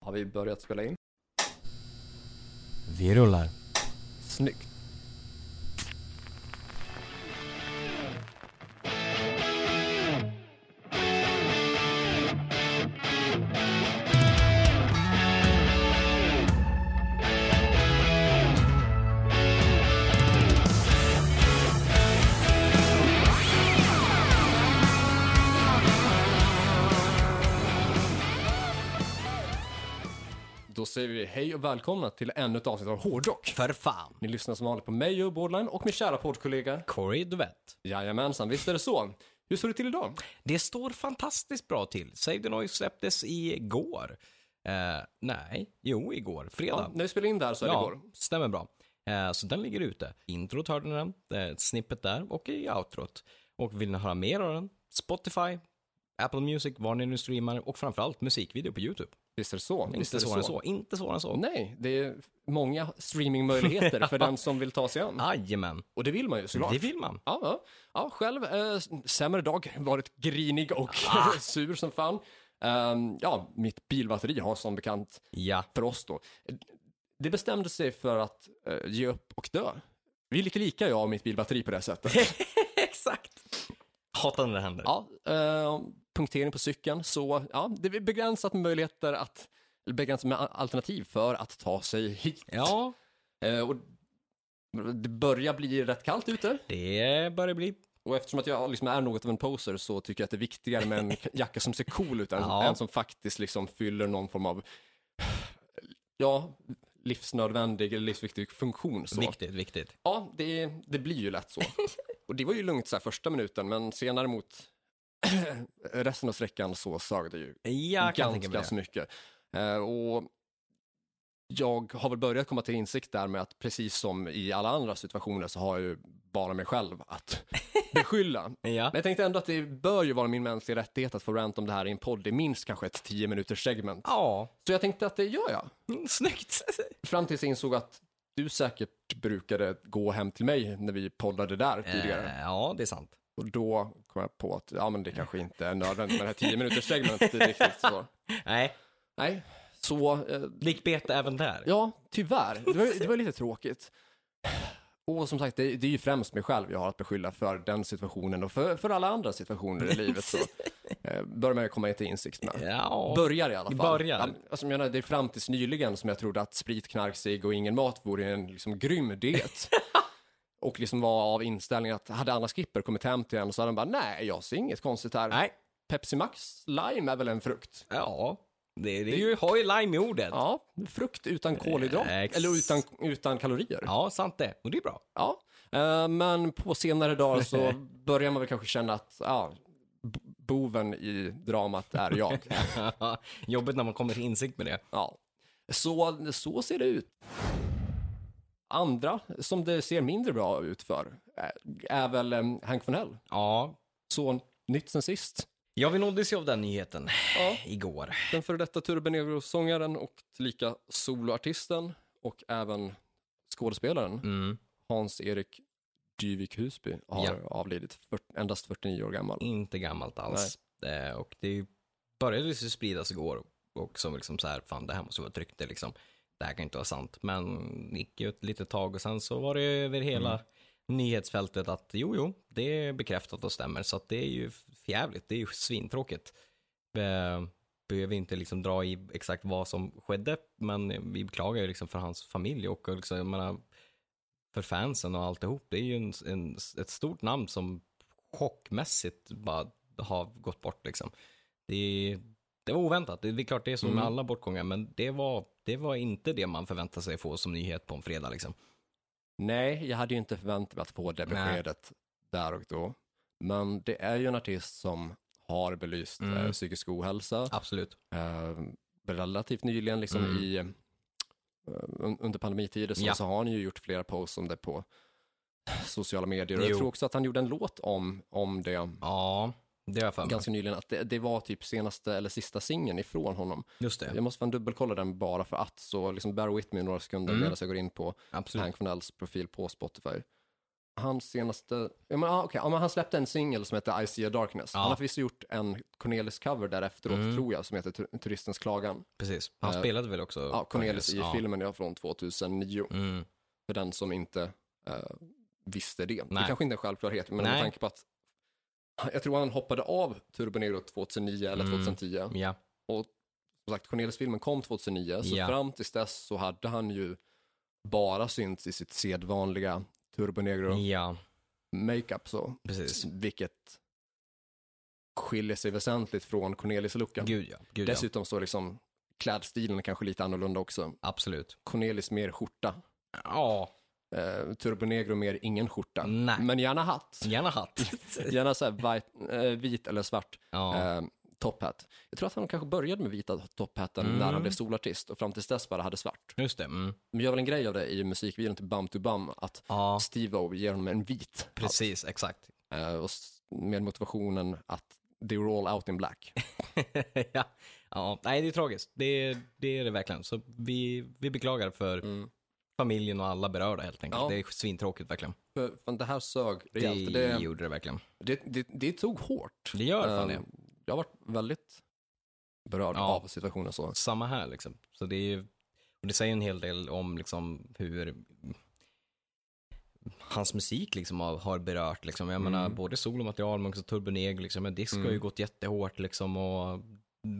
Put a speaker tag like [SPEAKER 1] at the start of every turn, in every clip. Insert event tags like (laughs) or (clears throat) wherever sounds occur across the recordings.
[SPEAKER 1] Har vi börjat spela in?
[SPEAKER 2] Vi rullar.
[SPEAKER 1] Snyggt. Då säger vi hej och välkomna till ännu ett avsnitt av Hårdrock.
[SPEAKER 2] För fan.
[SPEAKER 1] Ni lyssnar som vanligt på mig och Borderline och min kära poddkollega.
[SPEAKER 2] Corey Duvett.
[SPEAKER 1] Jajamensan, visst är det så. Hur står det till idag?
[SPEAKER 2] Det står fantastiskt bra till. Save the Noise släpptes igår. Eh, nej, jo, igår.
[SPEAKER 1] Ja,
[SPEAKER 2] Fredag.
[SPEAKER 1] när vi spelar in det här så är det igår.
[SPEAKER 2] stämmer bra. Eh, så den ligger ute. Introt hörde ni den, eh, ett snippet där och i outrot. Och vill ni höra mer av den? Spotify, Apple Music, var ni nu streamar och framförallt musikvideo på YouTube.
[SPEAKER 1] Visst är det så. Visst
[SPEAKER 2] Inte
[SPEAKER 1] är det
[SPEAKER 2] svårare än så. Inte svårare än så.
[SPEAKER 1] Nej, det är många streamingmöjligheter för den som vill ta sig an.
[SPEAKER 2] Jajamän.
[SPEAKER 1] Och det vill man ju såklart.
[SPEAKER 2] Det vill man.
[SPEAKER 1] Ja, ja. ja själv eh, sämre dag, varit grinig och
[SPEAKER 2] Ah.
[SPEAKER 1] (laughs) sur som fan. Ehm, ja, mitt bilbatteri har som bekant (laughs)
[SPEAKER 2] Ja.
[SPEAKER 1] för oss då. Det bestämde sig för att eh, ge upp och dö. Vi är lite lika jag och mitt bilbatteri på det här sättet.
[SPEAKER 2] Exakt. Hatar när det händer.
[SPEAKER 1] ja, eh, punktering på cykeln, så ja, det är begränsat med möjligheter att, eller begränsat med a- alternativ för att ta sig hit.
[SPEAKER 2] ja.
[SPEAKER 1] Eh, och det börjar bli rätt kallt ute.
[SPEAKER 2] Det börjar bli
[SPEAKER 1] Och eftersom att jag liksom är något av en poser så tycker jag att det är viktigare med en jacka som ser cool ut än
[SPEAKER 2] Ja.
[SPEAKER 1] en som faktiskt liksom fyller någon form av, ja, livsnödvändig eller livsviktig funktion. Så.
[SPEAKER 2] viktigt, viktigt.
[SPEAKER 1] Ja, det, det blir ju
[SPEAKER 2] (laughs)
[SPEAKER 1] lätt så. Och det var ju lugnt så här första minuten, men senare mot (clears throat) resten av sträckan så sög det ju
[SPEAKER 2] Jag kan tänka mig
[SPEAKER 1] ganska
[SPEAKER 2] det.
[SPEAKER 1] så mycket. Eh, och jag har väl börjat komma till insikt där med att precis som i alla andra situationer så har jag ju bara mig själv
[SPEAKER 2] (laughs)
[SPEAKER 1] att beskylla.
[SPEAKER 2] Ja.
[SPEAKER 1] Men jag tänkte ändå att det bör ju vara min mänskliga rättighet att få rant om det här i en podd. Det är minst kanske ett 10 minuters segment.
[SPEAKER 2] ja,
[SPEAKER 1] Så jag tänkte att det gör jag.
[SPEAKER 2] Mm, (laughs) snyggt.
[SPEAKER 1] Fram tills jag insåg att du säkert brukade gå hem till mig när vi poddade där tidigare.
[SPEAKER 2] Eh, ja, det är sant.
[SPEAKER 1] Och då kom jag på att ja, men det kanske inte är nödvändigt med det här 10 minuters segmentet.
[SPEAKER 2] (laughs)
[SPEAKER 1] Det är riktigt så.
[SPEAKER 2] Nej,
[SPEAKER 1] Nej, så eh,
[SPEAKER 2] likbete även där.
[SPEAKER 1] ja, tyvärr. Det var, det var lite tråkigt. Och som sagt, det, det är ju främst mig själv jag har att beskylla för den situationen och för, för alla andra situationer i livet.
[SPEAKER 2] (laughs)
[SPEAKER 1] Så eh, börjar man ju komma till insikt med.
[SPEAKER 2] Ja,
[SPEAKER 1] Börjar i alla fall.
[SPEAKER 2] Börjar.
[SPEAKER 1] Ja, men, alltså, jag menar, det är fram tills nyligen som jag trodde att sprit, knark, cigg och ingen mat vore en liksom, grym
[SPEAKER 2] (laughs)
[SPEAKER 1] diet. och liksom var av inställningen att hade Anna Skipper kommit hem till en så hade hon bara, nej, jag ser inget konstigt här.
[SPEAKER 2] nej.
[SPEAKER 1] Pepsi Max lime är väl en frukt?
[SPEAKER 2] Ja, det, det är ju, har ju lime i ordet. Ja.
[SPEAKER 1] Ja, frukt utan kolhydrat.
[SPEAKER 2] Ex.
[SPEAKER 1] Eller utan, utan kalorier. Ja.
[SPEAKER 2] sant det. Och det är bra. (laughs)
[SPEAKER 1] Eh, men på senare dagar så börjar man väl kanske känna att, ja, b- boven i dramat är jag.
[SPEAKER 2] Jobbigt när man kommer till insikt med det.
[SPEAKER 1] Ja. Så, så ser det ut. Andra som det ser mindre bra ut för eh, är väl eh, Hank Vonell.
[SPEAKER 2] Ja,
[SPEAKER 1] Så nytt sen sist.
[SPEAKER 2] jag vi nåddes ju av den nyheten
[SPEAKER 1] Ja.
[SPEAKER 2] igår.
[SPEAKER 1] Den före detta Turbenegro-sångaren och lika soloartisten och även skådespelaren
[SPEAKER 2] Mm.
[SPEAKER 1] Hans-Erik Dyvik Husby har
[SPEAKER 2] Ja.
[SPEAKER 1] avlidit, fyrt- endast 49 år gammal.
[SPEAKER 2] Inte gammalt alls. Eh, och det började ju spridas igår och som liksom så här, fan det här måste vara ett rykte liksom. Det här kan inte vara sant. Men det gick ju ett litet tag och sen så var det över hela nyhetsfältet att jo, jo, det är bekräftat och stämmer. Så att det är ju jävligt, det är ju svintråkigt. Eh, behöver inte liksom dra i exakt vad som skedde, men vi beklagar ju liksom för hans familj och och liksom, jag menar, för fansen och alltihop. Det är ju en, en, ett stort namn som chockmässigt bara har gått bort liksom. Det, det var oväntat. Det, det är klart det är så med
[SPEAKER 1] Mm.
[SPEAKER 2] alla bortgångar, men det var, det var inte det man förväntade sig få som nyhet på en fredag liksom.
[SPEAKER 1] Nej, jag hade ju inte förväntat mig att få det
[SPEAKER 2] Nej.
[SPEAKER 1] beskedet där och då. Men det är ju en artist som har belyst
[SPEAKER 2] Mm.
[SPEAKER 1] eh, psykisk ohälsa
[SPEAKER 2] Absolut.
[SPEAKER 1] eh, relativt nyligen liksom
[SPEAKER 2] Mm.
[SPEAKER 1] i, eh, un- under pandemitider så,
[SPEAKER 2] Ja.
[SPEAKER 1] så har han ju gjort flera posts om det på sociala medier. Och
[SPEAKER 2] Jo.
[SPEAKER 1] jag tror också att han gjorde en låt om, om det
[SPEAKER 2] Ja, det har jag för mig.
[SPEAKER 1] ganska nyligen, att det, det var typ senaste eller sista singeln ifrån honom.
[SPEAKER 2] Just det.
[SPEAKER 1] Jag måste fan dubbelkolla den bara för att, så liksom bear with me några sekunder
[SPEAKER 2] Mm.
[SPEAKER 1] medan jag går in på
[SPEAKER 2] Absolut.
[SPEAKER 1] Hank Vonells profil på Spotify. hans senaste, ja men, ah, okej, ja, men han släppte en singel som heter I see a darkness.
[SPEAKER 2] Ja. Mm.
[SPEAKER 1] Han har förvisso gjort en Cornelis-cover där efteråt tror jag, som heter Tur- Turistens klagan.
[SPEAKER 2] Precis. Han
[SPEAKER 1] Eh,
[SPEAKER 2] spelade väl också
[SPEAKER 1] Ja, Cornelis i
[SPEAKER 2] ja.
[SPEAKER 1] filmen ja, från 2009,
[SPEAKER 2] Mm.
[SPEAKER 1] för den som inte eh, visste det.
[SPEAKER 2] Nej.
[SPEAKER 1] Det kanske inte är en självklarhet, men
[SPEAKER 2] Nej.
[SPEAKER 1] med tanke på att jag tror han hoppade av Turbonero 2009 eller
[SPEAKER 2] Mm.
[SPEAKER 1] 2010.
[SPEAKER 2] Ja,
[SPEAKER 1] Som sagt, Cornelis-filmen kom 2009, så
[SPEAKER 2] Ja.
[SPEAKER 1] fram tills dess så hade han ju bara synts i sitt sedvanliga Turbonegro
[SPEAKER 2] ja,
[SPEAKER 1] makeup så.
[SPEAKER 2] precis.
[SPEAKER 1] Vilket skiljer sig väsentligt från Cornelis-looken.
[SPEAKER 2] Gud ja. Gud, ja.
[SPEAKER 1] Dessutom så är liksom klädstilen kanske lite annorlunda också.
[SPEAKER 2] Absolut.
[SPEAKER 1] Cornelis mer skjorta,
[SPEAKER 2] Ja,
[SPEAKER 1] eh, Turbonegro mer ingen skjorta.
[SPEAKER 2] Mm. nej.
[SPEAKER 1] Men gärna hatt.
[SPEAKER 2] (laughs) Gärna hatt.
[SPEAKER 1] (laughs) Gärna så här vit, eh, vit eller svart
[SPEAKER 2] ja.
[SPEAKER 1] eh, top hat. Jag tror att han kanske började med vita top hatten
[SPEAKER 2] Mm.
[SPEAKER 1] när han blev solartist och fram tills dess bara hade svart.
[SPEAKER 2] Just det. Mm.
[SPEAKER 1] De gör väl en grej av det i musikvideon till Bum to Bum att
[SPEAKER 2] Ja,
[SPEAKER 1] Steve-O ger honom en vit hatt
[SPEAKER 2] precis. Exakt.
[SPEAKER 1] eh, och s- med motivationen att they were all out in
[SPEAKER 2] (laughs)
[SPEAKER 1] black.
[SPEAKER 2] ja. ja. Nej, det är tragiskt. Det, det är det verkligen. Så vi, vi beklagar för
[SPEAKER 1] Mm.
[SPEAKER 2] familjen och alla berörda helt enkelt.
[SPEAKER 1] Ja.
[SPEAKER 2] Det är svintråkigt verkligen.
[SPEAKER 1] För, fan, det här sög
[SPEAKER 2] Det,
[SPEAKER 1] rejält. Det,
[SPEAKER 2] gjorde det verkligen.
[SPEAKER 1] det, det, det tog hårt.
[SPEAKER 2] Det gör fan
[SPEAKER 1] Eh,
[SPEAKER 2] det.
[SPEAKER 1] Jag har varit väldigt berörd
[SPEAKER 2] Ja.
[SPEAKER 1] av situationen så.
[SPEAKER 2] Samma här liksom. Så det är ju, och det säger en hel del om liksom hur hans musik liksom har, har berört liksom. Jag
[SPEAKER 1] Mm.
[SPEAKER 2] menar både solomaterial men också Turbo Negro liksom. Men disco har ju gått jättehårt liksom och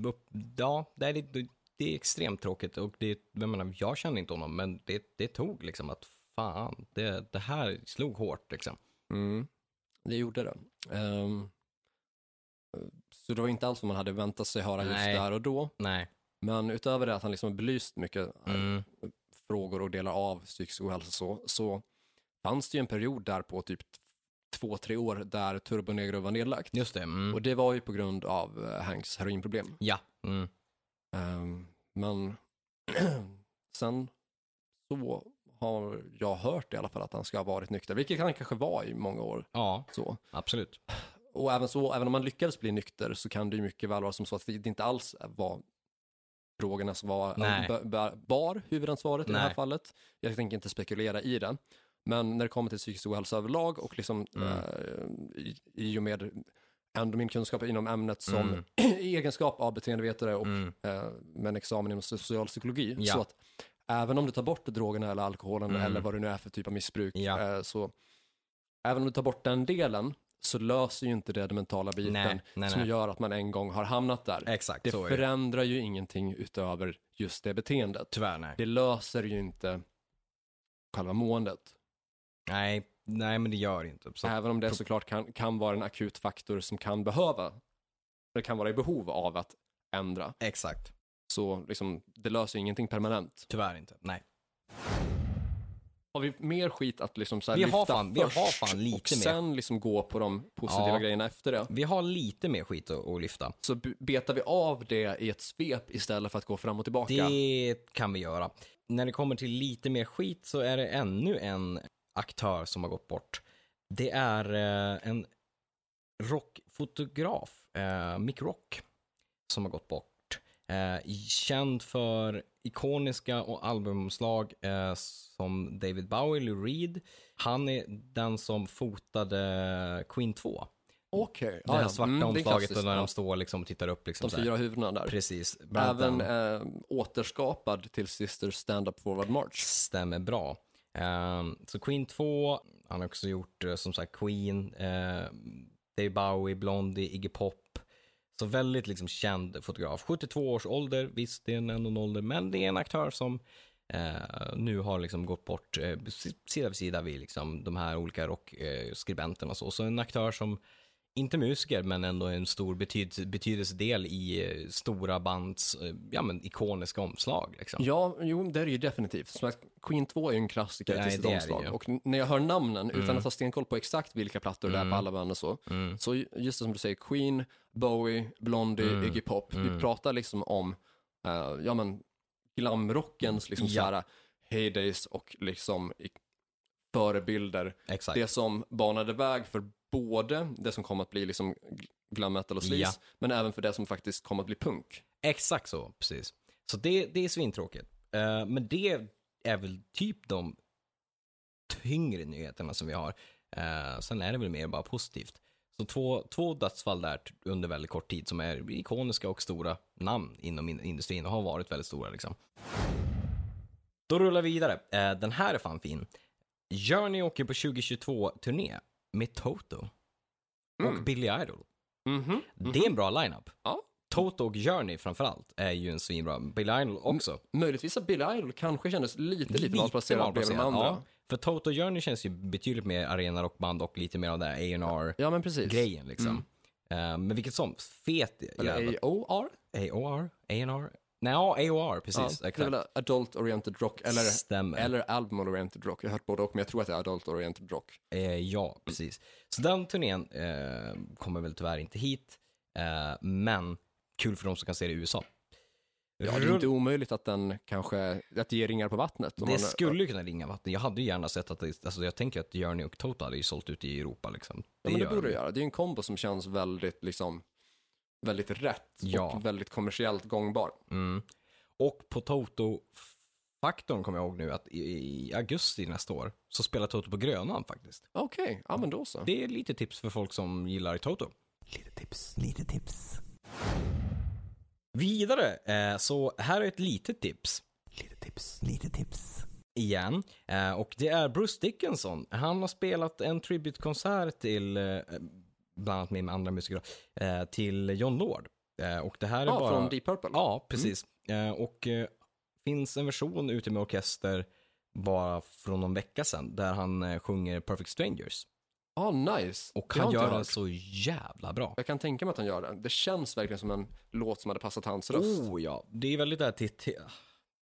[SPEAKER 2] upp, ja, det är, det, det är extremt tråkigt och det, jag menar, jag känner inte honom men det, det tog liksom att fan, det, det här slog hårt liksom.
[SPEAKER 1] Mm. Det gjorde det. Ehm, så det var inte alls vad man hade väntat sig höra just
[SPEAKER 2] Nej.
[SPEAKER 1] där och då.
[SPEAKER 2] Nej.
[SPEAKER 1] Men utöver det att han liksom har belyst mycket eh,
[SPEAKER 2] Mm.
[SPEAKER 1] frågor och delar av psykisk ohälsa så, så fanns det ju en period där på typ t- två, tre år där Turbo Negro var nedlagt.
[SPEAKER 2] Just det. Mm.
[SPEAKER 1] Och det var ju på grund av eh, Hanks heroinproblem.
[SPEAKER 2] Ja. Mm.
[SPEAKER 1] Ehm, men (clears throat) sen så har jag hört i alla fall att han ska ha varit nykter, vilket han kanske var i många år.
[SPEAKER 2] Ja,
[SPEAKER 1] Så.
[SPEAKER 2] absolut.
[SPEAKER 1] Och även, så, även om man lyckades bli nykter så kan det ju mycket väl vara som så att det inte alls var drogerna som var, eh,
[SPEAKER 2] Nej.
[SPEAKER 1] b- b- bar huvudansvaret i det här
[SPEAKER 2] Nej.
[SPEAKER 1] fallet. Jag tänker inte spekulera i det. Men när det kommer till psykisk ohälsa överlag och liksom
[SPEAKER 2] Mm.
[SPEAKER 1] eh, i, i och med ändå min kunskap inom ämnet som
[SPEAKER 2] Mm.
[SPEAKER 1] i (clears throat) egenskap av beteendevetare och
[SPEAKER 2] Mm.
[SPEAKER 1] eh, med en examen inom social psykologi.
[SPEAKER 2] Ja.
[SPEAKER 1] Så att även om du tar bort drogerna eller alkoholen
[SPEAKER 2] Mm.
[SPEAKER 1] eller vad det nu är för typ av missbruk,
[SPEAKER 2] Ja.
[SPEAKER 1] eh, så även om du tar bort den delen så löser ju inte det den mentala biten
[SPEAKER 2] Nej, nej,
[SPEAKER 1] som
[SPEAKER 2] nej.
[SPEAKER 1] gör att man en gång har hamnat där.
[SPEAKER 2] Exakt,
[SPEAKER 1] det
[SPEAKER 2] så är det.
[SPEAKER 1] förändrar ju ingenting utöver just det beteendet.
[SPEAKER 2] Tyvärr nej.
[SPEAKER 1] Det löser ju inte själva måendet.
[SPEAKER 2] Nej, nej men det gör inte. Så,
[SPEAKER 1] Även om det såklart kan, kan vara en akut faktor som kan behöva, det kan vara i behov av att ändra.
[SPEAKER 2] Exakt.
[SPEAKER 1] Så liksom, det löser ju ingenting permanent.
[SPEAKER 2] Tyvärr inte. Nej.
[SPEAKER 1] Har vi mer skit att liksom så här
[SPEAKER 2] Vi har
[SPEAKER 1] lyfta
[SPEAKER 2] fan- vi har
[SPEAKER 1] först
[SPEAKER 2] fan lite
[SPEAKER 1] och
[SPEAKER 2] mer.
[SPEAKER 1] sen liksom gå på de positiva
[SPEAKER 2] Ja.
[SPEAKER 1] grejerna efter det?
[SPEAKER 2] Vi har lite mer skit att, att lyfta.
[SPEAKER 1] Så b- betar vi av det i ett svep istället för att gå fram och tillbaka.
[SPEAKER 2] Det kan vi göra. När det kommer till lite mer skit så är det ännu en aktör som har gått bort. Det är eh, en rockfotograf, eh, Mick Rock, som har gått bort. Eh, känd för ikoniska och albumomslag eh, som David Bowie, Lou Reed. Han är den som fotade Queen 2.
[SPEAKER 1] Okej.
[SPEAKER 2] Det här svarta
[SPEAKER 1] Mm, det är
[SPEAKER 2] omslaget
[SPEAKER 1] klassiskt.
[SPEAKER 2] och när
[SPEAKER 1] Ja.
[SPEAKER 2] de står liksom och tittar upp. Liksom
[SPEAKER 1] De
[SPEAKER 2] så här.
[SPEAKER 1] fyra huvudena där.
[SPEAKER 2] Precis.
[SPEAKER 1] Även
[SPEAKER 2] Även
[SPEAKER 1] eh, återskapad till Sisters Stand Up Forward March.
[SPEAKER 2] stämmer bra. Ehm, så Queen 2, han har också gjort eh, som sagt Queen, eh, David Bowie, Blondie, Iggy Pop. Så väldigt liksom känd fotograf. 72 års ålder, visst det är en ändå en ålder, men det är en aktör som eh, nu har liksom gått bort eh, si- sida vid sida vid liksom de här olika rockskribenterna eh, skribenterna och så. Så en aktör som, inte musiker, men ändå en stor betyd- betydelsedel i eh, stora bands eh, ja, men ikoniska omslag. Liksom.
[SPEAKER 1] Ja, jo, det är det ju definitivt. Som att Queen 2 är ju en klassiker
[SPEAKER 2] Nej,
[SPEAKER 1] till sitt
[SPEAKER 2] det är det
[SPEAKER 1] omslag.
[SPEAKER 2] ju. Mm.
[SPEAKER 1] Och n- när jag hör namnen, utan att ha stenkoll på exakt vilka plattor det är på alla band och så, så ju- just som du säger, Queen, Bowie, Blondie,
[SPEAKER 2] Mm.
[SPEAKER 1] Iggy Pop, vi pratar liksom om eh, ja, men, glamrockens liksom,
[SPEAKER 2] Mm, Ja.
[SPEAKER 1] så här, heydays och liksom i- förebilder.
[SPEAKER 2] Exakt.
[SPEAKER 1] Det som banade väg för både det som kom att bli liksom gl- glam metal och sleaze,
[SPEAKER 2] Ja.
[SPEAKER 1] men även för det som faktiskt kom att bli punk.
[SPEAKER 2] Exakt så, precis. Så det, det är svintråkigt. Eh, men det är väl typ de tyngre nyheterna som vi har. Eh, sen är det väl mer bara positivt. Så två, två dödsfall där t- under väldigt kort tid som är ikoniska och stora namn inom in- industrin och har varit väldigt stora liksom. Då rullar vi vidare. Eh, den här är fan fin. Journey åker på 2022-turné med Toto och
[SPEAKER 1] Mm.
[SPEAKER 2] Billy Idol.
[SPEAKER 1] Mhm.
[SPEAKER 2] Det är en bra lineup.
[SPEAKER 1] Ja.
[SPEAKER 2] Toto och Journey framförallt är ju en svinbra. Billy Idol också.
[SPEAKER 1] Möjligtvis att Billy Idol kanske kändes lite, Mm, lite malplacerad bredvid de andra.
[SPEAKER 2] Ja,
[SPEAKER 1] Ja.
[SPEAKER 2] för Toto och Journey känns ju betydligt mer arenarockband och lite mer av det här A&R
[SPEAKER 1] men precis. Mm.
[SPEAKER 2] grejen liksom. Eh, men vilket som, fet jävla...
[SPEAKER 1] Eller AOR?
[SPEAKER 2] AOR? A&R? Nej, ja, AOR, precis.
[SPEAKER 1] Ja, det är
[SPEAKER 2] exakt.
[SPEAKER 1] väl Adult Oriented Rock eller,
[SPEAKER 2] Stämmer.
[SPEAKER 1] eller Album Oriented Rock. Jag har hört både och, men jag tror att det är Adult Oriented Rock.
[SPEAKER 2] Eh, ja, precis. Så den turnén eh, kommer väl tyvärr inte hit. Eh, men kul för de som kan se det i USA.
[SPEAKER 1] Ja, det är inte omöjligt att den kanske, att det ger ringar på vattnet. om
[SPEAKER 2] Det
[SPEAKER 1] man-
[SPEAKER 2] skulle ju kunna ringa vatten. Jag hade ju gärna sett att det, alltså jag tänker att Journey och Toto hade ju sålt ut i Europa liksom.
[SPEAKER 1] Ja, men det
[SPEAKER 2] gör
[SPEAKER 1] borde
[SPEAKER 2] de.
[SPEAKER 1] det göra. Det är en kombo som känns väldigt, liksom, väldigt rätt
[SPEAKER 2] Ja.
[SPEAKER 1] och väldigt kommersiellt gångbar.
[SPEAKER 2] Mm. Och på Toto-faktorn kommer jag ihåg nu att i, i augusti nästa år så spelar Toto på Grönan faktiskt.
[SPEAKER 1] Okej, ja men då så.
[SPEAKER 2] Det är lite tips för folk som gillar Toto. Lite tips, lite tips. Vidare, eh, så här är ett litet tips. Lite tips, lite tips. Igen, eh, och det är Bruce Dickinson. Han har spelat en tributkonsert till, eh, bland annat med andra musiker, då, eh, till John Lord. Eh, och det här är
[SPEAKER 1] Ja,
[SPEAKER 2] bara...
[SPEAKER 1] från Deep Purple.
[SPEAKER 2] Ja, precis. Eh, och eh, finns en version ute med orkester bara från någon vecka sedan där han eh, sjunger Perfect Strangers.
[SPEAKER 1] Ah, nice.
[SPEAKER 2] Och
[SPEAKER 1] har
[SPEAKER 2] han
[SPEAKER 1] inte
[SPEAKER 2] gör
[SPEAKER 1] jag
[SPEAKER 2] den
[SPEAKER 1] hört.
[SPEAKER 2] så jävla bra.
[SPEAKER 1] Jag kan tänka mig att han gör det. Det känns verkligen som en låt som hade passat hans röst.
[SPEAKER 2] Oh ja, det är väldigt det här te- te-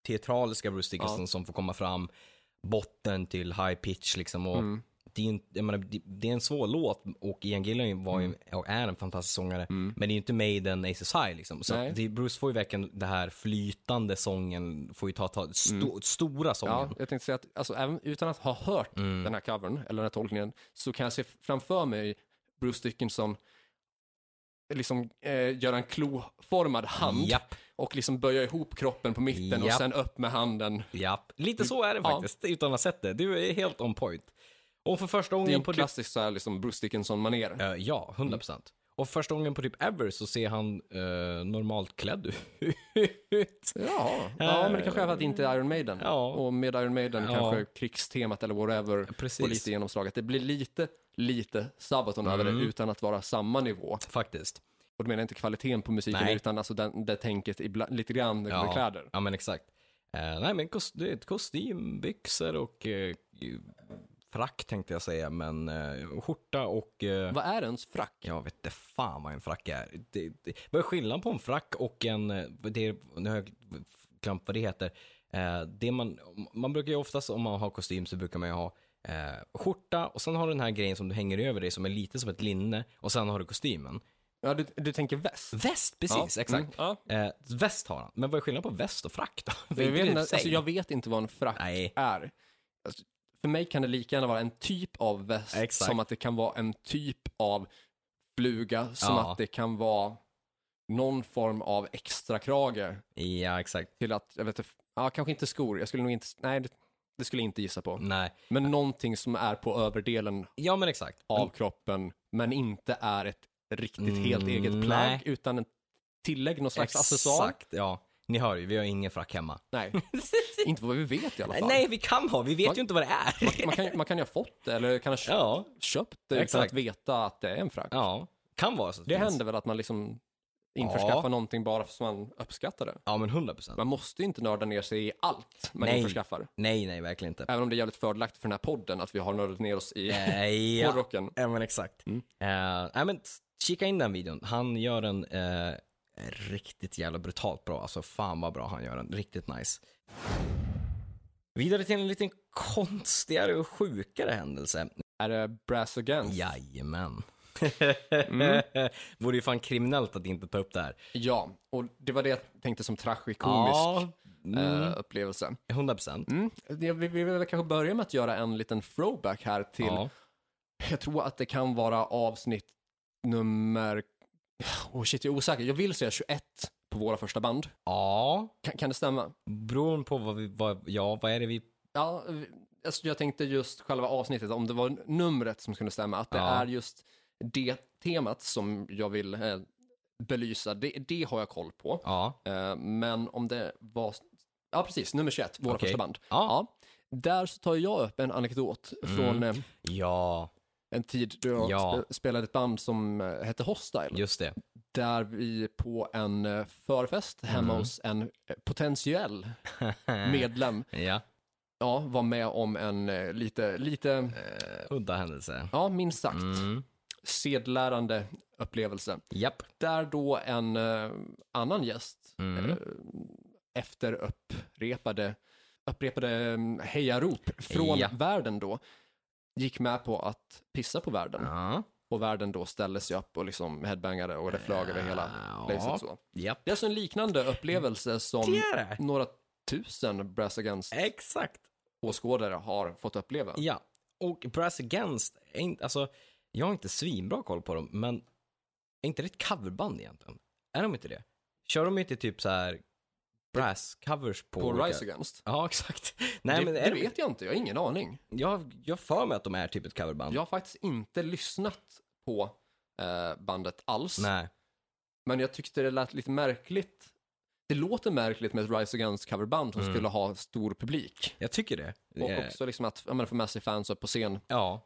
[SPEAKER 2] teatraliska Bruce Dickinson som får komma fram, botten till high pitch liksom. Och
[SPEAKER 1] Mm.
[SPEAKER 2] det, är ju inte- jag menar, det, det är en svår låt och Ian Gillan var ju,
[SPEAKER 1] Mm.
[SPEAKER 2] och är en fantastisk sångare, men det är ju inte Maiden, Aces High liksom. Så
[SPEAKER 1] Nej.
[SPEAKER 2] att det, Bruce får ju verkligen det här flytande sången, får ju ta, ta sto, stora sången.
[SPEAKER 1] Mm. Ja, jag tänkte säga att alltså, även utan att ha hört
[SPEAKER 2] Mm.
[SPEAKER 1] den här covern, eller den här tolkningen, så kan jag se framför mig Bruce Dickinson liksom eh, göra en kloformad hand
[SPEAKER 2] Japp.
[SPEAKER 1] och liksom böja ihop kroppen på mitten och
[SPEAKER 2] Japp.
[SPEAKER 1] sen upp med handen.
[SPEAKER 2] Japp, lite så är det
[SPEAKER 1] Ja.
[SPEAKER 2] faktiskt, utan att ha sett det. Du är helt on point. Och för första
[SPEAKER 1] Det är
[SPEAKER 2] gången
[SPEAKER 1] en
[SPEAKER 2] på det
[SPEAKER 1] klassisk så här, liksom Bruce Dickinson-manér.
[SPEAKER 2] Eh, ja,
[SPEAKER 1] Mm.
[SPEAKER 2] 100 procent. Och första gången på typ ever så ser han eh, normalt klädd ut.
[SPEAKER 1] Ja, ja men det kanske är för att det inte är Iron Maiden.
[SPEAKER 2] Ja.
[SPEAKER 1] Och med Iron Maiden
[SPEAKER 2] Ja.
[SPEAKER 1] kanske krigstemat eller whatever
[SPEAKER 2] Precis.
[SPEAKER 1] får lite genomslag. Att det blir lite, lite Sabaton över
[SPEAKER 2] Mm.
[SPEAKER 1] det utan att vara samma nivå.
[SPEAKER 2] Faktiskt.
[SPEAKER 1] Och då menar jag inte kvaliteten på musiken
[SPEAKER 2] Nej.
[SPEAKER 1] utan alltså den, det tänket ibland, lite grann med kläder.
[SPEAKER 2] ja men exakt. Eh, nej, men kost, det är ett kostym, byxor och eh, ju- frack tänkte jag säga, men eh, skjorta och... Eh,
[SPEAKER 1] Vad är ens frack?
[SPEAKER 2] jag vet inte fan vad en frack är. Det, det, vad är skillnaden på en frack och en... eh, Det, nu har jag glömt vad det heter. Eh, det man, man brukar ju oftast, om man har kostym, så brukar man ju ha eh, skjorta och sen har du den här grejen som du hänger över dig som är lite som ett linne och sen har du kostymen.
[SPEAKER 1] Ja, du, du tänker väst?
[SPEAKER 2] Väst, precis,
[SPEAKER 1] Ja,
[SPEAKER 2] exakt.
[SPEAKER 1] mm, ja.
[SPEAKER 2] Eh, väst har han. Men vad är skillnaden på väst och frack då? För
[SPEAKER 1] Jag
[SPEAKER 2] inte
[SPEAKER 1] vet,
[SPEAKER 2] det
[SPEAKER 1] inte,
[SPEAKER 2] i sig.
[SPEAKER 1] alltså, jag vet inte vad en frack
[SPEAKER 2] Nej.
[SPEAKER 1] är. Alltså, för mig kan det lika gärna vara en typ av väst
[SPEAKER 2] Exakt.
[SPEAKER 1] som att det kan vara en typ av fluga, som
[SPEAKER 2] Ja.
[SPEAKER 1] att det kan vara någon form av extra krage
[SPEAKER 2] Ja, exakt.
[SPEAKER 1] till att, jag vet inte, ja, kanske inte skor, jag skulle nog inte, nej det, det skulle jag inte gissa på.
[SPEAKER 2] Nej.
[SPEAKER 1] Men någonting som är på överdelen
[SPEAKER 2] Ja, men exakt.
[SPEAKER 1] av kroppen, men inte är ett riktigt helt eget
[SPEAKER 2] Mm. Mm,
[SPEAKER 1] plagg,
[SPEAKER 2] nej.
[SPEAKER 1] utan en tillägg, någon slags accessoar.
[SPEAKER 2] Exakt, ja. Ni hör ju, vi har ingen
[SPEAKER 1] (laughs)
[SPEAKER 2] frack hemma.
[SPEAKER 1] Nej, inte vad vi vet i alla fall.
[SPEAKER 2] Nej, vi kan ha. Vi vet
[SPEAKER 1] Man-
[SPEAKER 2] ju inte vad det är.
[SPEAKER 1] Man kan, man kan ju ha fått det, eller kan ha köpt,
[SPEAKER 2] Ja,
[SPEAKER 1] köpt det utan
[SPEAKER 2] Exakt.
[SPEAKER 1] att veta att det är en frack.
[SPEAKER 2] ja. Kan vara så. att
[SPEAKER 1] Det
[SPEAKER 2] finns.
[SPEAKER 1] händer väl att man liksom införskaffar
[SPEAKER 2] Ja.
[SPEAKER 1] någonting bara för att man uppskattar det.
[SPEAKER 2] Ja, men 100 procent.
[SPEAKER 1] Man måste ju inte nörda ner sig i allt man
[SPEAKER 2] Nej.
[SPEAKER 1] införskaffar.
[SPEAKER 2] Nej, nej, verkligen inte.
[SPEAKER 1] Även om det är jävligt fördelaktigt för den här podden att vi har nördat ner oss i (laughs)
[SPEAKER 2] Nej, Eh, ja.
[SPEAKER 1] hårdrocken.
[SPEAKER 2] ja, men exakt. Mm. nej, men t- kika in den videon. Han gör den eh, riktigt jävla brutalt bra. Alltså fan vad bra han gör den. Riktigt nice. Vidare till en liten konstigare och sjukare händelse.
[SPEAKER 1] Är det Brass Again?
[SPEAKER 2] Jajamän. (laughs) Vore ju fan kriminellt att inte ta upp det här.
[SPEAKER 1] Ja, och det var det jag tänkte som tragikomisk
[SPEAKER 2] Ja, Mm.
[SPEAKER 1] eh, upplevelse.
[SPEAKER 2] 100 procent.
[SPEAKER 1] Mm. det- Vi vi vill kanske börja med att göra en liten throwback här till,
[SPEAKER 2] Ja.
[SPEAKER 1] jag tror att det kan vara avsnitt nummer, oh shit jag är osäker, jag vill säga 21 på våra första band.
[SPEAKER 2] ja,
[SPEAKER 1] Kan, kan det stämma?
[SPEAKER 2] beroende på vad vi, vad, ja, vad är det vi
[SPEAKER 1] Ja, vi- alltså, jag tänkte just själva avsnittet, om det var numret som skulle stämma, att det
[SPEAKER 2] Ja.
[SPEAKER 1] är just det temat som jag vill eh, belysa, det, det har jag koll på.
[SPEAKER 2] Ja,
[SPEAKER 1] Eh, men om det var, ja precis, nummer 21, våra
[SPEAKER 2] Okej.
[SPEAKER 1] första band.
[SPEAKER 2] ja,
[SPEAKER 1] Ja. Där så tar jag upp en anekdot
[SPEAKER 2] Mm.
[SPEAKER 1] från eh,
[SPEAKER 2] ja,
[SPEAKER 1] en tid då jag
[SPEAKER 2] Ja.
[SPEAKER 1] spe- spelade ett band som eh, hette Hostile.
[SPEAKER 2] just det.
[SPEAKER 1] Där vi på en eh, förfest hemma
[SPEAKER 2] Mm.
[SPEAKER 1] hos en eh,
[SPEAKER 2] (laughs)
[SPEAKER 1] potentiell medlem
[SPEAKER 2] ja,
[SPEAKER 1] ja, var med om en eh, lite, lite
[SPEAKER 2] eh, udda händelse.
[SPEAKER 1] ja, minst sagt
[SPEAKER 2] Mm.
[SPEAKER 1] sedlärande upplevelse.
[SPEAKER 2] Japp.
[SPEAKER 1] Där då en eh, annan gäst
[SPEAKER 2] Mm.
[SPEAKER 1] eh, efter upprepade, upprepade eh, hejarop från
[SPEAKER 2] Ja.
[SPEAKER 1] världen då gick med på att pissa på världen.
[SPEAKER 2] Ja.
[SPEAKER 1] Och världen då ställde sig upp och liksom headbangade och det flög över hela placet
[SPEAKER 2] Ja.
[SPEAKER 1] så.
[SPEAKER 2] Japp.
[SPEAKER 1] Det är alltså en liknande upplevelse som
[SPEAKER 2] Det är det.
[SPEAKER 1] några tusen Brass Against-åskådare
[SPEAKER 2] Exakt.
[SPEAKER 1] har fått uppleva.
[SPEAKER 2] Ja, och Brass Against, är inte, alltså, jag har inte svinbra koll på dem, men är inte det ett coverband egentligen? Är de inte det? Kör de inte typ så här brass-covers på,
[SPEAKER 1] På
[SPEAKER 2] olika-
[SPEAKER 1] Rise Against.
[SPEAKER 2] Ja, (laughs) exakt. Nej,
[SPEAKER 1] det,
[SPEAKER 2] men
[SPEAKER 1] det
[SPEAKER 2] är det,
[SPEAKER 1] vet jag inte, jag har ingen aning.
[SPEAKER 2] jag, jag för mig att de är typ ett coverband.
[SPEAKER 1] Jag har faktiskt inte lyssnat på eh, bandet alls.
[SPEAKER 2] Nej.
[SPEAKER 1] Men jag tyckte det lät lite märkligt. Det låter märkligt med ett Rise Against coverband som
[SPEAKER 2] Mm.
[SPEAKER 1] skulle ha stor publik.
[SPEAKER 2] Jag tycker det.
[SPEAKER 1] Och
[SPEAKER 2] Eh,
[SPEAKER 1] också liksom att ja, men få med sig fans upp på scen.
[SPEAKER 2] Ja,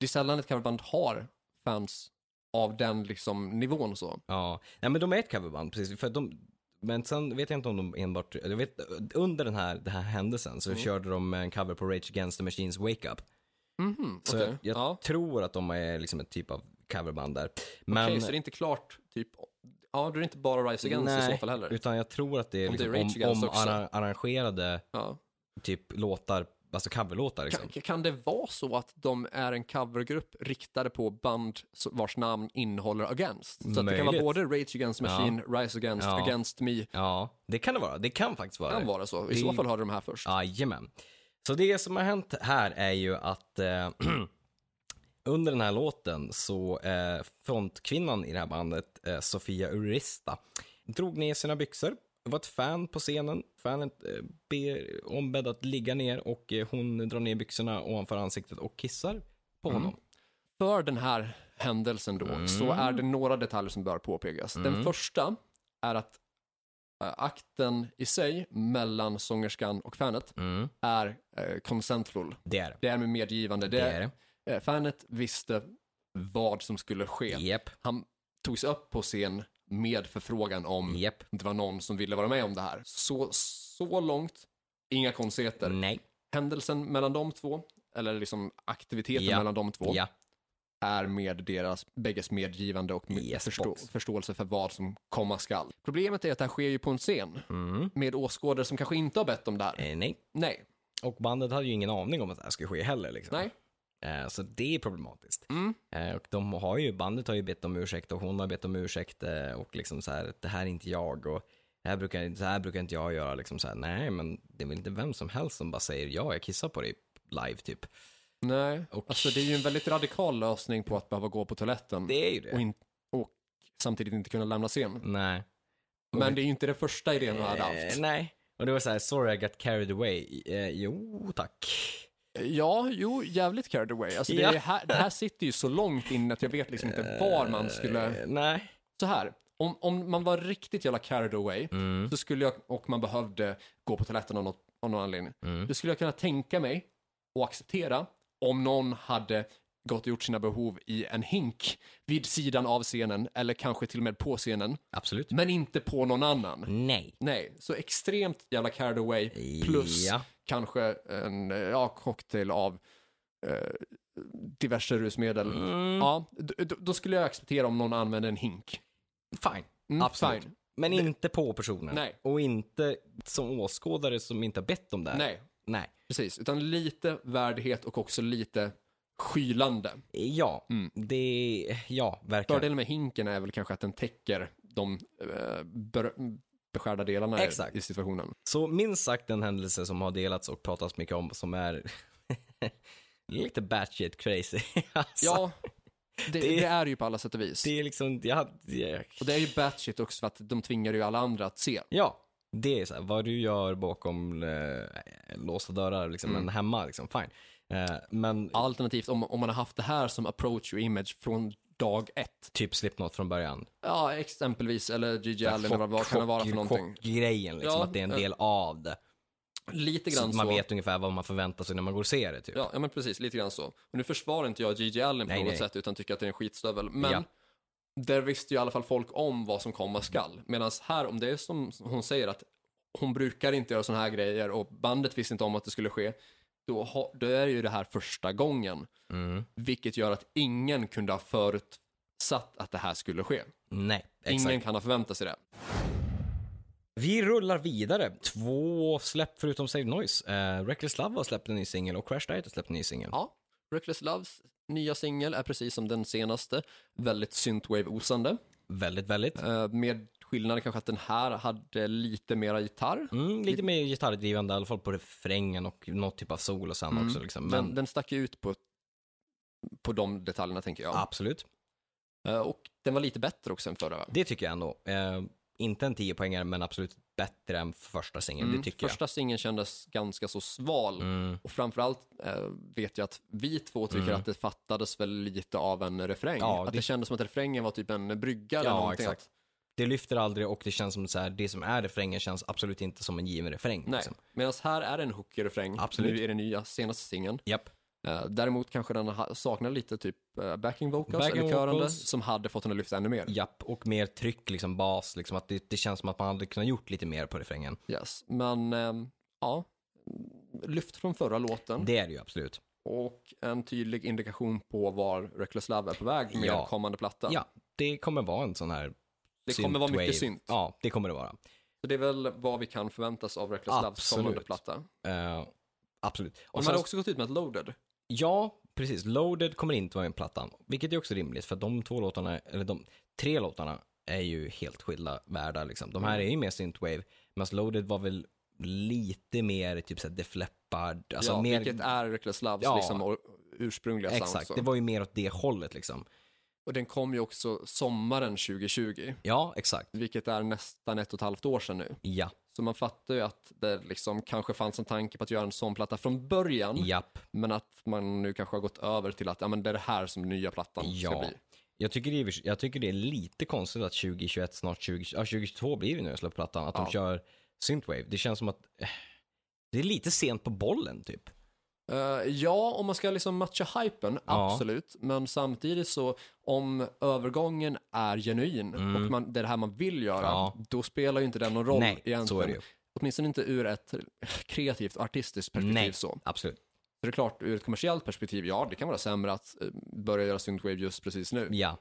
[SPEAKER 1] Det är sällan ett coverband har fans av den liksom nivån så.
[SPEAKER 2] ja. Nej men de är ett coverband, precis. För att de, men sen vet jag inte om de enbart, jag vet, under den här, den här händelsen
[SPEAKER 1] Mm.
[SPEAKER 2] så körde de en cover på Rage Against the Machines Wake Up.
[SPEAKER 1] Mhm,
[SPEAKER 2] Mm, Så
[SPEAKER 1] okej.
[SPEAKER 2] jag, jag
[SPEAKER 1] ja.
[SPEAKER 2] tror att de är liksom ett typ av coverband där. Men,
[SPEAKER 1] Okej, så det är inte klart, typ, ja, då är det inte bara Rise Against i så fall heller.
[SPEAKER 2] utan jag tror att det är
[SPEAKER 1] Om det är
[SPEAKER 2] liksom
[SPEAKER 1] Rage Against
[SPEAKER 2] om, om
[SPEAKER 1] också.
[SPEAKER 2] arra- arrangerade
[SPEAKER 1] Ja.
[SPEAKER 2] typ låtar, alltså coverlåtar liksom.
[SPEAKER 1] Kan, kan det vara så att de är en covergrupp riktade på band så- vars namn innehåller Against? Så att det kan vara
[SPEAKER 2] Möjligt.
[SPEAKER 1] både Rage Against the Machine, Rise Against,
[SPEAKER 2] Ja.
[SPEAKER 1] Against Me.
[SPEAKER 2] Ja, det kan det vara. Det kan faktiskt vara
[SPEAKER 1] Kan
[SPEAKER 2] det.
[SPEAKER 1] vara så. I så fall hörde de här först.
[SPEAKER 2] Jajamän. Så det som har hänt här är ju att eh, (clears throat) under den här låten så eh, frontkvinnan i det här bandet, eh, Sofia Urista, drog ner sina byxor. Det var ett fan på scenen. Fanet eh, ber ombedd att ligga ner och eh, hon drar ner byxorna ovanför ansiktet och kissar på honom.
[SPEAKER 1] För den här händelsen då, så
[SPEAKER 2] Mm.
[SPEAKER 1] är det några detaljer som bör påpekas. Den första är att eh, akten i sig mellan sångerskan och fanet
[SPEAKER 2] Mm.
[SPEAKER 1] är eh, consentful.
[SPEAKER 2] Det är det.
[SPEAKER 1] Det är med medgivande.
[SPEAKER 2] Det är det.
[SPEAKER 1] Eh, Fanet visste vad som skulle ske.
[SPEAKER 2] Japp,
[SPEAKER 1] Han tog sig upp på scen med förfrågan om
[SPEAKER 2] japp.
[SPEAKER 1] det var någon som ville vara med om det här. Så, så långt, inga konstigheter.
[SPEAKER 2] Nej,
[SPEAKER 1] Händelsen mellan de två, eller liksom aktiviteten
[SPEAKER 2] Ja.
[SPEAKER 1] mellan de två,
[SPEAKER 2] ja.
[SPEAKER 1] är med deras bägges medgivande och med
[SPEAKER 2] Yes,
[SPEAKER 1] förstå-
[SPEAKER 2] box.
[SPEAKER 1] förståelse för vad som komma skall. Problemet är att det här sker ju på en scen
[SPEAKER 2] Mm.
[SPEAKER 1] med åskådare som kanske inte har bett om det här.
[SPEAKER 2] Eh, nej.
[SPEAKER 1] Nej,
[SPEAKER 2] Och bandet hade ju ingen aning om att det här skulle ske heller. Liksom.
[SPEAKER 1] nej.
[SPEAKER 2] Eh, så det är problematiskt.
[SPEAKER 1] Mm.
[SPEAKER 2] Eh, och de har ju, bandet har ju bett om ursäkt och hon har bett om ursäkt eh, och liksom så här, det här är inte jag och det här brukar, så här brukar inte jag göra. Liksom så här, nej, men det är väl inte vem som helst som bara säger ja, jag kissar på dig live typ.
[SPEAKER 1] Nej,
[SPEAKER 2] Och-
[SPEAKER 1] alltså det är ju en väldigt radikal lösning på att behöva gå på toaletten
[SPEAKER 2] Det är ju det.
[SPEAKER 1] och, in- och samtidigt inte kunna lämna scenen.
[SPEAKER 2] Nej.
[SPEAKER 1] Men det är ju inte det första idén hon hade
[SPEAKER 2] Eh,
[SPEAKER 1] haft.
[SPEAKER 2] nej. Och det var så här, sorry I got carried away. Eh, jo, tack.
[SPEAKER 1] Ja, jo, jävligt carried away. Alltså det, är
[SPEAKER 2] Ja.
[SPEAKER 1] här, det här sitter ju så långt in att jag vet liksom inte var man skulle...
[SPEAKER 2] Eh, nej.
[SPEAKER 1] Så här, om, om man var riktigt jävla carried away
[SPEAKER 2] Mm,
[SPEAKER 1] så skulle jag, och man behövde gå på toaletten av, något, av någon anledning,
[SPEAKER 2] mm.
[SPEAKER 1] då skulle jag kunna tänka mig och acceptera om någon hade gått och gjort sina behov i en hink vid sidan av scenen eller kanske till och med på scenen,
[SPEAKER 2] Absolut.
[SPEAKER 1] men inte på någon annan.
[SPEAKER 2] Nej.
[SPEAKER 1] Nej, så extremt jävla carried away plus
[SPEAKER 2] Ja.
[SPEAKER 1] kanske en eh, ja, cocktail av eh, diverse rusmedel.
[SPEAKER 2] Mm,
[SPEAKER 1] Ja, d- d- då skulle jag acceptera om någon använde en hink.
[SPEAKER 2] Fine.
[SPEAKER 1] Mm,
[SPEAKER 2] Absolut.
[SPEAKER 1] fine.
[SPEAKER 2] Men inte på personen.
[SPEAKER 1] Nej.
[SPEAKER 2] Och inte som åskådare som inte har bett om det här.
[SPEAKER 1] Nej,
[SPEAKER 2] Nej.
[SPEAKER 1] precis. Utan lite värdighet och också lite skylande.
[SPEAKER 2] Ja,
[SPEAKER 1] Mm.
[SPEAKER 2] det... Ja, verkligen.
[SPEAKER 1] Fördelen med hinken är väl kanske att den täcker de eh, ber- beskärda delarna i-
[SPEAKER 2] Exakt.
[SPEAKER 1] i situationen.
[SPEAKER 2] Så minst sagt en händelse som har delats och pratats mycket om som är (laughs) lite batshit crazy. (laughs) alltså,
[SPEAKER 1] Ja,
[SPEAKER 2] (laughs)
[SPEAKER 1] det,
[SPEAKER 2] det-
[SPEAKER 1] det är ju på alla sätt och vis.
[SPEAKER 2] Det är liksom... Jag, jag,
[SPEAKER 1] Och det är ju batshit också för att de tvingar ju alla andra att se.
[SPEAKER 2] ja, Det är så här, vad du gör bakom eh, låsta dörrar, liksom,
[SPEAKER 1] Mm.
[SPEAKER 2] men hemma, liksom, fine. Eh, men
[SPEAKER 1] Alternativt om, om man har haft det här som approach och image från dag ett.
[SPEAKER 2] typ Slipknot från början.
[SPEAKER 1] Ja, exempelvis, eller Gigi Allen eller vad, vad kan det vara för någonting?
[SPEAKER 2] Grejen, liksom,
[SPEAKER 1] Ja,
[SPEAKER 2] att det är en
[SPEAKER 1] eh,
[SPEAKER 2] del av det.
[SPEAKER 1] Lite
[SPEAKER 2] Så
[SPEAKER 1] grann
[SPEAKER 2] att man
[SPEAKER 1] så.
[SPEAKER 2] vet ungefär vad man förväntar sig när man går och ser det. Typ.
[SPEAKER 1] Ja, ja, men precis, lite grann så. Och nu försvarar inte jag Gigi Allen på
[SPEAKER 2] Nej,
[SPEAKER 1] något
[SPEAKER 2] nej.
[SPEAKER 1] sätt utan tycker att det är en skitstövel. Men
[SPEAKER 2] Ja.
[SPEAKER 1] där visste ju i alla fall folk om vad som komma skall. Medan här, om det är som hon säger att hon brukar inte göra sådana här grejer och bandet visste inte om att det skulle ske. Då, ha, då är ju det här första gången.
[SPEAKER 2] Mm.
[SPEAKER 1] Vilket gör att ingen kunde ha förutsatt att det här skulle ske.
[SPEAKER 2] Nej, exakt.
[SPEAKER 1] Ingen kan ha förväntat sig det.
[SPEAKER 2] Vi rullar vidare. Två släpp förutom Save Noise. Eh, Reckless Love har släppt en ny singel och Crash Diet har släppt en ny singel.
[SPEAKER 1] Ja, Reckless Loves nya singel är precis som den senaste. Väldigt synthwave-osande.
[SPEAKER 2] Väldigt, väldigt.
[SPEAKER 1] Eh, Med skillnaden kanske att den här hade lite mera gitarr.
[SPEAKER 2] Mm, lite mer gitarrdrivande i alla fall på refrängen och något typ av sol och sen
[SPEAKER 1] Mm.
[SPEAKER 2] också. Liksom. Men
[SPEAKER 1] Den, den stack ju ut på, på de detaljerna tänker jag.
[SPEAKER 2] absolut,
[SPEAKER 1] Eh, Och den var lite bättre också än förra. va?
[SPEAKER 2] det tycker jag ändå. Eh, inte en 10 poängare men absolut bättre än första singeln,
[SPEAKER 1] Mm,
[SPEAKER 2] det tycker
[SPEAKER 1] Första singeln kändes ganska så sval.
[SPEAKER 2] jag. Mm.
[SPEAKER 1] Och framförallt eh, vet jag att vi två tycker
[SPEAKER 2] Mm.
[SPEAKER 1] att det fattades väl lite av en refräng.
[SPEAKER 2] Ja,
[SPEAKER 1] att det...
[SPEAKER 2] det
[SPEAKER 1] kändes som att refrängen var typ en brygga eller
[SPEAKER 2] Ja,
[SPEAKER 1] någonting.
[SPEAKER 2] exakt.
[SPEAKER 1] Att,
[SPEAKER 2] Det lyfter aldrig och det känns som så här, det som är refrängen känns absolut inte som en given refräng.
[SPEAKER 1] nej,
[SPEAKER 2] Liksom.
[SPEAKER 1] medan här är det en hookig refräng.
[SPEAKER 2] Absolut.
[SPEAKER 1] Nu är den nya senaste singeln.
[SPEAKER 2] Japp.
[SPEAKER 1] Eh, däremot kanske den ha- saknar lite typ eh, backing vocals
[SPEAKER 2] Backing
[SPEAKER 1] eller körande
[SPEAKER 2] vocals.
[SPEAKER 1] som hade fått den att lyfta ännu mer.
[SPEAKER 2] Japp, och mer tryck, liksom bas, liksom att det, det känns som att man hade kunnat gjort lite mer på refrängen.
[SPEAKER 1] Yes. Men ehm, ja, lyft från förra låten
[SPEAKER 2] Det är det ju absolut.
[SPEAKER 1] och en tydlig indikation på var Reckless Love är på väg med
[SPEAKER 2] Ja.
[SPEAKER 1] kommande platta.
[SPEAKER 2] Ja, det kommer vara en sån här
[SPEAKER 1] det kommer vara mycket
[SPEAKER 2] synthwave.
[SPEAKER 1] synt.
[SPEAKER 2] Ja, det kommer det vara.
[SPEAKER 1] Så det är väl vad vi kan förväntas av Reckless Loves
[SPEAKER 2] Absolut.
[SPEAKER 1] kommande platta.
[SPEAKER 2] Eh, absolut.
[SPEAKER 1] Och
[SPEAKER 2] Och
[SPEAKER 1] de
[SPEAKER 2] sen,
[SPEAKER 1] har också gått ut med att Loaded.
[SPEAKER 2] Ja, precis. Loaded kommer inte vara med i plattan, vilket är också rimligt för de två låtarna, eller de tre låtarna är ju helt skilda världar liksom. De
[SPEAKER 1] Mm.
[SPEAKER 2] här är ju mer synthwave, medan Loaded var väl lite mer typ såhär Def Leppard, alltså
[SPEAKER 1] ja,
[SPEAKER 2] mer...
[SPEAKER 1] Vilket är Reckless Loves
[SPEAKER 2] Ja.
[SPEAKER 1] liksom, or- ursprungliga sound.
[SPEAKER 2] Exakt,
[SPEAKER 1] så.
[SPEAKER 2] det var ju mer åt det hållet liksom.
[SPEAKER 1] Och den kom ju också sommaren 2020,
[SPEAKER 2] Ja, exakt.
[SPEAKER 1] vilket är nästan ett och ett halvt år sedan nu.
[SPEAKER 2] Ja,
[SPEAKER 1] Så man fattar ju att det liksom kanske fanns en tanke på att göra en sån platta från början.
[SPEAKER 2] japp.
[SPEAKER 1] Men att man nu kanske har gått över till att ja, men det är det här som nya plattan ska
[SPEAKER 2] Ja.
[SPEAKER 1] bli.
[SPEAKER 2] Jag tycker, det är, jag tycker det är lite konstigt att 2021, snart 20, ja, 2022 blir det nu jag släpper plattan, att
[SPEAKER 1] Ja.
[SPEAKER 2] de kör Synthwave. Det känns som att eh, det är lite sent på bollen typ.
[SPEAKER 1] Eh, ja, om man ska liksom matcha hypen,
[SPEAKER 2] Ja.
[SPEAKER 1] absolut. Men samtidigt så, om övergången är genuin och man, det är det här man vill göra,
[SPEAKER 2] Mm. Ja.
[SPEAKER 1] då spelar ju inte den någon roll
[SPEAKER 2] Nej,
[SPEAKER 1] egentligen.
[SPEAKER 2] så är det ju.
[SPEAKER 1] Åtminstone inte ur ett kreativt, artistiskt perspektiv
[SPEAKER 2] Nej,
[SPEAKER 1] så.
[SPEAKER 2] absolut.
[SPEAKER 1] Så det är klart, ur ett kommersiellt perspektiv, ja, det kan vara sämre att eh, börja göra synthwave just precis nu.
[SPEAKER 2] Ja.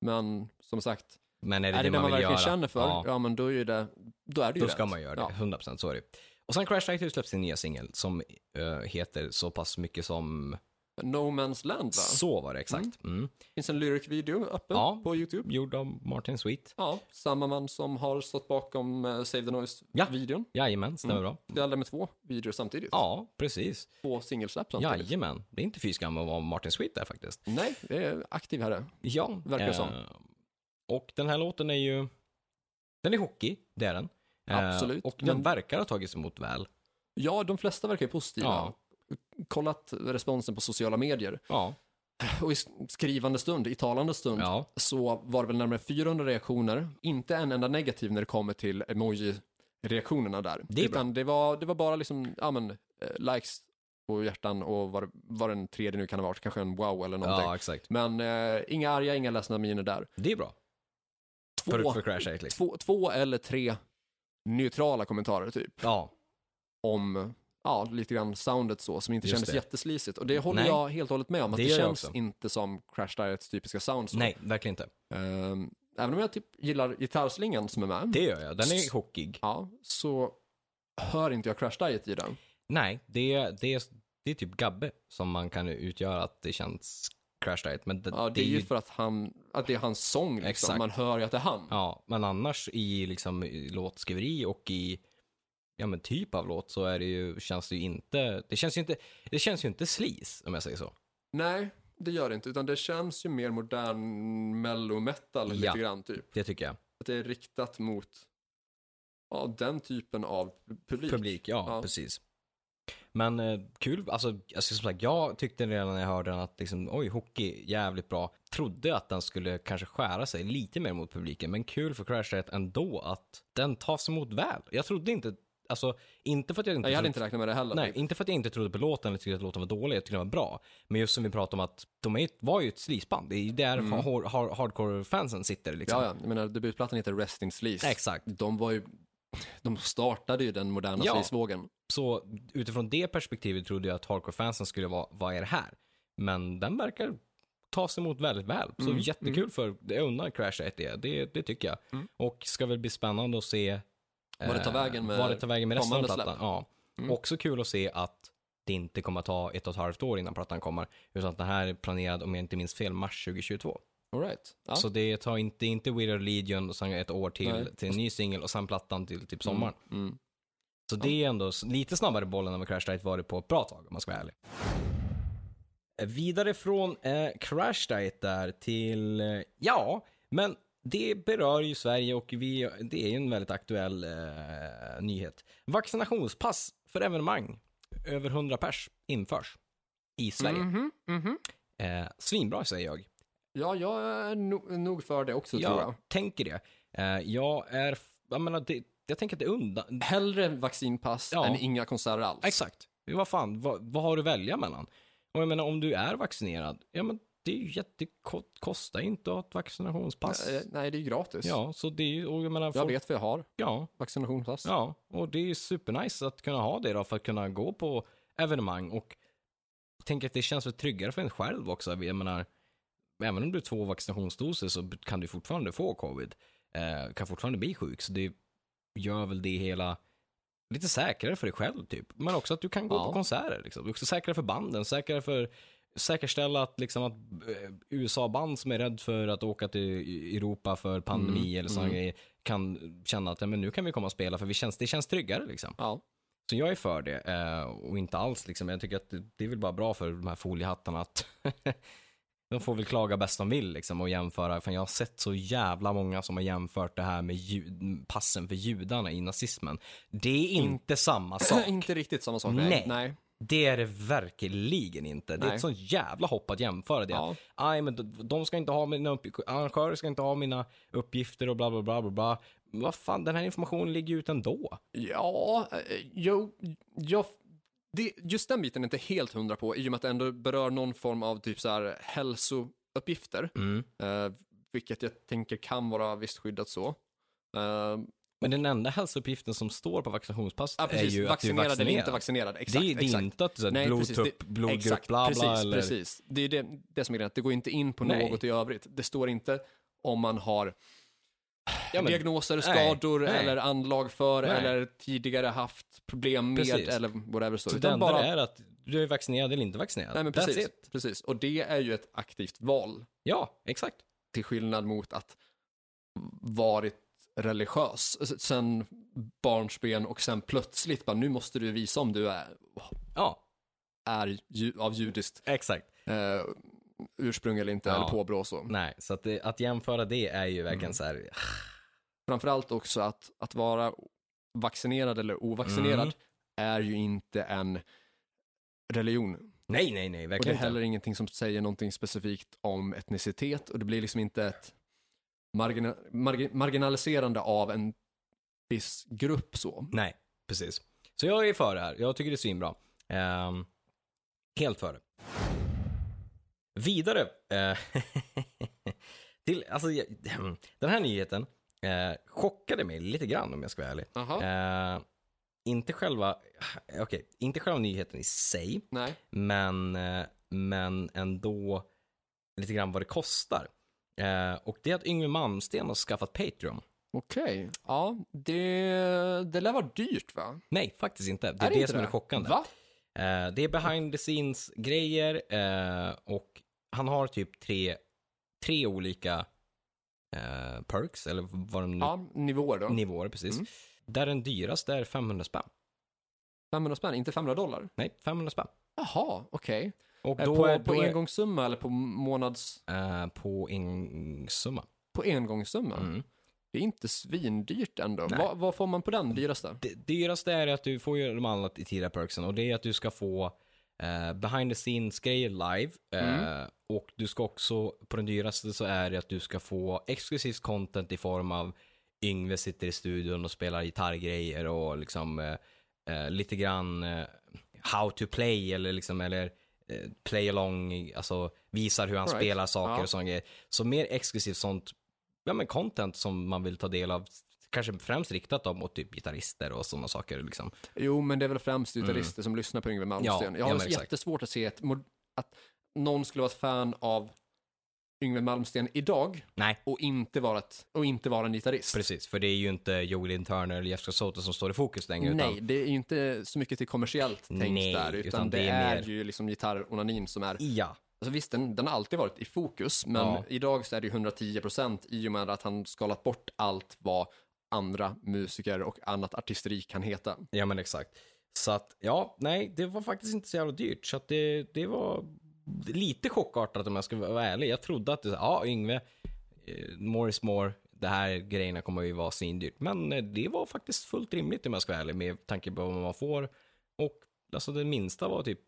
[SPEAKER 1] Men som sagt,
[SPEAKER 2] Men är det,
[SPEAKER 1] är det
[SPEAKER 2] det
[SPEAKER 1] det man, verkligen
[SPEAKER 2] vill göra?
[SPEAKER 1] känner för, ja.
[SPEAKER 2] Ja,
[SPEAKER 1] men då är ju det, då är det ju
[SPEAKER 2] då ska
[SPEAKER 1] rätt.
[SPEAKER 2] man göra det.
[SPEAKER 1] Ja.
[SPEAKER 2] 100% så är det. Och sen Crash Active släpps sin nya singel som eh, heter så pass mycket som...
[SPEAKER 1] No Man's Land va?
[SPEAKER 2] Så var det exakt. Mm.
[SPEAKER 1] finns en lyricvideo öppen
[SPEAKER 2] Ja.
[SPEAKER 1] på YouTube.
[SPEAKER 2] Gjord av Martin Sweet.
[SPEAKER 1] Ja, samma man som har stått bakom eh, Save the
[SPEAKER 2] Ja.
[SPEAKER 1] Noise-videon.
[SPEAKER 2] Jajamän, stämmer bra.
[SPEAKER 1] Det är alla med två videor samtidigt.
[SPEAKER 2] Ja, precis.
[SPEAKER 1] Två singelsläpp samtidigt.
[SPEAKER 2] Jajamän. Det är inte fy skam att vara Martin Sweet där faktiskt.
[SPEAKER 1] Nej, det är aktiv herre.
[SPEAKER 2] Ja,
[SPEAKER 1] Verkar
[SPEAKER 2] eh,
[SPEAKER 1] som.
[SPEAKER 2] Och den här låten är ju, den är hockey, det är den. Eh,
[SPEAKER 1] Absolut,
[SPEAKER 2] Och den
[SPEAKER 1] men-
[SPEAKER 2] verkar ha tagits emot väl.
[SPEAKER 1] Ja, de flesta verkar ju positiva.
[SPEAKER 2] Ja.
[SPEAKER 1] Kollat responsen på sociala medier.
[SPEAKER 2] Ja.
[SPEAKER 1] Och i s- skrivande stund, i talande stund,
[SPEAKER 2] ja.
[SPEAKER 1] så var det väl närmare 400 reaktioner. Inte en enda negativ när det kommer till emoji-reaktionerna där.
[SPEAKER 2] Det är bra.
[SPEAKER 1] Utan det var, det var bara liksom, ja men, eh, likes och hjärtan och vad, vad den tredje nu kan ha varit, kanske en wow eller någonting.
[SPEAKER 2] Ja, exakt.
[SPEAKER 1] Men eh, inga arga, inga ledsna miner där.
[SPEAKER 2] Det är bra. För,
[SPEAKER 1] Två,
[SPEAKER 2] för Crash Act, liksom.
[SPEAKER 1] två, två eller tre neutrala kommentarer typ
[SPEAKER 2] Ja,
[SPEAKER 1] om Ja, lite grann soundet så, som inte
[SPEAKER 2] Just
[SPEAKER 1] kändes
[SPEAKER 2] det.
[SPEAKER 1] jätteslisigt. Och det håller
[SPEAKER 2] Nej.
[SPEAKER 1] jag helt och hållet med om, att
[SPEAKER 2] Det
[SPEAKER 1] det,
[SPEAKER 2] gör jag
[SPEAKER 1] känns
[SPEAKER 2] också.
[SPEAKER 1] inte som Crash Diets typiska sound. Så.
[SPEAKER 2] nej, verkligen inte.
[SPEAKER 1] Ehm, även om jag typ gillar gitarrslingan som är med,
[SPEAKER 2] Det gör jag. Den är hockig.
[SPEAKER 1] ja, så hör inte jag Crash Diet i den.
[SPEAKER 2] Nej, det är, det, är, det är typ Gabbe som man kan utgöra att det känns Crash Diet. Men det,
[SPEAKER 1] Ja, det, är ju för att, han, att det är hans sång, liksom.
[SPEAKER 2] Exakt.
[SPEAKER 1] man hör ju att det är han.
[SPEAKER 2] Ja, men annars i liksom i låtskriveri och i ja, men typ av låt så är det ju, känns det ju inte, det känns ju inte, det känns ju inte slis om jag säger så.
[SPEAKER 1] Nej, det gör det inte, utan det känns ju mer modern mellow metal
[SPEAKER 2] Ja.
[SPEAKER 1] lite grann typ.
[SPEAKER 2] Det tycker jag.
[SPEAKER 1] Att det är riktat mot ja, den typen av publik.
[SPEAKER 2] publik. Ja,
[SPEAKER 1] Ja.
[SPEAKER 2] precis. Men eh, kul, alltså, alltså som sagt, jag tyckte redan när jag hörde den att liksom, oj, hockey, jävligt bra. Trodde att den skulle kanske skära sig lite mer mot publiken, men kul för Crash Diet ändå att den tas emot väl. Jag trodde inte, alltså inte för att jag inte
[SPEAKER 1] Nej, jag hade
[SPEAKER 2] trodde-
[SPEAKER 1] inte räknat med det heller.
[SPEAKER 2] Nej, inte för att jag inte trodde på låten eller tyckte att låten var dålig, jag tyckte den var bra. Men just som vi pratade om att de är, ju- var ju ett sleazeband, det är ju där har, har, hardcore-fansen sitter liksom.
[SPEAKER 1] Mm. Ja, ja, jag menar debutplattan heter Rest in Sleaze.
[SPEAKER 2] Exakt.
[SPEAKER 1] De var ju, de startade ju den moderna
[SPEAKER 2] Ja.
[SPEAKER 1] sleazevågen.
[SPEAKER 2] Så utifrån det perspektivet trodde jag att hardcore-fansen skulle vara, vad är det här? Men den verkar tas emot väldigt väl.
[SPEAKER 1] Mm,
[SPEAKER 2] Så jättekul för, jag undrar Crash 1 det, det, det tycker jag. Och ska väl bli spännande att se
[SPEAKER 1] Vad det tar Mm. vägen med
[SPEAKER 2] vad Eh, det tar vägen med resten av
[SPEAKER 1] kommande
[SPEAKER 2] plattan.
[SPEAKER 1] släpp. Mm.
[SPEAKER 2] Ja. Också kul att se att det inte kommer att ta ett och ett halvt år innan plattan kommer, utan att den här är planerad, om jag inte minns fel, mars 2022.
[SPEAKER 1] All right. Ja.
[SPEAKER 2] Så det tar inte, inte We Are Legion och sen ett år till,
[SPEAKER 1] Nej.
[SPEAKER 2] till en ny singel och sen plattan till typ sommaren.
[SPEAKER 1] Mm.
[SPEAKER 2] Så det är ändå s- lite snabbare bollen än vad Crash Diet varit på ett bra tag om man ska vara ärlig. Eh, Vidare från eh, Crash Diet där till, eh, ja, men det berör ju Sverige och vi, det är ju en väldigt aktuell eh, nyhet. Vaccinationspass för evenemang, över 100 pers, införs i Sverige.
[SPEAKER 1] Mhm, mhm.
[SPEAKER 2] Eh, svinbra säger jag.
[SPEAKER 1] Ja, jag är no- nog för det också tror jag.
[SPEAKER 2] tänker det. Eh, jag är, f- jag menar, det, jag tänker att det är undan...
[SPEAKER 1] Hellre vaccinpass
[SPEAKER 2] Ja.
[SPEAKER 1] än inga konserter alls.
[SPEAKER 2] Exakt. Vad fan, vad, vad har du att välja mellan? Och jag menar, om du är vaccinerad, ja men det är ju jättekort, kostar ju inte att ha ett vaccinationspass.
[SPEAKER 1] Eh, Nej, det är ju gratis.
[SPEAKER 2] Ja, så det är ju, och jag menar,
[SPEAKER 1] Jag
[SPEAKER 2] folk-
[SPEAKER 1] vet vad jag har,
[SPEAKER 2] ja,
[SPEAKER 1] vaccinationspass.
[SPEAKER 2] ja, och det är ju supernice att kunna ha det då för att kunna gå på evenemang och tänker att det känns väl tryggare för en själv också. Jag menar, även om du har två vaccinationsdoser så kan du fortfarande få covid, eh, kan fortfarande bli sjuk, så det gör väl det hela lite säkrare för dig själv typ. Men också att du kan gå
[SPEAKER 1] Ja.
[SPEAKER 2] på konserter. Liksom. Det är också säkrare för banden, säkrare för säkerställa att, liksom, att eh, USA-band som är rädd för att åka till E-, Europa för pandemi eller sådana grejer kan känna att "Ja, men nu kan vi komma och spela för vi känns, det känns tryggare. Liksom.
[SPEAKER 1] Ja.
[SPEAKER 2] Så jag är för det eh, och inte alls liksom. Jag tycker att det, det är väl bara bra för de här foliehattarna att (laughs) de får väl klaga bäst de vill liksom och jämföra. För jag har sett så jävla många som har jämfört det här med ju- passen för judarna i nazismen. Det är
[SPEAKER 1] Mm.
[SPEAKER 2] inte samma
[SPEAKER 1] (laughs)
[SPEAKER 2] sak.
[SPEAKER 1] inte riktigt samma sak.
[SPEAKER 2] Nej.
[SPEAKER 1] nej.
[SPEAKER 2] Det är det verkligen inte. Det är
[SPEAKER 1] Nej.
[SPEAKER 2] ett sånt jävla hopp att jämföra det.
[SPEAKER 1] Ja.
[SPEAKER 2] Aj, men de, de ska inte ha mina upp- arrangörer ska inte ha mina uppgifter och bla bla bla bla bla. Men Vad fan, den här informationen ligger ju ut ändå.
[SPEAKER 1] Ja, eh, jo, jag, det, just den biten är inte helt hundra på i och med att det ändå berör någon form av typ så här hälsouppgifter.
[SPEAKER 2] Mm.
[SPEAKER 1] Eh, vilket jag tänker kan vara visst skyddat så. Eh,
[SPEAKER 2] Men den enda hälsouppgiften som står på vaccinationspasset
[SPEAKER 1] ja,
[SPEAKER 2] är
[SPEAKER 1] precis,
[SPEAKER 2] ju att du är
[SPEAKER 1] vaccinerad
[SPEAKER 2] vaccinerad.
[SPEAKER 1] eller inte vaccinerad. Exakt,
[SPEAKER 2] det, är- det är
[SPEAKER 1] exakt.
[SPEAKER 2] inte att du är
[SPEAKER 1] Nej, precis, det-
[SPEAKER 2] blodgrupp, blodgrupp,
[SPEAKER 1] Exakt,
[SPEAKER 2] bla bla.
[SPEAKER 1] precis,
[SPEAKER 2] eller...
[SPEAKER 1] precis. Det är det, det som är grejen, att det går inte in på
[SPEAKER 2] Nej.
[SPEAKER 1] något i övrigt. Det står inte om man har
[SPEAKER 2] Ja, men,
[SPEAKER 1] diagnoser,
[SPEAKER 2] nej,
[SPEAKER 1] skador
[SPEAKER 2] nej.
[SPEAKER 1] eller anlag för
[SPEAKER 2] Nej.
[SPEAKER 1] eller tidigare haft problem med
[SPEAKER 2] Precis.
[SPEAKER 1] eller whatever så.
[SPEAKER 2] så det
[SPEAKER 1] Utan
[SPEAKER 2] enda
[SPEAKER 1] bara,
[SPEAKER 2] är att du är vaccinerad eller inte vaccinerad.
[SPEAKER 1] nej, men
[SPEAKER 2] That's
[SPEAKER 1] precis,
[SPEAKER 2] it.
[SPEAKER 1] precis. Och det är ju ett aktivt val
[SPEAKER 2] Ja, exakt.
[SPEAKER 1] till skillnad mot att varit religiös s- sen barnsben och sen plötsligt bara nu måste du visa om du är,
[SPEAKER 2] Ja,
[SPEAKER 1] är ju, av judiskt
[SPEAKER 2] exakt.
[SPEAKER 1] eh, ursprung eller inte,
[SPEAKER 2] Ja.
[SPEAKER 1] eller påbrå och så.
[SPEAKER 2] Nej, så att, det, att jämföra det är ju verkligen
[SPEAKER 1] Mm.
[SPEAKER 2] så här,
[SPEAKER 1] framförallt också att, att vara vaccinerad eller ovaccinerad
[SPEAKER 2] Mm.
[SPEAKER 1] är ju inte en religion.
[SPEAKER 2] nej, nej, nej,
[SPEAKER 1] Och det är
[SPEAKER 2] verkligen inte.
[SPEAKER 1] heller ingenting som säger någonting specifikt om etnicitet och det blir liksom inte ett margina, margi- marginaliserande av en viss grupp så.
[SPEAKER 2] Nej, precis. Så jag är för det här. Jag tycker det är svinbra. Ehm, helt för det. Vidare. eh, (laughs) till, alltså, jag, (clears throat) den här nyheten eh, chockade mig lite grann om jag ska vara ärlig.
[SPEAKER 1] Aha.
[SPEAKER 2] Eh, inte själva, okej, inte själva nyheten i sig,
[SPEAKER 1] Nej.
[SPEAKER 2] men, eh, men ändå lite grann vad det kostar. Eh, och det är att Yngwie Malmsteen har skaffat Patreon.
[SPEAKER 1] Okej. Ja, det, det lär vara dyrt va?
[SPEAKER 2] Nej, faktiskt inte. Det är,
[SPEAKER 1] det
[SPEAKER 2] det,
[SPEAKER 1] inte
[SPEAKER 2] som är det chockande.
[SPEAKER 1] Va?
[SPEAKER 2] Eh, det är behind the scenes grejer eh, och han har typ tre, tre olika eh, perks, eller vad de nu
[SPEAKER 1] Ja, nivåer då.
[SPEAKER 2] nivåer precis.
[SPEAKER 1] Mm.
[SPEAKER 2] Där den dyraste är 500 spänn.
[SPEAKER 1] 500 spänn, inte 500 dollar?
[SPEAKER 2] Nej, 500 spänn.
[SPEAKER 1] Jaha, okej.
[SPEAKER 2] Och
[SPEAKER 1] Eh,
[SPEAKER 2] då
[SPEAKER 1] På,
[SPEAKER 2] är,
[SPEAKER 1] på
[SPEAKER 2] då är-
[SPEAKER 1] engångssumma eller på månads...
[SPEAKER 2] eh, på engångssumma.
[SPEAKER 1] På engångssumma?
[SPEAKER 2] Mm.
[SPEAKER 1] Det är inte svindyrt ändå.
[SPEAKER 2] Nej.
[SPEAKER 1] Vad, vad får man på den dyraste?
[SPEAKER 2] Det dyraste är att du får ju de andra i tidiga perksen och det är att du ska få eh, behind the scenes grejer live. Eh,
[SPEAKER 1] Mm.
[SPEAKER 2] och du ska också, på den dyraste så är det att du ska få exklusivt content i form av Yngve sitter i studion och spelar gitarrgrejer och liksom eh, eh, lite grann eh, how to play eller liksom eller eh, play along, alltså visar hur han
[SPEAKER 1] All right.
[SPEAKER 2] spelar saker
[SPEAKER 1] Ja.
[SPEAKER 2] och sådana grejer. Så mer exklusivt sånt ja, men content som man vill ta del av. Kanske främst riktat då mot typ gitarrister och sådana saker. Liksom.
[SPEAKER 1] Jo, men det är väl främst gitarrister som lyssnar på Yngwie Malmsteen.
[SPEAKER 2] Ja,
[SPEAKER 1] jag har
[SPEAKER 2] ja, men exakt.
[SPEAKER 1] jättesvårt att se ett, mod- att någon skulle vara ett fan av Yngwie Malmsteen idag
[SPEAKER 2] Nej,
[SPEAKER 1] och inte vara, ett, och inte vara en gitarrist.
[SPEAKER 2] precis. För det är ju inte Jolin Turner eller Jeff Soto som står i fokus längre.
[SPEAKER 1] Nej,
[SPEAKER 2] Utan
[SPEAKER 1] det är ju inte så mycket till kommersiellt tänkt
[SPEAKER 2] Nej,
[SPEAKER 1] där, utan, det, är, ju liksom gitarronanin som är...
[SPEAKER 2] ja,
[SPEAKER 1] Alltså visst, den, den har alltid varit i fokus, men
[SPEAKER 2] Ja.
[SPEAKER 1] idag så är det ju 110% i och med att han skalat bort allt vad andra musiker och annat artisteri kan heta.
[SPEAKER 2] ja, men exakt. Så att, ja, nej, det var faktiskt inte så jävla dyrt. Så att det, det var lite chockartat om jag ska vara ärlig. Jag trodde att, det- ja, Yngve, eh, more is more. Det här grejerna kommer ju vara svindyrt. Men eh, det var faktiskt fullt rimligt om jag ska vara ärlig med tanke på vad man får. Och alltså det minsta var typ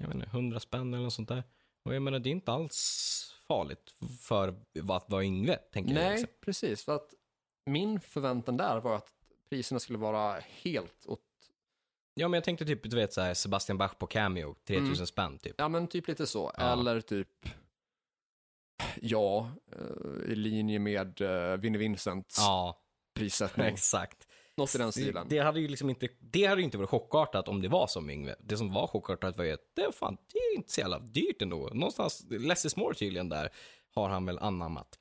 [SPEAKER 2] jag menar, 100 spänn eller något sånt där. Och jag menar, det är inte alls farligt för att vara Yngve, tänker jag.
[SPEAKER 1] Nej,
[SPEAKER 2] liksom.
[SPEAKER 1] precis. För att min förväntan där var att priserna skulle vara helt åt,
[SPEAKER 2] Ja, men jag tänkte typ, du vet så här, Sebastian Bach på Cameo, 3000
[SPEAKER 1] Mm.
[SPEAKER 2] spänn typ.
[SPEAKER 1] ja men typ lite så,
[SPEAKER 2] Ja.
[SPEAKER 1] eller typ, ja, eh, i linje med eh, Vinnie Vincents
[SPEAKER 2] Ja,
[SPEAKER 1] prissättning.
[SPEAKER 2] (laughs) exakt.
[SPEAKER 1] Mm. Något i den stilen.
[SPEAKER 2] Det hade ju liksom inte, det hade ju inte varit chockartat om det var som Yngve. Det som var chockartat var ju att det, fan, det är inte så jävla dyrt ändå. Någonstans, less is more tydligen där, har han väl anammat.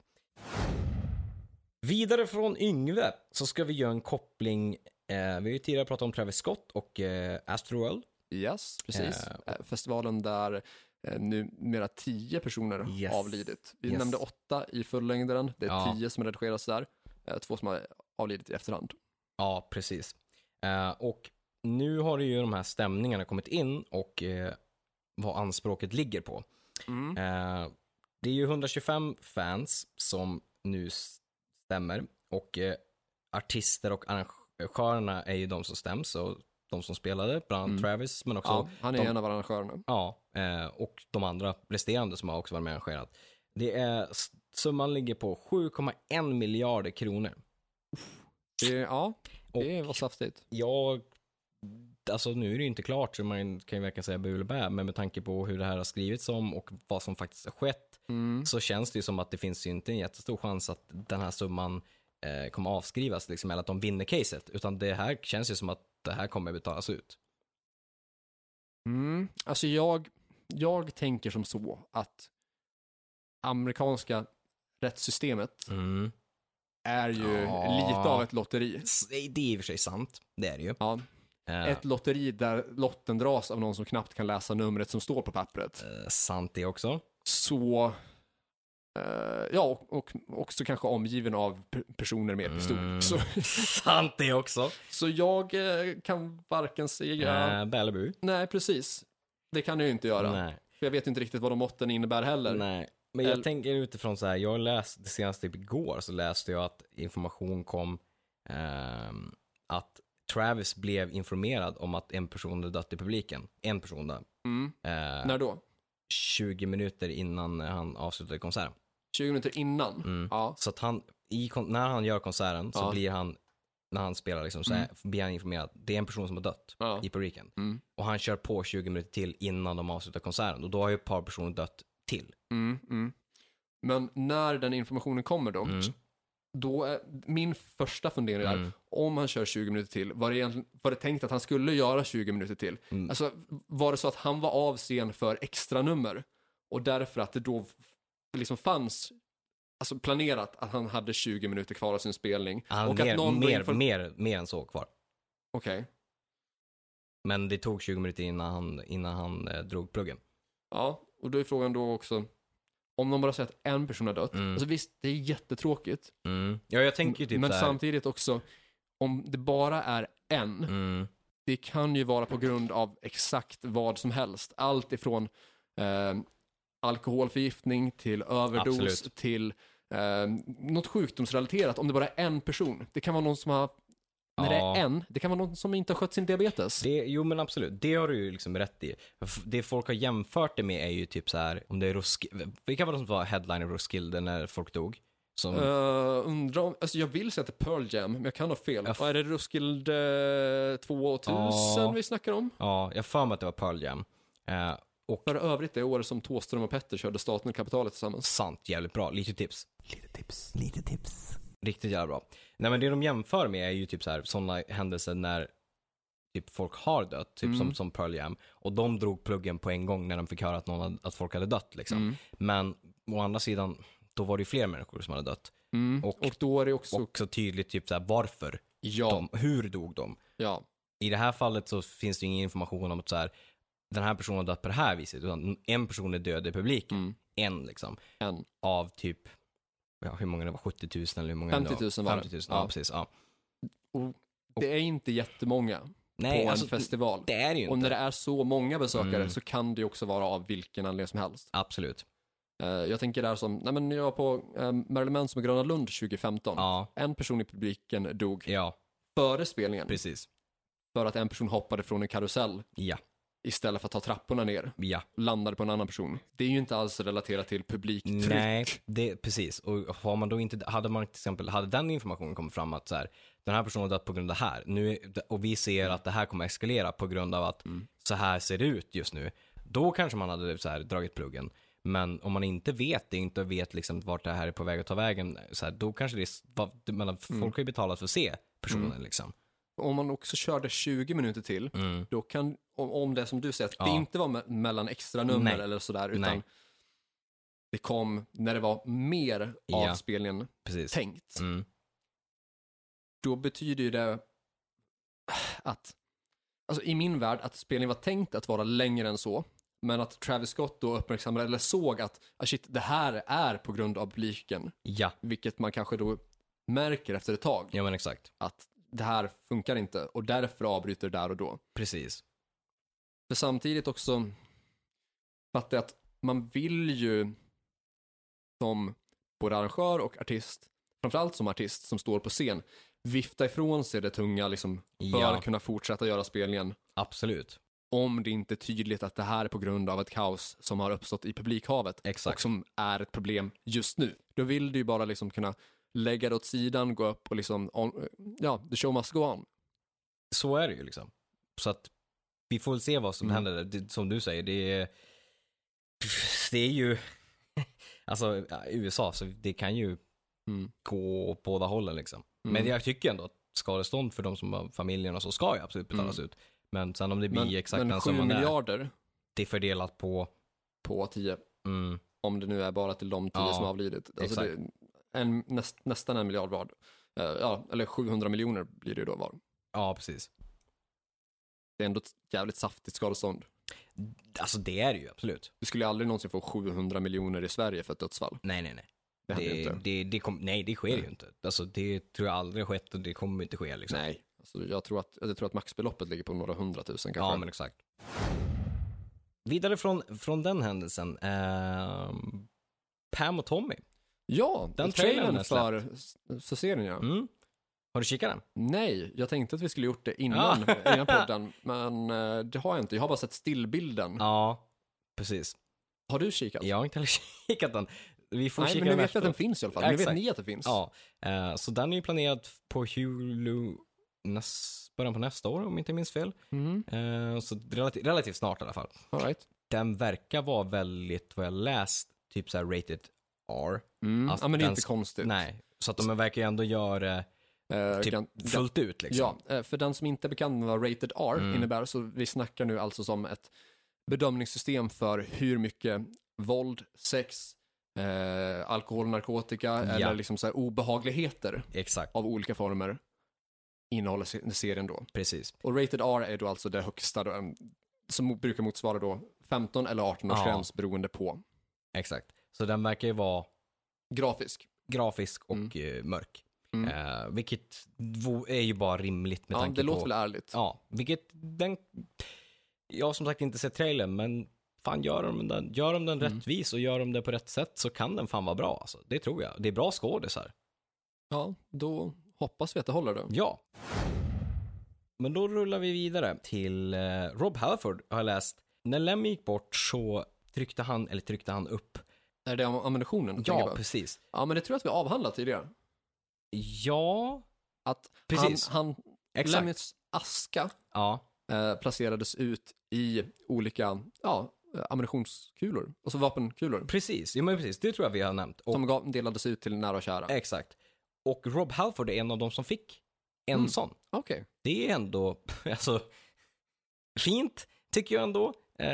[SPEAKER 2] Vidare från Yngve så ska vi göra en koppling. Eh, vi har ju tidigare pratat om Travis Scott och eh, Astroworld.
[SPEAKER 1] Yes, precis.
[SPEAKER 2] Eh,
[SPEAKER 1] Eh, Festivalen där eh, numera tio personer
[SPEAKER 2] Yes.
[SPEAKER 1] avlidit. Vi
[SPEAKER 2] Yes.
[SPEAKER 1] nämnde åtta i fullängdaren, det är
[SPEAKER 2] Ja.
[SPEAKER 1] tio som redigeras där, eh, två som har avlidit i efterhand.
[SPEAKER 2] Ja, precis. Eh, och nu har ju de här stämningarna kommit in och eh, vad anspråket ligger på.
[SPEAKER 1] Mm.
[SPEAKER 2] Eh, det är ju 125 fans som nu s- stämmer och eh, artister och arrangörerna är ju de som stäms och de som spelade, bland annat
[SPEAKER 1] Mm.
[SPEAKER 2] Travis, men också
[SPEAKER 1] Ja, han är
[SPEAKER 2] de-
[SPEAKER 1] en av arrangörerna.
[SPEAKER 2] Ja, eh, och de andra resterande som har också varit med och arrangerat. Det är, s- summan ligger på 7,1 miljarder kronor.
[SPEAKER 1] Det, ja, det
[SPEAKER 2] Och-
[SPEAKER 1] var saftigt.
[SPEAKER 2] Jag, alltså nu är det ju inte klart så man kan ju verkligen säga bu eller bä, men med tanke på hur det här har skrivits om och vad som faktiskt har skett
[SPEAKER 1] Mm.
[SPEAKER 2] så känns det ju som att det finns ju inte en jättestor chans att den här summan eh, kommer avskrivas liksom, eller att de vinner caset, utan det här känns ju som att det här kommer betalas ut.
[SPEAKER 1] Mm. Alltså jag, jag tänker som så att amerikanska rättssystemet är ju
[SPEAKER 2] Ja.
[SPEAKER 1] lite av ett lotteri.
[SPEAKER 2] S- Det är i och för sig sant, det är det ju.
[SPEAKER 1] Ja,
[SPEAKER 2] Eh,
[SPEAKER 1] ett lotteri där lotten dras av någon som knappt kan läsa numret som står på pappret.
[SPEAKER 2] eh, sant det också. (laughs)
[SPEAKER 1] Så, eh, ja, och, och också kanske omgiven av p- personer med pistol.
[SPEAKER 2] Mm.
[SPEAKER 1] Så,
[SPEAKER 2] sant det också.
[SPEAKER 1] så jag eh, kan varken säga,
[SPEAKER 2] Eh, Bälebu.
[SPEAKER 1] nej precis, det kan jag ju inte göra.
[SPEAKER 2] Nej.
[SPEAKER 1] För jag vet inte riktigt vad de måtten innebär heller.
[SPEAKER 2] Nej. Men jag
[SPEAKER 1] Eller-
[SPEAKER 2] tänker utifrån så här, jag läste, senast typ igår så läste jag att information kom ehm, att Travis blev informerad om att en person hade dött i publiken. En person där.
[SPEAKER 1] Mm.
[SPEAKER 2] Eh,
[SPEAKER 1] När då?
[SPEAKER 2] 20 minuter innan han avslutade konserten.
[SPEAKER 1] 20 minuter innan?
[SPEAKER 2] Mm.
[SPEAKER 1] Ja.
[SPEAKER 2] Så att han, i, kon- när han gör konserten så
[SPEAKER 1] Ja. Mm.
[SPEAKER 2] blir han, när han spelar liksom, så här, blir han informerad. Det är en person som har dött
[SPEAKER 1] Ja.
[SPEAKER 2] i publiken.
[SPEAKER 1] Mm.
[SPEAKER 2] Och han kör på 20 minuter till innan de avslutar konserten. Och då har ju ett par personer dött till.
[SPEAKER 1] Mm, mm. Men när den informationen kommer dock,
[SPEAKER 2] Mm.
[SPEAKER 1] då är, min första fundering är,
[SPEAKER 2] Mm.
[SPEAKER 1] om han kör 20 minuter till, var det, egentligen, var det tänkt att han skulle göra 20 minuter till?
[SPEAKER 2] Mm.
[SPEAKER 1] Alltså, var det så att han var av scen för extra nummer och därför att det då f- liksom fanns Alltså planerat att han hade 20 minuter kvar av sin spelning.
[SPEAKER 2] Han hade
[SPEAKER 1] och att
[SPEAKER 2] mer,
[SPEAKER 1] någon då
[SPEAKER 2] mer,
[SPEAKER 1] infor-
[SPEAKER 2] mer, mer än så kvar.
[SPEAKER 1] Okej.
[SPEAKER 2] Men det tog 20 minuter innan han, innan han eh, drog pluggen.
[SPEAKER 1] Ja, och då är frågan då också, om de bara säger att en person har dött,
[SPEAKER 2] Mm.
[SPEAKER 1] alltså visst, det är jättetråkigt,
[SPEAKER 2] Mm. Ja, jag tänker ju typ
[SPEAKER 1] Men
[SPEAKER 2] så här.
[SPEAKER 1] samtidigt också, om det bara är en,
[SPEAKER 2] Mm.
[SPEAKER 1] det kan ju vara på grund av exakt vad som helst. Allt ifrån eh, alkoholförgiftning till överdos
[SPEAKER 2] Absolut.
[SPEAKER 1] till eh, något sjukdomsrelaterat, om det bara är en person. Det kan vara någon som har, när det
[SPEAKER 2] Ja.
[SPEAKER 1] är en, det kan vara någon som inte har skött sin diabetes.
[SPEAKER 2] Det, jo men absolut, det har du ju liksom rätt i. F- Det folk har jämfört det med är ju typ så här, om det är Roskilde, vilka var det som var headliner i Roskilde när folk dog? Som,
[SPEAKER 1] Eh, undrar om, alltså jag vill säga att det är Pearl Jam, men jag kan ha fel.
[SPEAKER 2] Jag f-
[SPEAKER 1] Vad är det Roskilde 2000
[SPEAKER 2] Ja.
[SPEAKER 1] vi snackar om?
[SPEAKER 2] ja, jag har för mig att det var Pearl Jam. Eh, och
[SPEAKER 1] För övrigt det året som Thåström och Petter körde Staten och Kapitalet tillsammans.
[SPEAKER 2] sant, jävligt bra, lite tips.
[SPEAKER 3] Lite tips, lite tips.
[SPEAKER 2] Riktigt jävla bra. Nej men det de jämför med är ju typ så här sådana händelser när typ folk har dött, typ
[SPEAKER 1] Mm.
[SPEAKER 2] som, som Pearl Jam. Och de drog pluggen på en gång när de fick höra att, någon hade, att folk hade dött liksom.
[SPEAKER 1] Mm.
[SPEAKER 2] Men å andra sidan, då var det ju fler människor som hade dött. Och,
[SPEAKER 1] Och, då är det också,
[SPEAKER 2] också tydligt typ så här varför
[SPEAKER 1] ja,
[SPEAKER 2] de, hur dog de?
[SPEAKER 1] ja,
[SPEAKER 2] I det här fallet så finns det ju ingen information om att så här, den här personen har dött på det här viset, utan en person är död i publiken.
[SPEAKER 1] Mm.
[SPEAKER 2] En liksom.
[SPEAKER 1] en.
[SPEAKER 2] Av typ, ja, hur många det var, 70 000 eller hur många det
[SPEAKER 1] 50 000 var det.
[SPEAKER 2] 50 000, ja,
[SPEAKER 1] Ja.
[SPEAKER 2] precis. Ja.
[SPEAKER 1] Och det är inte jättemånga
[SPEAKER 2] Nej,
[SPEAKER 1] på
[SPEAKER 2] alltså,
[SPEAKER 1] en festival.
[SPEAKER 2] det är det ju
[SPEAKER 1] Och
[SPEAKER 2] inte.
[SPEAKER 1] när det är så många besökare
[SPEAKER 2] Mm.
[SPEAKER 1] så kan det ju också vara av vilken anledning som helst.
[SPEAKER 2] Absolut.
[SPEAKER 1] Eh, jag tänker där som, nej men jag var på uh, Marilyn Manson och Gröna Lund 2015.
[SPEAKER 2] Ja,
[SPEAKER 1] En person i publiken dog
[SPEAKER 2] ja,
[SPEAKER 1] före spelningen
[SPEAKER 2] precis.
[SPEAKER 1] för att en person hoppade från en karusell
[SPEAKER 2] Ja,
[SPEAKER 1] istället för att ta trapporna ner.
[SPEAKER 2] ja.
[SPEAKER 1] Landade på en annan person. Det är ju inte alls relaterat till publiktryck.
[SPEAKER 2] Nej, det, precis. Och har man då inte, hade man till exempel, hade den informationen kommit fram att så här, den här personen har dött på grund av det här, nu, är- och vi ser att det här kommer eskalera på grund av att så här ser det ut just nu, då kanske man hade så här, dragit pluggen. Men om man inte vet det, inte vet liksom vart det här är på väg att ta vägen, så här, då kanske det är, s- vad- det- men folk har ju betalat för att se personen liksom.
[SPEAKER 1] Om man också körde 20 minuter till,
[SPEAKER 2] Mm.
[SPEAKER 1] då kan, om, om det som du säger, att det
[SPEAKER 2] Ja.
[SPEAKER 1] inte var me- mellan extra nummer
[SPEAKER 2] Nej.
[SPEAKER 1] eller sådär, utan
[SPEAKER 2] Nej.
[SPEAKER 1] det kom när det var mer av
[SPEAKER 2] Ja.
[SPEAKER 1] spelningen
[SPEAKER 2] Precis.
[SPEAKER 1] tänkt.
[SPEAKER 2] Mm.
[SPEAKER 1] Då betyder ju det att, alltså i min värld, att spelningen var tänkt att vara längre än så, men att Travis Scott då uppmärksammade, eller såg att, ah shit, det här är på grund av publiken,
[SPEAKER 2] Ja,
[SPEAKER 1] vilket man kanske då märker efter ett tag,
[SPEAKER 2] ja men exakt.
[SPEAKER 1] att det här funkar inte och därför avbryter det där och då.
[SPEAKER 2] Precis.
[SPEAKER 1] För samtidigt också fattar jag att man vill ju som både arrangör och artist, framförallt som artist som står på scen, vifta ifrån sig det tunga liksom för
[SPEAKER 2] Ja.
[SPEAKER 1] att kunna fortsätta göra spelningen
[SPEAKER 2] Absolut.
[SPEAKER 1] om det inte är tydligt att det här är på grund av ett kaos som har uppstått i publikhavet
[SPEAKER 2] Exakt.
[SPEAKER 1] och som är ett problem just nu. Då vill du ju bara liksom kunna lägga det åt sidan, gå upp och liksom, on, ja, the show must go on.
[SPEAKER 2] så är det ju liksom. Så att vi får väl se vad som
[SPEAKER 1] Mm.
[SPEAKER 2] händer. där. Det, som du säger, det är, (laughs) det är ju (laughs) alltså ja, USA, så det kan ju
[SPEAKER 1] Mm.
[SPEAKER 2] gå åt båda hållen liksom. Men
[SPEAKER 1] Mm.
[SPEAKER 2] jag tycker ändå att skadestånd för de som har familjen och så ska ju absolut betalas ut. Men sen om det blir
[SPEAKER 1] Mm. Men,
[SPEAKER 2] exakt
[SPEAKER 1] men
[SPEAKER 2] den
[SPEAKER 1] 7
[SPEAKER 2] summan där,
[SPEAKER 1] miljarder
[SPEAKER 2] det är fördelat på,
[SPEAKER 1] på 10
[SPEAKER 2] mm,
[SPEAKER 1] om det nu är bara till de tio
[SPEAKER 2] Ja,
[SPEAKER 1] som har avlidit. Alltså
[SPEAKER 2] exakt.
[SPEAKER 1] det, en, näst, nästan en miljard var. Eh, ja, eller 700 miljoner blir det ju då var.
[SPEAKER 2] ja precis.
[SPEAKER 1] Det är ändå ett jävligt saftigt skadestånd.
[SPEAKER 2] Alltså det är det ju absolut.
[SPEAKER 1] Du skulle ju aldrig någonsin få 700 miljoner i Sverige för ett dödsfall.
[SPEAKER 2] Nej, nej, nej.
[SPEAKER 1] Det hade ju
[SPEAKER 2] Det,
[SPEAKER 1] inte.
[SPEAKER 2] det, det kom, nej, det sker ju inte. Alltså det tror jag aldrig har skett och det kommer inte ske liksom.
[SPEAKER 1] Nej. Alltså jag, tror att, jag tror att maxbeloppet ligger på några hundratusen kanske.
[SPEAKER 2] Ja, men exakt. Vidare från, från den händelsen. ehm, Pam och Tommy.
[SPEAKER 1] ja
[SPEAKER 2] Den
[SPEAKER 1] den trailern
[SPEAKER 2] trailern har
[SPEAKER 1] för s- så ser den ja.
[SPEAKER 2] Mm. Har du kikat den?
[SPEAKER 1] Nej, jag tänkte att vi skulle gjort det innan, innan
[SPEAKER 2] (laughs)
[SPEAKER 1] podden, men eh, det har jag inte. Jag har bara sett stillbilden.
[SPEAKER 2] Ja, precis.
[SPEAKER 1] Har du kikat?
[SPEAKER 2] Jag har inte heller (laughs) kikat den. Vi får
[SPEAKER 1] Nej, men
[SPEAKER 2] kika
[SPEAKER 1] nu vet jag
[SPEAKER 2] efteråt.
[SPEAKER 1] att den finns i alla fall. Nu vet
[SPEAKER 2] Exakt.
[SPEAKER 1] ni att den finns.
[SPEAKER 2] Ja, eh, så den är ju planerad på Hulu näst, början på nästa år om jag inte minns fel.
[SPEAKER 1] Mm.
[SPEAKER 2] Eh, så relativt, relativt snart i alla fall.
[SPEAKER 1] All right.
[SPEAKER 2] Den verkar vara väldigt, vad jag läst, typ så här rated R.
[SPEAKER 1] Mm.
[SPEAKER 2] Alltså,
[SPEAKER 1] ja, men det är
[SPEAKER 2] den
[SPEAKER 1] inte
[SPEAKER 2] sk-
[SPEAKER 1] konstigt.
[SPEAKER 2] Nej, så att de verkar ju ändå göra eh,
[SPEAKER 1] Eh,
[SPEAKER 2] typ
[SPEAKER 1] kan-
[SPEAKER 2] fullt ut liksom. Mm.
[SPEAKER 1] ja, eh, för den som inte är bekant med vad Rated R innebär, så vi snackar nu alltså som ett bedömningssystem för hur mycket våld, sex, eh, alkohol, narkotika eller liksom så här obehagligheter
[SPEAKER 2] Exakt,
[SPEAKER 1] av olika former innehåller se- serien då.
[SPEAKER 2] precis.
[SPEAKER 1] Och Rated R är då alltså det högsta då, eh, som mo- brukar motsvara då 15 eller 18 års
[SPEAKER 2] Ja.
[SPEAKER 1] gräns beroende på
[SPEAKER 2] Exakt. Så den verkar ju vara
[SPEAKER 1] grafisk.
[SPEAKER 2] grafisk och
[SPEAKER 1] Mm.
[SPEAKER 2] eh, mörk. Eh, vilket vo- är ju bara rimligt med
[SPEAKER 1] Ja,
[SPEAKER 2] tanke
[SPEAKER 1] det
[SPEAKER 2] på...
[SPEAKER 1] låter väl ärligt.
[SPEAKER 2] Ja, vilket den... Jag har som sagt inte sett trailern, men fan gör de den, gör de den
[SPEAKER 1] Mm.
[SPEAKER 2] rättvis och gör de det på rätt sätt så kan den fan vara bra. Alltså. Det tror jag. Det är bra skådisar.
[SPEAKER 1] Ja, då hoppas vi att det håller då.
[SPEAKER 2] Ja. Men då rullar vi vidare till eh, Rob Halford har jag läst. När Lemmy gick bort så tryckte han, eller tryckte han upp.
[SPEAKER 1] Är det am- ammunitionen? du tänker
[SPEAKER 2] Ja,
[SPEAKER 1] på?
[SPEAKER 2] precis.
[SPEAKER 1] ja, men det tror jag att vi har avhandlat tidigare.
[SPEAKER 2] Ja,
[SPEAKER 1] Att
[SPEAKER 2] Precis.
[SPEAKER 1] han, han
[SPEAKER 2] exakt.
[SPEAKER 1] Lemmys aska
[SPEAKER 2] Ja,
[SPEAKER 1] eh, placerades ut i olika ja, eh, ammunitionskulor, alltså vapenkulor,
[SPEAKER 2] precis. Jo, men precis. Det tror jag vi har nämnt. Och, Eh,
[SPEAKER 1] som gav, delades ut till nära och kära.
[SPEAKER 2] Exakt. Och Rob Halford är en av de som fick en
[SPEAKER 1] Mm.
[SPEAKER 2] sån.
[SPEAKER 1] Okej.
[SPEAKER 2] Det är ändå, (laughs) alltså, fint tycker jag ändå. Eh,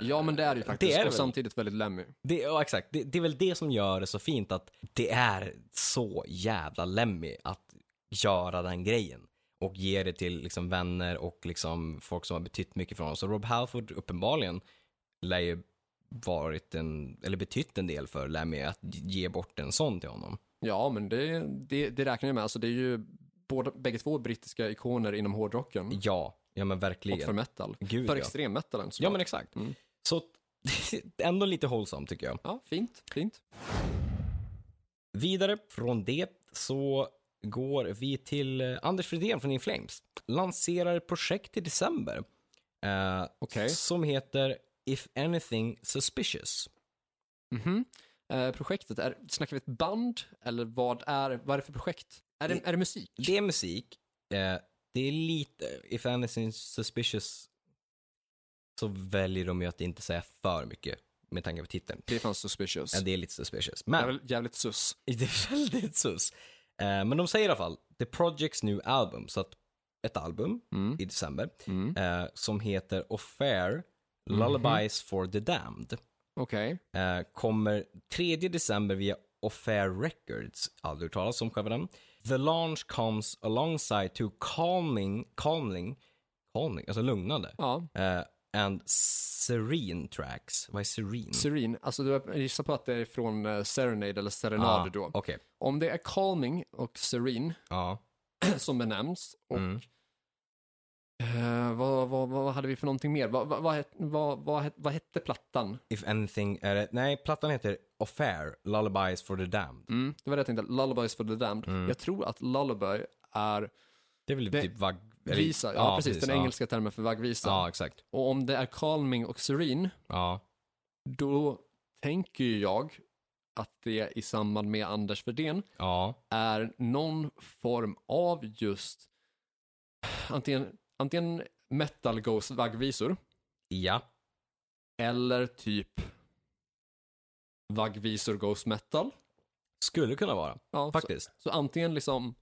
[SPEAKER 1] Ja, men det är det ju faktiskt.
[SPEAKER 2] Det är det
[SPEAKER 1] och
[SPEAKER 2] väl.
[SPEAKER 1] samtidigt väldigt Lemmy.
[SPEAKER 2] Det, ja, exakt. Det, det är väl det som gör det så fint att det är så jävla Lemmy att göra den grejen och ge det till liksom, vänner och liksom, folk som har betytt mycket för honom. Så Rob Halford uppenbarligen lär ju varit en, eller betytt en del för Lemmy att ge bort en sån till honom.
[SPEAKER 1] Ja, men det, det, det räknar jag med. Alltså, det är ju båda, bägge två brittiska ikoner inom hårdrocken
[SPEAKER 2] Ja, ja men
[SPEAKER 1] och för
[SPEAKER 2] verkligen.
[SPEAKER 1] metal.
[SPEAKER 2] Gud,
[SPEAKER 1] för
[SPEAKER 2] ja.
[SPEAKER 1] extremmetalen såklart.
[SPEAKER 2] Ja men exakt.
[SPEAKER 1] Mm.
[SPEAKER 2] Så (laughs) ändå lite hållsam tycker jag.
[SPEAKER 1] ja, fint, fint.
[SPEAKER 2] Vidare från det så går vi till eh, Anders Fredén från In Flames. Lanserar ett projekt i december eh,
[SPEAKER 1] Okej.
[SPEAKER 2] som heter If Anything Suspicious.
[SPEAKER 1] Mhm. Eh, projektet, är, snackar vi ett band eller vad är, vad är det för projekt? Är det, är det musik?
[SPEAKER 2] Det är musik. Eh, det är lite, If Anything Suspicious så väljer de ju att inte säga för mycket med tanke på titeln.
[SPEAKER 1] Det fanns suspicious.
[SPEAKER 2] Ja,
[SPEAKER 1] Det
[SPEAKER 2] det är lite suspicious.
[SPEAKER 1] är
[SPEAKER 2] Men
[SPEAKER 1] väl jävligt sus.
[SPEAKER 2] (laughs) Det är väldigt sus. Eh, men de säger i alla fall The Projects New Album, så att ett album
[SPEAKER 1] Mm.
[SPEAKER 2] i december
[SPEAKER 1] Mm. Mhm.
[SPEAKER 2] eh, som heter Affair Lullabies for the Damned
[SPEAKER 1] Okej.
[SPEAKER 2] eh, kommer 3 december via Affair Records, aldrig hört talas om själva den. The launch comes alongside to calming, calming, calming, alltså lugnande,
[SPEAKER 1] Ja,
[SPEAKER 2] eh, and serene tracks. Vad är serene?
[SPEAKER 1] serene. Alltså du jag gissar på att det är från eh, Serenade eller Serenade då.
[SPEAKER 2] Okej,
[SPEAKER 1] Om det är calming och serene (clears throat)
[SPEAKER 2] ja.
[SPEAKER 1] som benämns och
[SPEAKER 2] Mm.
[SPEAKER 1] eh, vad, vad, vad hade vi för någonting mer? Vad, vad, vad, het- vad, vad, het- vad hette plattan?
[SPEAKER 2] If anything är det, nej plattan heter Affair, Lullabies for the Damned.
[SPEAKER 1] Det var det jag tänkte, Lullabies for the Damned. Jag tror att Lullaby är
[SPEAKER 2] Det är väl
[SPEAKER 1] Det-
[SPEAKER 2] typ vagg... eller-
[SPEAKER 1] visa, ja, precis, den
[SPEAKER 2] ja.
[SPEAKER 1] engelska termen för vaggvisa.
[SPEAKER 2] Ja, exakt.
[SPEAKER 1] Och om det är calming och serene,
[SPEAKER 2] Ja.
[SPEAKER 1] då tänker ju jag att det i samband med Anders Fredén
[SPEAKER 2] Ja.
[SPEAKER 1] är någon form av just antingen, antingen metal goes vaggvisor
[SPEAKER 2] Ja.
[SPEAKER 1] eller typ vaggvisor goes metal.
[SPEAKER 2] Skulle kunna vara,
[SPEAKER 1] Ja, så,
[SPEAKER 2] faktiskt.
[SPEAKER 1] så antingen liksom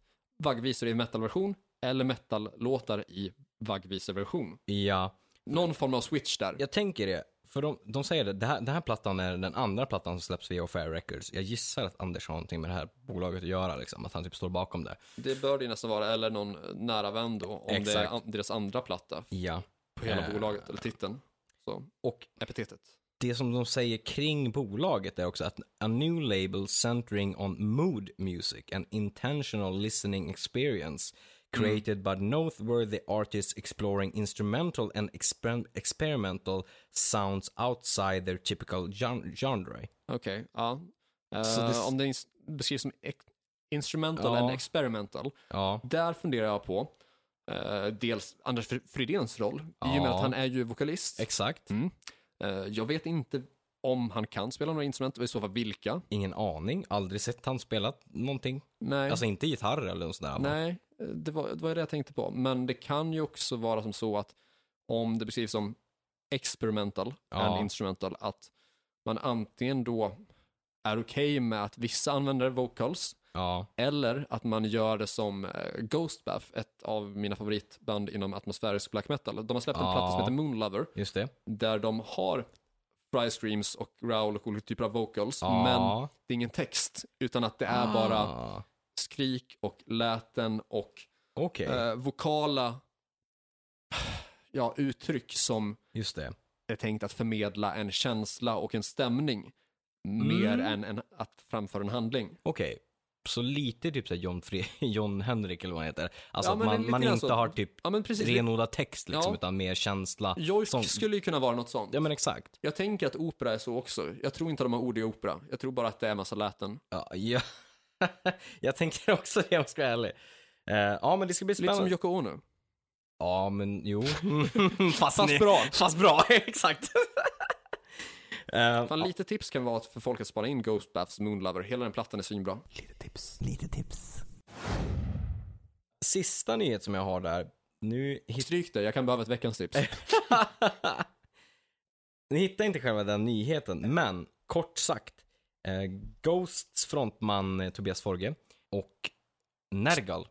[SPEAKER 1] vaggvisor i metalversion eller metallåtar i vaggvisorversion.
[SPEAKER 2] Ja.
[SPEAKER 1] Någon form av switch där.
[SPEAKER 2] Jag tänker det, för de, de säger det, det här, den här plattan är den andra plattan som släpps via Fair Records. Jag gissar att Anders har någonting med det här bolaget att göra, liksom, att han typ står bakom det.
[SPEAKER 1] Det bör det ju nästan vara, eller någon nära vän då, om det är
[SPEAKER 2] Exakt.
[SPEAKER 1] an- deras andra platta
[SPEAKER 2] Ja.
[SPEAKER 1] på hela
[SPEAKER 2] Eh.
[SPEAKER 1] bolaget, eller titeln. Så,
[SPEAKER 2] Och
[SPEAKER 1] epitetet.
[SPEAKER 2] det som de säger kring bolaget är också att a new label centering on mood music, an intentional listening experience created by noteworthy artists exploring instrumental and exper- experimental sounds outside their typical gen- genre.
[SPEAKER 1] Okej, ja. Eh,
[SPEAKER 2] Så det-
[SPEAKER 1] Om det ins- beskrivs som ex- instrumental
[SPEAKER 2] Ja.
[SPEAKER 1] and experimental,
[SPEAKER 2] Ja,
[SPEAKER 1] där funderar jag på eh, dels Anders Fr- Fridéns roll, i och med
[SPEAKER 2] Ja.
[SPEAKER 1] att han är ju vokalist.
[SPEAKER 2] exakt.
[SPEAKER 1] Eh, jag vet inte om han kan spela några instrument, och i så fall vilka.
[SPEAKER 2] Ingen aning, aldrig sett han spelat någonting.
[SPEAKER 1] Nej,
[SPEAKER 2] Alltså inte gitarr eller något sånt där.
[SPEAKER 1] nej eh, det, var, det var ju det jag tänkte på. Men det kan ju också vara som så att om det beskrivs som experimental
[SPEAKER 2] Ja.
[SPEAKER 1] and instrumental, att man antingen då är okej med att vissa använder vocals,
[SPEAKER 2] Ja,
[SPEAKER 1] Eller att man gör det som eh, Ghostbath, ett av mina favoritband inom atmosfärisk black metal. De har släppt en
[SPEAKER 2] Ja.
[SPEAKER 1] platta som heter Moonlover,
[SPEAKER 2] just det.
[SPEAKER 1] där de har fry screams och growl och olika typer av vocals, men
[SPEAKER 2] Ja.
[SPEAKER 1] det är ingen text, utan att det är bara
[SPEAKER 2] Ah,
[SPEAKER 1] skrik och läten och
[SPEAKER 2] Okej,
[SPEAKER 1] eh, vokala ja, uttryck som
[SPEAKER 2] just det.
[SPEAKER 1] är tänkt att förmedla en känsla och en stämning, mer än en, att framföra en handling.
[SPEAKER 2] Okej, Mm. så lite typ såhär John, Fre- (laughs) John Henrik eller vad han heter. Alltså
[SPEAKER 1] Ja,
[SPEAKER 2] att
[SPEAKER 1] men
[SPEAKER 2] man,
[SPEAKER 1] lite
[SPEAKER 2] man
[SPEAKER 1] grann
[SPEAKER 2] inte
[SPEAKER 1] så.
[SPEAKER 2] har typ
[SPEAKER 1] Ja, men precis.
[SPEAKER 2] renodlad text liksom,
[SPEAKER 1] Ja.
[SPEAKER 2] utan mer känsla.
[SPEAKER 1] Jojk
[SPEAKER 2] sång.
[SPEAKER 1] skulle ju kunna vara något sånt.
[SPEAKER 2] Ja men exakt.
[SPEAKER 1] Jag tänker att opera är så också. Jag tror inte de har ord i opera. Jag tror bara att det är massa läten.
[SPEAKER 2] Ja, ja. (laughs) jag tänker också det om jag ska vara ärlig. Eh, ja men det ska bli
[SPEAKER 1] Lite
[SPEAKER 2] spännande.
[SPEAKER 1] som Yoko Ono.
[SPEAKER 2] Ja men jo. (laughs) fast,
[SPEAKER 1] Fast
[SPEAKER 2] ni-
[SPEAKER 1] bra.
[SPEAKER 2] Fast bra, (laughs) exakt. Eh,
[SPEAKER 1] Fan, lite tips kan vara att för folk att spana in Ghostbaths Moonlover. Hela den plattan är svinbra.
[SPEAKER 3] Lite tips. Lite tips.
[SPEAKER 2] sista nyhet som jag har där. Nu hit- Eh,
[SPEAKER 1] Stryk det, jag kan behöva ett veckans tips.
[SPEAKER 2] Ni hittar inte själva den nyheten, men kort sagt. Eh, Ghosts frontman eh, Tobias Forge och Nergal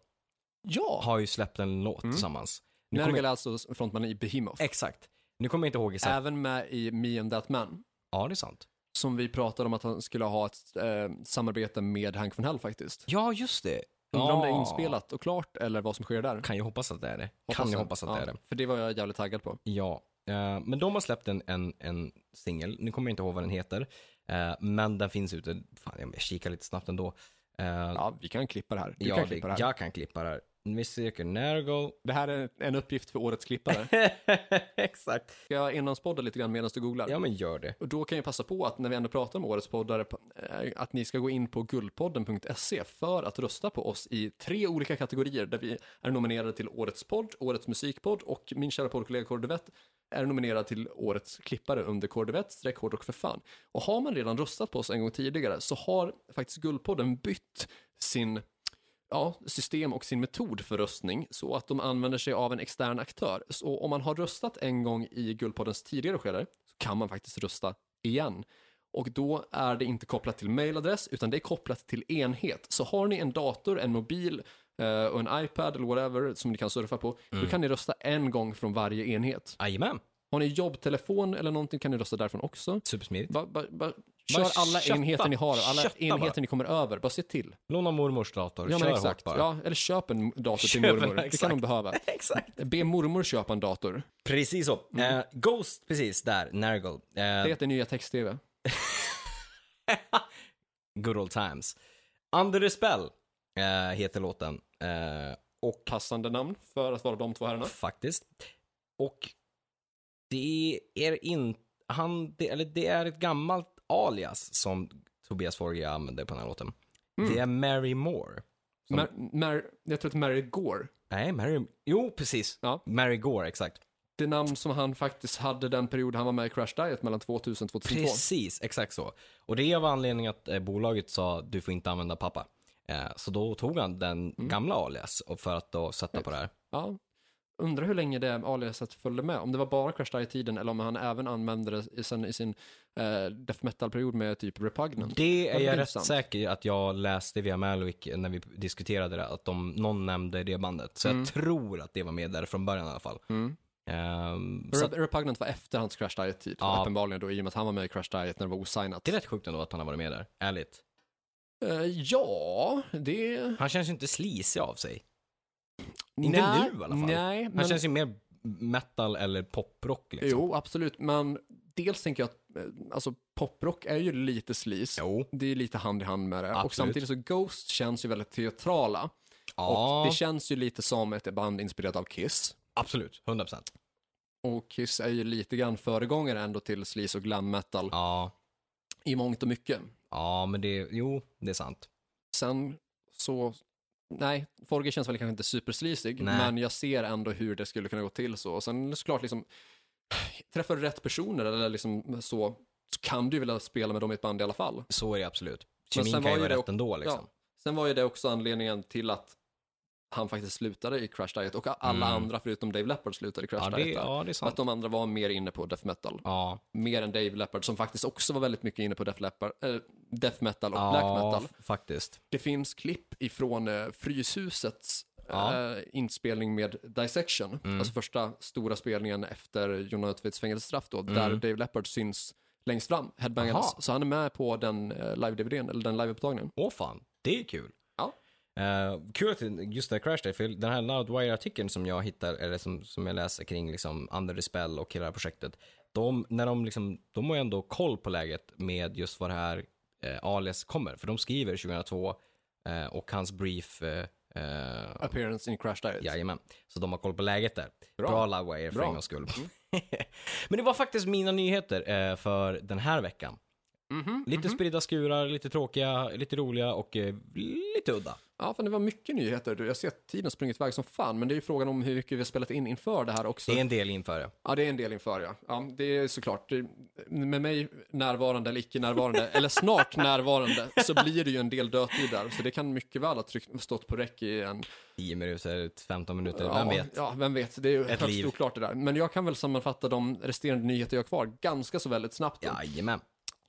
[SPEAKER 1] Ja!
[SPEAKER 2] har ju släppt en låt
[SPEAKER 1] Mm.
[SPEAKER 2] tillsammans. Nu kommer
[SPEAKER 1] Nergal är alltså frontmannen i Behemoth.
[SPEAKER 2] jag, exakt. Nu kommer jag inte ihåg exakt.
[SPEAKER 1] Även med i Me and That Man.
[SPEAKER 2] Ja, det är sant.
[SPEAKER 1] Som vi pratade om att han skulle ha ett eh, samarbete med Hank von Hell faktiskt.
[SPEAKER 2] Ja, just det.
[SPEAKER 1] Undrar om det är
[SPEAKER 2] Ja.
[SPEAKER 1] inspelat och klart eller vad som sker där.
[SPEAKER 2] Kan jag hoppas att det är det. kan jag hoppas att det är det.
[SPEAKER 1] För det var jag jävligt taggad på.
[SPEAKER 2] Ja, eh, men de har släppt en, en, en singel. Nu kommer jag inte ihåg vad den heter. Eh, men den finns ute. Fan, jag kikar lite snabbt ändå. Eh, ja,
[SPEAKER 1] Ja, vi kan klippa det här. Du kan
[SPEAKER 2] det,
[SPEAKER 1] klippa det här.
[SPEAKER 2] jag kan klippa det här. Mr. Nergal.
[SPEAKER 1] Det här är en uppgift för årets
[SPEAKER 2] (laughs)
[SPEAKER 1] klippare.
[SPEAKER 2] Exakt.
[SPEAKER 1] Ska jag enmanspodda lite grann medan du googlar?
[SPEAKER 2] Ja, men gör det.
[SPEAKER 1] Och då kan jag passa på att när vi ändå pratar om årets poddare, eh, att ni ska gå in på guldpodden.se för att rösta på oss i tre olika kategorier där vi är nominerade till årets podd, årets musikpodd och min kära poddkollega Kordevett är nominerad till årets klippare under Kordevett, streck hårdrock för fan. Och har man redan röstat på oss en gång tidigare så har faktiskt Guldpodden bytt sin ja, system och sin metod för röstning så att de använder sig av en extern aktör. Så om man har röstat en gång i Guldpoddens tidigare skede så kan man faktiskt rösta igen. Och då är det inte kopplat till mailadress utan det är kopplat till enhet. Så har ni en dator, en mobil eh, och en iPad eller whatever som ni kan surfa på, då kan ni rösta en gång från varje enhet.
[SPEAKER 2] Jajamän.
[SPEAKER 1] Har ni jobbtelefon eller någonting kan ni rösta därifrån också.
[SPEAKER 2] Supersmidigt.
[SPEAKER 1] Bara- bara- bara- kör alla
[SPEAKER 2] kötta.
[SPEAKER 1] enheter ni har, och alla
[SPEAKER 2] Kötta bara.
[SPEAKER 1] enheter ni kommer över, bara se till.
[SPEAKER 2] Låna mormors dator.
[SPEAKER 1] Ja,
[SPEAKER 2] Kör
[SPEAKER 1] men
[SPEAKER 2] hårt
[SPEAKER 1] exakt.
[SPEAKER 2] bara.
[SPEAKER 1] Ja, eller köp en dator till
[SPEAKER 2] (laughs) Köp en,
[SPEAKER 1] mormor. Det kan
[SPEAKER 2] exakt.
[SPEAKER 1] de behöva.
[SPEAKER 2] Exakt.
[SPEAKER 1] Be mormor köpa en dator.
[SPEAKER 2] Precis så. Eh, Ghost, precis där. Nergal. Eh,
[SPEAKER 1] Det heter nya text-tv.
[SPEAKER 2] Good old times. Under the spell eh, heter låten. Eh, och
[SPEAKER 1] Passande namn för att vara de två herrarna.
[SPEAKER 2] Faktiskt. Och det är inte, han, det, eller det är ett gammalt alias som Tobias Forge använder på den här låten. Det är Mary Moore. Som-
[SPEAKER 1] Mar- Mar- jag tror att Mary Gore,
[SPEAKER 2] Nej, Mary, jo precis.
[SPEAKER 1] Ja.
[SPEAKER 2] Mary Gore, exakt.
[SPEAKER 1] det namn som han faktiskt hade den period han var med i Crash Diet mellan 2000 och 2002.
[SPEAKER 2] Precis, exakt så. Och det var anledningen att eh, bolaget sa du får inte använda pappa. Eh, så då tog han den
[SPEAKER 1] Mm.
[SPEAKER 2] gamla alias och för att då sätta på det här.
[SPEAKER 1] Ja. Undrar hur länge det aliaset följde med. Om det var bara Crash Diet-tiden eller om han även använde det i, sen, i sin eh, death metal-period med typ Repugnant.
[SPEAKER 2] Det är
[SPEAKER 1] det är
[SPEAKER 2] jag rätt
[SPEAKER 1] intressant.
[SPEAKER 2] säker att jag läste via Malwick när vi diskuterade det, att de, någon nämnde det bandet. Så
[SPEAKER 1] Mm.
[SPEAKER 2] jag tror att det var med där från början i alla fall. Ehm, så att,
[SPEAKER 1] Rep- Repugnant var efter hans Crash Diet-tid,
[SPEAKER 2] Ja.
[SPEAKER 1] uppenbarligen då, i och med att han var med i Crash Diet när det var osignat.
[SPEAKER 2] det är rätt sjukt ändå att han har varit med där, ärligt.
[SPEAKER 1] Eh, ja, det...
[SPEAKER 2] Han känns ju inte slisig av sig. Inte
[SPEAKER 1] nej,
[SPEAKER 2] nu i alla fall.
[SPEAKER 1] Nej,
[SPEAKER 2] Han
[SPEAKER 1] men...
[SPEAKER 2] känns ju mer metal eller poprock liksom.
[SPEAKER 1] Jo, absolut. Men dels tänker jag att eh, alltså, poprock är ju lite slis.
[SPEAKER 2] Jo.
[SPEAKER 1] Det är lite hand i hand med det. Och
[SPEAKER 2] Absolut.
[SPEAKER 1] samtidigt så Ghost känns ju väldigt teatrala.
[SPEAKER 2] Ja,
[SPEAKER 1] Och det känns ju lite som ett band inspirerat av Kiss.
[SPEAKER 2] absolut. 100%.
[SPEAKER 1] Och Kiss är ju lite grann föregångare ändå till slis och glam metal
[SPEAKER 2] Ja,
[SPEAKER 1] i mångt och mycket.
[SPEAKER 2] ja, men det, jo, det är sant.
[SPEAKER 1] Sen så, nej, Forge känns väl kanske inte superslisig,
[SPEAKER 2] Nej.
[SPEAKER 1] men jag ser ändå hur det skulle kunna gå till så. Och sen såklart liksom, träffar du rätt personer eller liksom så, så kan du ju vilja spela med dem i ett band i alla fall.
[SPEAKER 2] Så är det absolut.
[SPEAKER 1] Men
[SPEAKER 2] Kemin
[SPEAKER 1] sen
[SPEAKER 2] kan ju
[SPEAKER 1] var ju
[SPEAKER 2] vara
[SPEAKER 1] det
[SPEAKER 2] rätt
[SPEAKER 1] också-
[SPEAKER 2] ändå liksom.
[SPEAKER 1] Ja. Sen var ju det också anledningen till att han faktiskt slutade i Crash Diet och alla andra förutom Dave Leppard slutade i Crash
[SPEAKER 2] Mm. Ja, det,
[SPEAKER 1] Diet. där.
[SPEAKER 2] ja, det är
[SPEAKER 1] Att
[SPEAKER 2] sant.
[SPEAKER 1] de andra var mer inne på death metal,
[SPEAKER 2] Ja,
[SPEAKER 1] mer än Dave Leppard som faktiskt också var väldigt mycket inne på death, Leppard, eh, death metal och
[SPEAKER 2] ja
[SPEAKER 1] black metal.
[SPEAKER 2] f- faktiskt.
[SPEAKER 1] Det finns klipp ifrån eh, Fryshusets
[SPEAKER 2] Ja. Mm.
[SPEAKER 1] eh, inspelning med Dissection, alltså första stora spelningen efter Jon Ötvids fängelsestraff då, där Dave Leppard syns längst fram, headbangandes.
[SPEAKER 2] Mm. Aha.
[SPEAKER 1] Så han är med på den eh, live-DVDn, eller den live-upptagningen.
[SPEAKER 2] Åh fan, det är kul.
[SPEAKER 1] Ja.
[SPEAKER 2] Eh, kul att det- just det här Crash Day, för den här Loudwire-artikeln som jag hittar, eller som, som jag läser kring liksom Under the Spell och hela det här projektet, de, när de, liksom, de har ju ändå koll på läget med just var det här eh, alias kommer, för de skriver 2002 Eh, och hans brief... Eh, eh,
[SPEAKER 1] Appearance in Crash Diet.
[SPEAKER 2] jajamän. Så de har koll på läget där.
[SPEAKER 1] Bra.
[SPEAKER 2] Bra, Bra Livewire för
[SPEAKER 1] Bra. Mm.
[SPEAKER 2] en gångs skull. (laughs) Men det var faktiskt mina nyheter eh, för den här veckan.
[SPEAKER 1] Mhm,
[SPEAKER 2] Lite
[SPEAKER 1] mhm.
[SPEAKER 2] spridda skurar, lite tråkiga, lite roliga och eh, lite udda.
[SPEAKER 1] Ja, fan, det var mycket nyheter. du. Jag ser att tiden har sprungit iväg som fan, men det är ju frågan om hur mycket vi har spelat in inför det här också.
[SPEAKER 2] Det är en del inför det.
[SPEAKER 1] Ja, det är en del inför, ja. ja det är såklart. Det- Med mig närvarande eller icke närvarande, eller snart
[SPEAKER 2] (laughs)
[SPEAKER 1] närvarande, så blir det ju en del dödtid där. Så det kan mycket väl ha tryckt, stått på räck i en...
[SPEAKER 2] 10 minuter, 15 minuter,
[SPEAKER 1] Ja,
[SPEAKER 2] vem vet.
[SPEAKER 1] Ja, vem vet. Det är ju högst
[SPEAKER 2] liv.
[SPEAKER 1] oklart det där. Men jag kan väl sammanfatta de resterande nyheter jag har kvar ganska så väldigt snabbt.
[SPEAKER 2] Jajamän.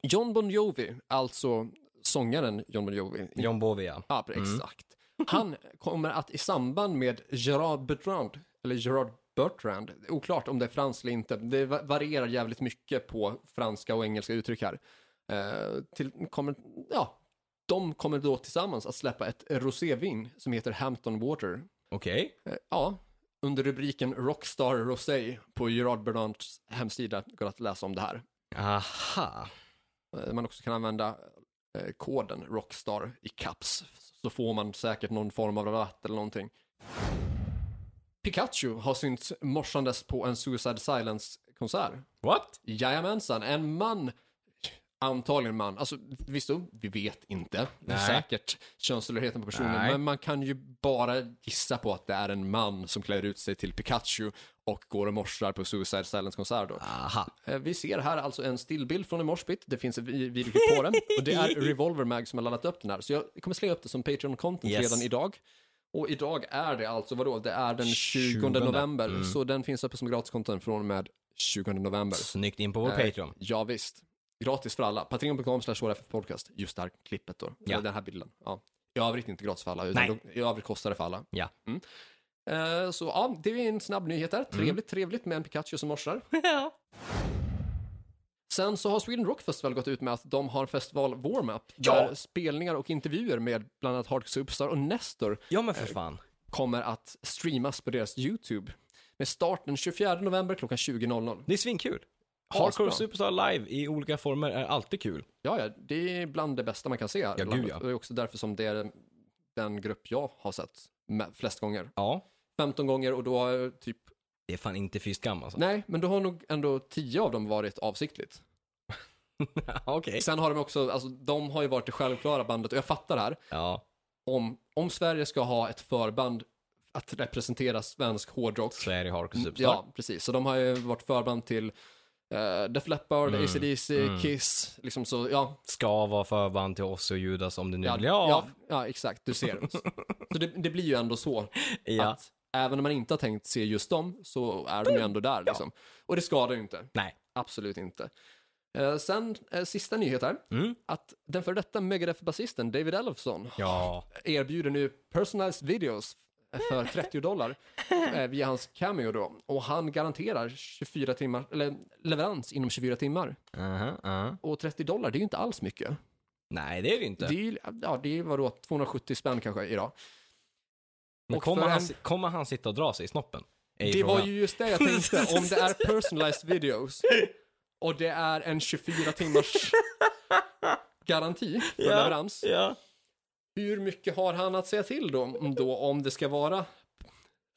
[SPEAKER 1] John Bon Jovi, alltså sångaren John Bon Jovi,
[SPEAKER 2] John Bovia.
[SPEAKER 1] Ja, pre- exakt. Han kommer att i samband med Gerard Bertrand, eller Gerard Bertrand, det är oklart om det är franskt eller inte, det va- varierar jävligt mycket på franska och engelska uttryck här. Eh, till, kommer, ja, de kommer då tillsammans att släppa ett rosévin som heter Hampton Water.
[SPEAKER 2] Okej.
[SPEAKER 1] Eh, ja, under rubriken Rockstar Rosé på Gerard Bertrands hemsida går att läsa om det här.
[SPEAKER 2] Aha.
[SPEAKER 1] Eh, man också kan använda eh, koden Rockstar i caps så får man säkert någon form av rabatt eller någonting. Pikachu har synts morsandes på en Suicide Silence-konsert.
[SPEAKER 2] What?
[SPEAKER 1] Jajamensan, en man, antagligen man, alltså visst då, vi vet inte
[SPEAKER 2] Nej.
[SPEAKER 1] säkert könstillhörigheten på personen,
[SPEAKER 2] Nej.
[SPEAKER 1] men man kan ju bara gissa på att det är en man som klär ut sig till Pikachu och går och morsar på Suicide Silence-konsert då.
[SPEAKER 2] Aha.
[SPEAKER 1] Eh, Vi ser här alltså en stillbild från en morsbit. Det finns en vi- videoklipp på den. Och det
[SPEAKER 2] (laughs)
[SPEAKER 1] är Revolver Mag som har laddat upp den här. Så jag kommer slänga upp det som Patreon-content
[SPEAKER 2] Yes.
[SPEAKER 1] redan idag. Och idag är det alltså, vadå, det är den 20
[SPEAKER 2] 20.
[SPEAKER 1] november.
[SPEAKER 2] Mm.
[SPEAKER 1] Så den finns uppe som gratis-content från och med 20 november.
[SPEAKER 2] Snyggt in på vår
[SPEAKER 1] Eh,
[SPEAKER 2] Patreon.
[SPEAKER 1] Ja, visst. Gratis för alla. Patreon.com slash podcast. Just det här klippet då.
[SPEAKER 2] Ja.
[SPEAKER 1] Eller Den här bilden. Ja. I övrigt inte gratis för alla. Utan
[SPEAKER 2] Nej.
[SPEAKER 1] då, I övrigt kostar det för alla.
[SPEAKER 2] Ja.
[SPEAKER 1] Mm. Eh, Så ja, det är en snabb nyhet där.
[SPEAKER 2] Mm.
[SPEAKER 1] Trevligt, trevligt med en Pikachu som morsar. Sen så har Sweden Rock Festival gått ut med att de har en festival warm-up
[SPEAKER 2] Ja.
[SPEAKER 1] där spelningar och intervjuer med bland annat Hardcore Superstar och Nestor
[SPEAKER 2] (laughs) Ja men för fan.
[SPEAKER 1] kommer att streamas på deras YouTube. Med start den 24 november klockan 20.00.
[SPEAKER 2] Det är svinkul.
[SPEAKER 1] Asbra.
[SPEAKER 2] Hardcore Superstar live i olika former är alltid kul.
[SPEAKER 1] Ja, ja, det är bland det bästa man kan se här. i
[SPEAKER 2] Ja,
[SPEAKER 1] landet.
[SPEAKER 2] gud, ja.
[SPEAKER 1] Och Det är också därför som det är den grupp jag har sett med- flest gånger.
[SPEAKER 2] Ja.
[SPEAKER 1] 15 gånger och då har jag typ,
[SPEAKER 2] Det är fan inte fy skam alltså.
[SPEAKER 1] nej, men då har nog ändå 10 av dem varit avsiktligt.
[SPEAKER 2] Okej.
[SPEAKER 1] Sen har de också, alltså de har ju varit det självklara bandet och jag fattar det här.
[SPEAKER 2] Ja,
[SPEAKER 1] om, om Sverige ska ha ett förband att representera svensk hårdrock.
[SPEAKER 2] så är det Hardcore Superstar.
[SPEAKER 1] Ja, precis. Så de har ju varit förband till uh, Def Leppard,
[SPEAKER 2] Mm,
[SPEAKER 1] ACDC,
[SPEAKER 2] mm.
[SPEAKER 1] Kiss, liksom så, ja.
[SPEAKER 2] Ska vara förband till oss och Judas om det nu
[SPEAKER 1] Ja,
[SPEAKER 2] blir av.
[SPEAKER 1] ja, ja, exakt, du ser. så det, det blir ju ändå så
[SPEAKER 2] (laughs) Ja.
[SPEAKER 1] att även om man inte har tänkt se just dem så är de ju ändå där liksom. Och det skadar ju inte,
[SPEAKER 2] Nej.
[SPEAKER 1] absolut inte. Eh, sen, eh, sista nyhet här,
[SPEAKER 2] Mm.
[SPEAKER 1] att den före detta Megadeth-basisten David Elfson
[SPEAKER 2] Ja.
[SPEAKER 1] erbjuder nu personalized videos för 30 dollar eh, via hans cameo då. Och han garanterar 24 timmar, eller leverans inom 24 timmar.
[SPEAKER 2] Aha, aha.
[SPEAKER 1] Och 30 dollar, det är ju inte alls mycket.
[SPEAKER 2] Nej, det är det inte.
[SPEAKER 1] Det är ju, ja, det är ju vadå, 270 spänn kanske idag.
[SPEAKER 2] Men
[SPEAKER 1] och
[SPEAKER 2] kommer
[SPEAKER 1] för
[SPEAKER 2] han,
[SPEAKER 1] en-
[SPEAKER 2] si- kommer han sitta och dra sig i snoppen? Är
[SPEAKER 1] Det var
[SPEAKER 2] frågan.
[SPEAKER 1] ju just det jag tänkte, om
[SPEAKER 2] (laughs)
[SPEAKER 1] det är personalized videos och det är en 24
[SPEAKER 2] (laughs)
[SPEAKER 1] timmars garanti för
[SPEAKER 2] Ja.
[SPEAKER 1] leverans.
[SPEAKER 2] Ja.
[SPEAKER 1] Hur mycket har han att säga till då, då om det ska vara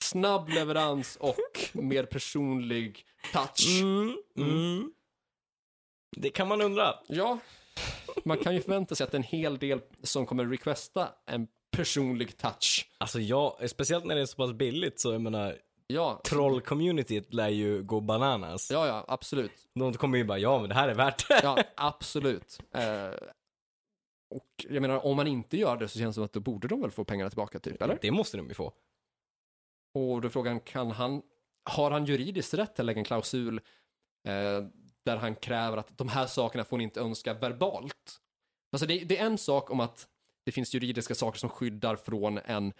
[SPEAKER 1] snabb leverans och mer personlig touch?
[SPEAKER 2] Mm, mm. Det kan man undra.
[SPEAKER 1] Ja, man kan ju förvänta sig att en hel del som kommer requesta en personlig touch.
[SPEAKER 2] Alltså jag, speciellt när det är så pass billigt så jag menar,
[SPEAKER 1] Ja,
[SPEAKER 2] troll-communityt lär ju gå bananas.
[SPEAKER 1] ja, ja absolut.
[SPEAKER 2] De kommer ju bara, ja men det här är värt det.
[SPEAKER 1] Ja, absolut. Eh, och jag menar, om man inte gör det så känns det som att då borde de väl få pengarna tillbaka typ, eller?
[SPEAKER 2] Det måste de ju få.
[SPEAKER 1] Och då är frågan, kan han, har han juridiskt rätt till att lägga en klausul eh, där han kräver att de här sakerna får ni inte önska verbalt? Alltså det, det är en sak om att det finns juridiska saker som skyddar från en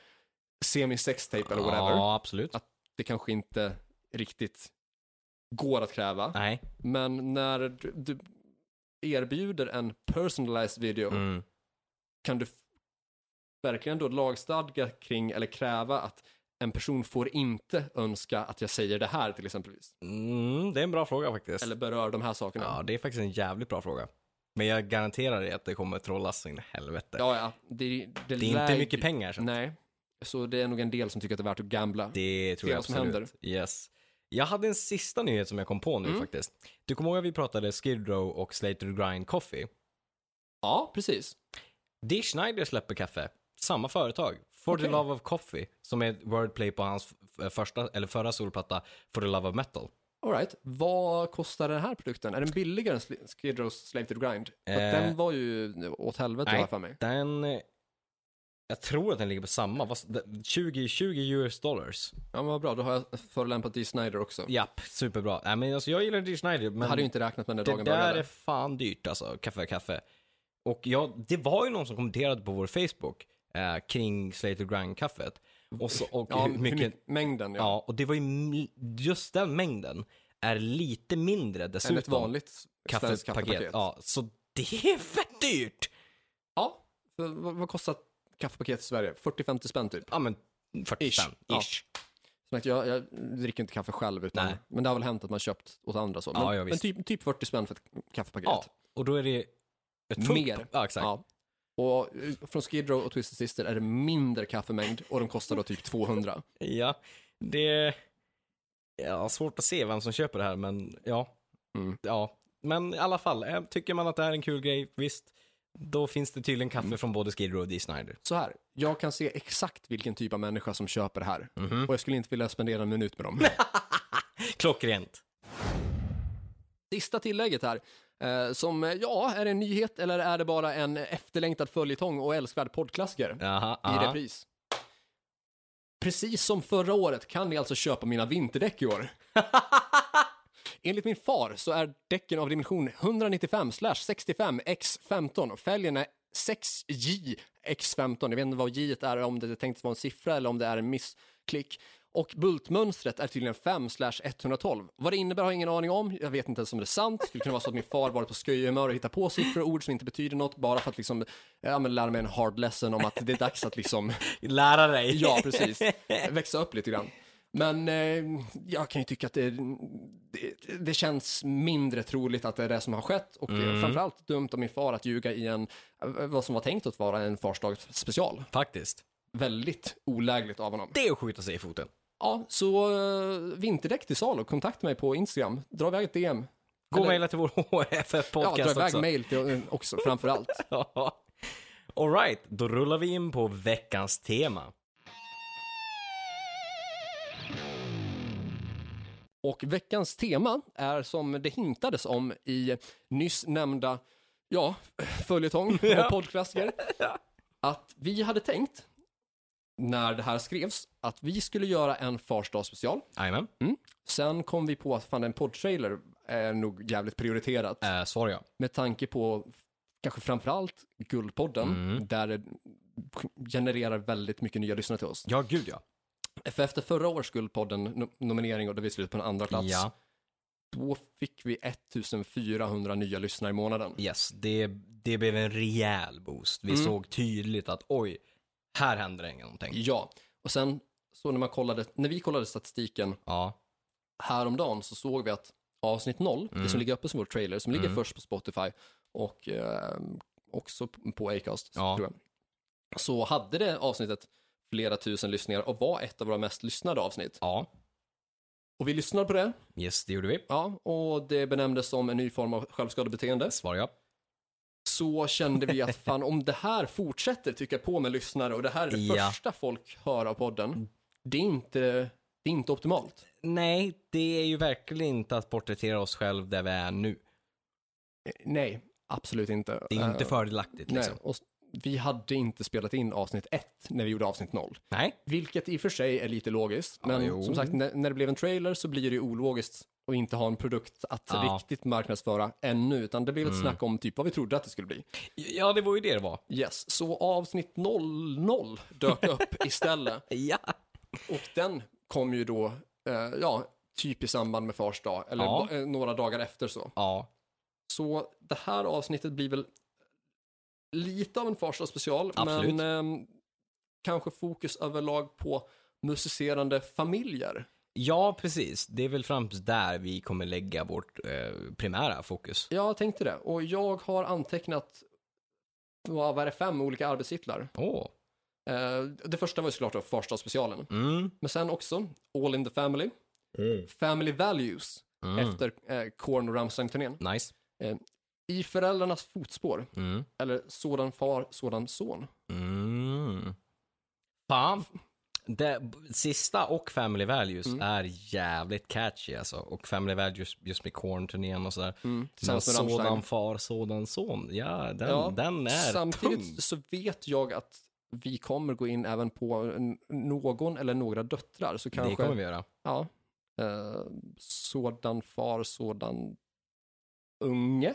[SPEAKER 1] semi-sextape eller whatever. Alltså.
[SPEAKER 2] Ja, absolut.
[SPEAKER 1] Det kanske inte riktigt går att kräva.
[SPEAKER 2] Nej.
[SPEAKER 1] Men när du, du erbjuder en personalized video
[SPEAKER 2] Mm.
[SPEAKER 1] kan du f- verkligen då lagstadga kring eller kräva att en person får inte önska att jag säger det här till exempelvis.
[SPEAKER 2] Mm, det är en bra fråga faktiskt.
[SPEAKER 1] Eller berör de här sakerna.
[SPEAKER 2] Ja, det är faktiskt en jävligt bra fråga. Men jag garanterar dig att det kommer trollas in i helvete.
[SPEAKER 1] Ja, ja. Det,
[SPEAKER 2] det är
[SPEAKER 1] lär-
[SPEAKER 2] inte mycket pengar. Så.
[SPEAKER 1] Nej, så det är nog en del som tycker att det är värt att gambla.
[SPEAKER 2] Det tror
[SPEAKER 1] Se
[SPEAKER 2] jag
[SPEAKER 1] vad som
[SPEAKER 2] absolut.
[SPEAKER 1] händer.
[SPEAKER 2] Yes. Jag hade en sista nyhet som jag kom på nu
[SPEAKER 1] Mm.
[SPEAKER 2] faktiskt. Du kommer ihåg att vi pratade Skid Row och Slater Grind Coffee?
[SPEAKER 1] Ja, precis.
[SPEAKER 2] Dee Schneider släpper kaffe. Samma företag. For the
[SPEAKER 1] Okej.
[SPEAKER 2] Love of Coffee. Som är ett wordplay på hans f- första, eller förra solplatta For the Love of Metal.
[SPEAKER 1] All right. Vad kostar den här produkten? Är den billigare än Sli- Skid Row's Slave to the Grind? För att
[SPEAKER 2] Eh.
[SPEAKER 1] Den var ju åt helvete har
[SPEAKER 2] Nej.
[SPEAKER 1] jag för mig.
[SPEAKER 2] Den... eh, Jag tror att den ligger på samma. Vad s- det- 20, 20 US dollars.
[SPEAKER 1] Ja, men vad bra. Då har jag förolämpat Dee Snider också.
[SPEAKER 2] Japp, superbra. Nej, men alltså, jag gillar Dee Schneider, men...
[SPEAKER 1] Jag hade ju inte räknat med den när
[SPEAKER 2] Det
[SPEAKER 1] dagen
[SPEAKER 2] där
[SPEAKER 1] började.
[SPEAKER 2] är fan dyrt alltså, kaffe kaffe. Och ja, det var ju någon som kommenterade på vår Facebook eh, kring Slater Grind-kaffet. Och, så, och
[SPEAKER 1] Ja,
[SPEAKER 2] hur mycket...
[SPEAKER 1] mängden ja.
[SPEAKER 2] Ja, och det var ju mi- just den mängden är lite mindre dessutom.
[SPEAKER 1] än ett vanligt
[SPEAKER 2] Typ kaffepaket.
[SPEAKER 1] svenskt kaffepaket. Ja.
[SPEAKER 2] Ja, så det är fett dyrt!
[SPEAKER 1] ja. För vad, vad kostar ett kaffepaket i Sverige? 40-50 spänn typ.
[SPEAKER 2] Ja, men 45 ish.
[SPEAKER 1] Ish. Ja. Så att jag, jag dricker inte kaffe själv, utan,
[SPEAKER 2] Nej.
[SPEAKER 1] men det har väl hänt att man köpt åt andra så. Men,
[SPEAKER 2] Ja, ja,
[SPEAKER 1] men
[SPEAKER 2] visst.
[SPEAKER 1] typ, typ 40 spänn för ett kaffepaket.
[SPEAKER 2] Ja, och då är det ett fullt-
[SPEAKER 1] Mer.
[SPEAKER 2] Ja, exakt.
[SPEAKER 1] Ja. Och eh, från Skid Row och Twisted Sister är det mindre kaffemängd och de kostar då typ 200.
[SPEAKER 2] Ja, det... Ja, svårt att se vem som köper det här, men ja.
[SPEAKER 1] Mm.
[SPEAKER 2] ja. Men i alla fall, eh, tycker man att det här är en kul grej, visst. Då finns det tydligen kaffe
[SPEAKER 1] Mm.
[SPEAKER 2] från både Skid Row och Dee Snider.
[SPEAKER 1] Så här, jag kan se exakt vilken typ av människa som köper det här.
[SPEAKER 2] Mhm.
[SPEAKER 1] Och jag skulle inte vilja spendera en minut med dem.
[SPEAKER 2] Klockrent.
[SPEAKER 1] Sista tillägget här, eh, som eh, ja, är det en nyhet eller är det bara en efterlängtad följetong och älskvärd poddklassiker?
[SPEAKER 2] Aha,
[SPEAKER 1] i
[SPEAKER 2] aha.
[SPEAKER 1] repris. Precis som förra året kan ni alltså köpa mina vinterdäck i år. Enligt min far så är däcken av dimension 195 65 x 15 och fälgen är 6J x 15. Jag vet inte vad J är, om det är tänkt att vara en siffra eller om det är en missklick. Och bultmönstret är tydligen 5 112. Vad det innebär har jag ingen aning om. Jag vet inte ens om det är sant. Det skulle kunna vara så att min far varit på sköjehumör och hittat på siffror och ord som inte betyder något bara för att liksom, ja, men lära mig en hard lesson om att det är dags att liksom
[SPEAKER 2] Lära dig.
[SPEAKER 1] Ja, precis. Växa upp lite grann. Men eh, jag kan ju tycka att det, det, det känns mindre troligt att det är det som har skett och mm. framförallt dumt av min far att ljuga i en, eh, vad som var tänkt att vara en farsdagsspecial.
[SPEAKER 2] (laughs) Faktiskt.
[SPEAKER 1] Väldigt olägligt av honom.
[SPEAKER 2] Det är att skjuta sig i foten.
[SPEAKER 1] Ja, så eh, vinterdäck till salu, kontakta mig på Instagram, dra iväg ett DM.
[SPEAKER 2] Gå och
[SPEAKER 1] Eller-
[SPEAKER 2] mejla till vår
[SPEAKER 1] Ja,
[SPEAKER 2] HF-podcast
[SPEAKER 1] dra iväg
[SPEAKER 2] också.
[SPEAKER 1] mail till, eh, också framförallt.
[SPEAKER 2] Ja. All right, då rullar vi in på veckans tema.
[SPEAKER 1] Och veckans tema är som det hintades om i nyss nämnda, ja,
[SPEAKER 2] (laughs)
[SPEAKER 1] följetong och poddklassiker. Att vi hade tänkt, när det här skrevs, att vi skulle göra en farsdagsspecial.
[SPEAKER 2] Jajamän.
[SPEAKER 1] Sen kom vi på att fan en poddtrailer är nog jävligt prioriterat.
[SPEAKER 2] Eh, svar ja.
[SPEAKER 1] Med tanke på kanske framförallt Guldpodden,
[SPEAKER 2] Mm.
[SPEAKER 1] där det genererar väldigt mycket nya lyssnare till oss.
[SPEAKER 2] Ja, gud ja.
[SPEAKER 1] För efter förra års Guldpodden no- nominering och där vi slutade på en andra plats,
[SPEAKER 2] Ja.
[SPEAKER 1] då fick vi 1400 nya lyssnare i månaden.
[SPEAKER 2] Yes, det, det blev en rejäl boost. Vi såg tydligt att oj, här händer det någonting.
[SPEAKER 1] Ja, och sen så när man kollade, när vi kollade statistiken
[SPEAKER 2] Ja,
[SPEAKER 1] häromdagen så såg vi att avsnitt 0, det som ligger uppe som vår trailer, som ligger först på Spotify och eh, också p- på Acast,
[SPEAKER 2] Ja.
[SPEAKER 1] tror jag. Så hade det avsnittet flera tusen lyssningar och var ett av våra mest lyssnade avsnitt.
[SPEAKER 2] ja,
[SPEAKER 1] Och vi lyssnade på det,
[SPEAKER 2] yes, det gjorde vi.
[SPEAKER 1] ja, och det benämndes som en ny form av självskadebeteende.
[SPEAKER 2] Svar ja.
[SPEAKER 1] så kände vi att fan om det här fortsätter tycka på med lyssnare och det här är det
[SPEAKER 2] Ja.
[SPEAKER 1] första folk hör av podden, det är inte, det är inte optimalt.
[SPEAKER 2] Nej, det är ju verkligen inte att porträttera oss själv där vi är nu.
[SPEAKER 1] Eh, Nej, absolut inte.
[SPEAKER 2] Det är ju inte
[SPEAKER 1] Eh,
[SPEAKER 2] fördelaktigt
[SPEAKER 1] nej.
[SPEAKER 2] liksom.
[SPEAKER 1] Och s- vi hade inte spelat in avsnitt 1 när vi gjorde avsnitt 0.
[SPEAKER 2] Nej.
[SPEAKER 1] Vilket i och för sig är lite logiskt, men
[SPEAKER 2] jo.
[SPEAKER 1] som sagt, när, när det blev en trailer så blir det ju ologiskt att inte ha en produkt att
[SPEAKER 2] Ja.
[SPEAKER 1] riktigt marknadsföra ännu, utan det blev ett snack om typ vad vi trodde att det skulle bli.
[SPEAKER 2] Ja, det var ju det det var.
[SPEAKER 1] Yes, så avsnitt 00 dök (laughs) upp istället.
[SPEAKER 2] Ja.
[SPEAKER 1] Och den kom ju då, eh, ja, typ i samband med Fars dag, eller
[SPEAKER 2] Ja.
[SPEAKER 1] ba- eh, några dagar efter så.
[SPEAKER 2] Ja,
[SPEAKER 1] Så det här avsnittet blir väl lite av en Fars dag special,
[SPEAKER 2] Absolut.
[SPEAKER 1] men ehm, kanske fokus överlag på musicerande familjer.
[SPEAKER 2] Ja, precis. Det är väl främst där vi kommer lägga vårt eh, primära fokus.
[SPEAKER 1] Jag tänkte det. Och jag har antecknat, vad vad är det, fem olika arbetstitlar.
[SPEAKER 2] Åh.
[SPEAKER 1] Eh, det första var ju såklart då Farstadsspecialen.
[SPEAKER 2] Mm.
[SPEAKER 1] Men sen också All in the Family, Family Values,
[SPEAKER 2] Mm.
[SPEAKER 1] efter eh, Korn och Rammstein-turnén.
[SPEAKER 2] Nice.
[SPEAKER 1] I föräldrarnas fotspår,
[SPEAKER 2] Mm.
[SPEAKER 1] eller Sådan far, sådan son.
[SPEAKER 2] Mm. Fan. Det sista och Family Values
[SPEAKER 1] Mm.
[SPEAKER 2] är jävligt catchy alltså. Och Family Values just med Korn-turnén och sådär.
[SPEAKER 1] Mm,
[SPEAKER 2] Men
[SPEAKER 1] tillsammans med Rammstein.
[SPEAKER 2] sådan far, sådan son. Ja, den,
[SPEAKER 1] Ja,
[SPEAKER 2] den är
[SPEAKER 1] Samtidigt
[SPEAKER 2] tung.
[SPEAKER 1] så vet jag att vi kommer gå in även på n- någon eller några döttrar. Så kanske,
[SPEAKER 2] Det kommer vi göra.
[SPEAKER 1] ja, eh, sådan far, sådan unge.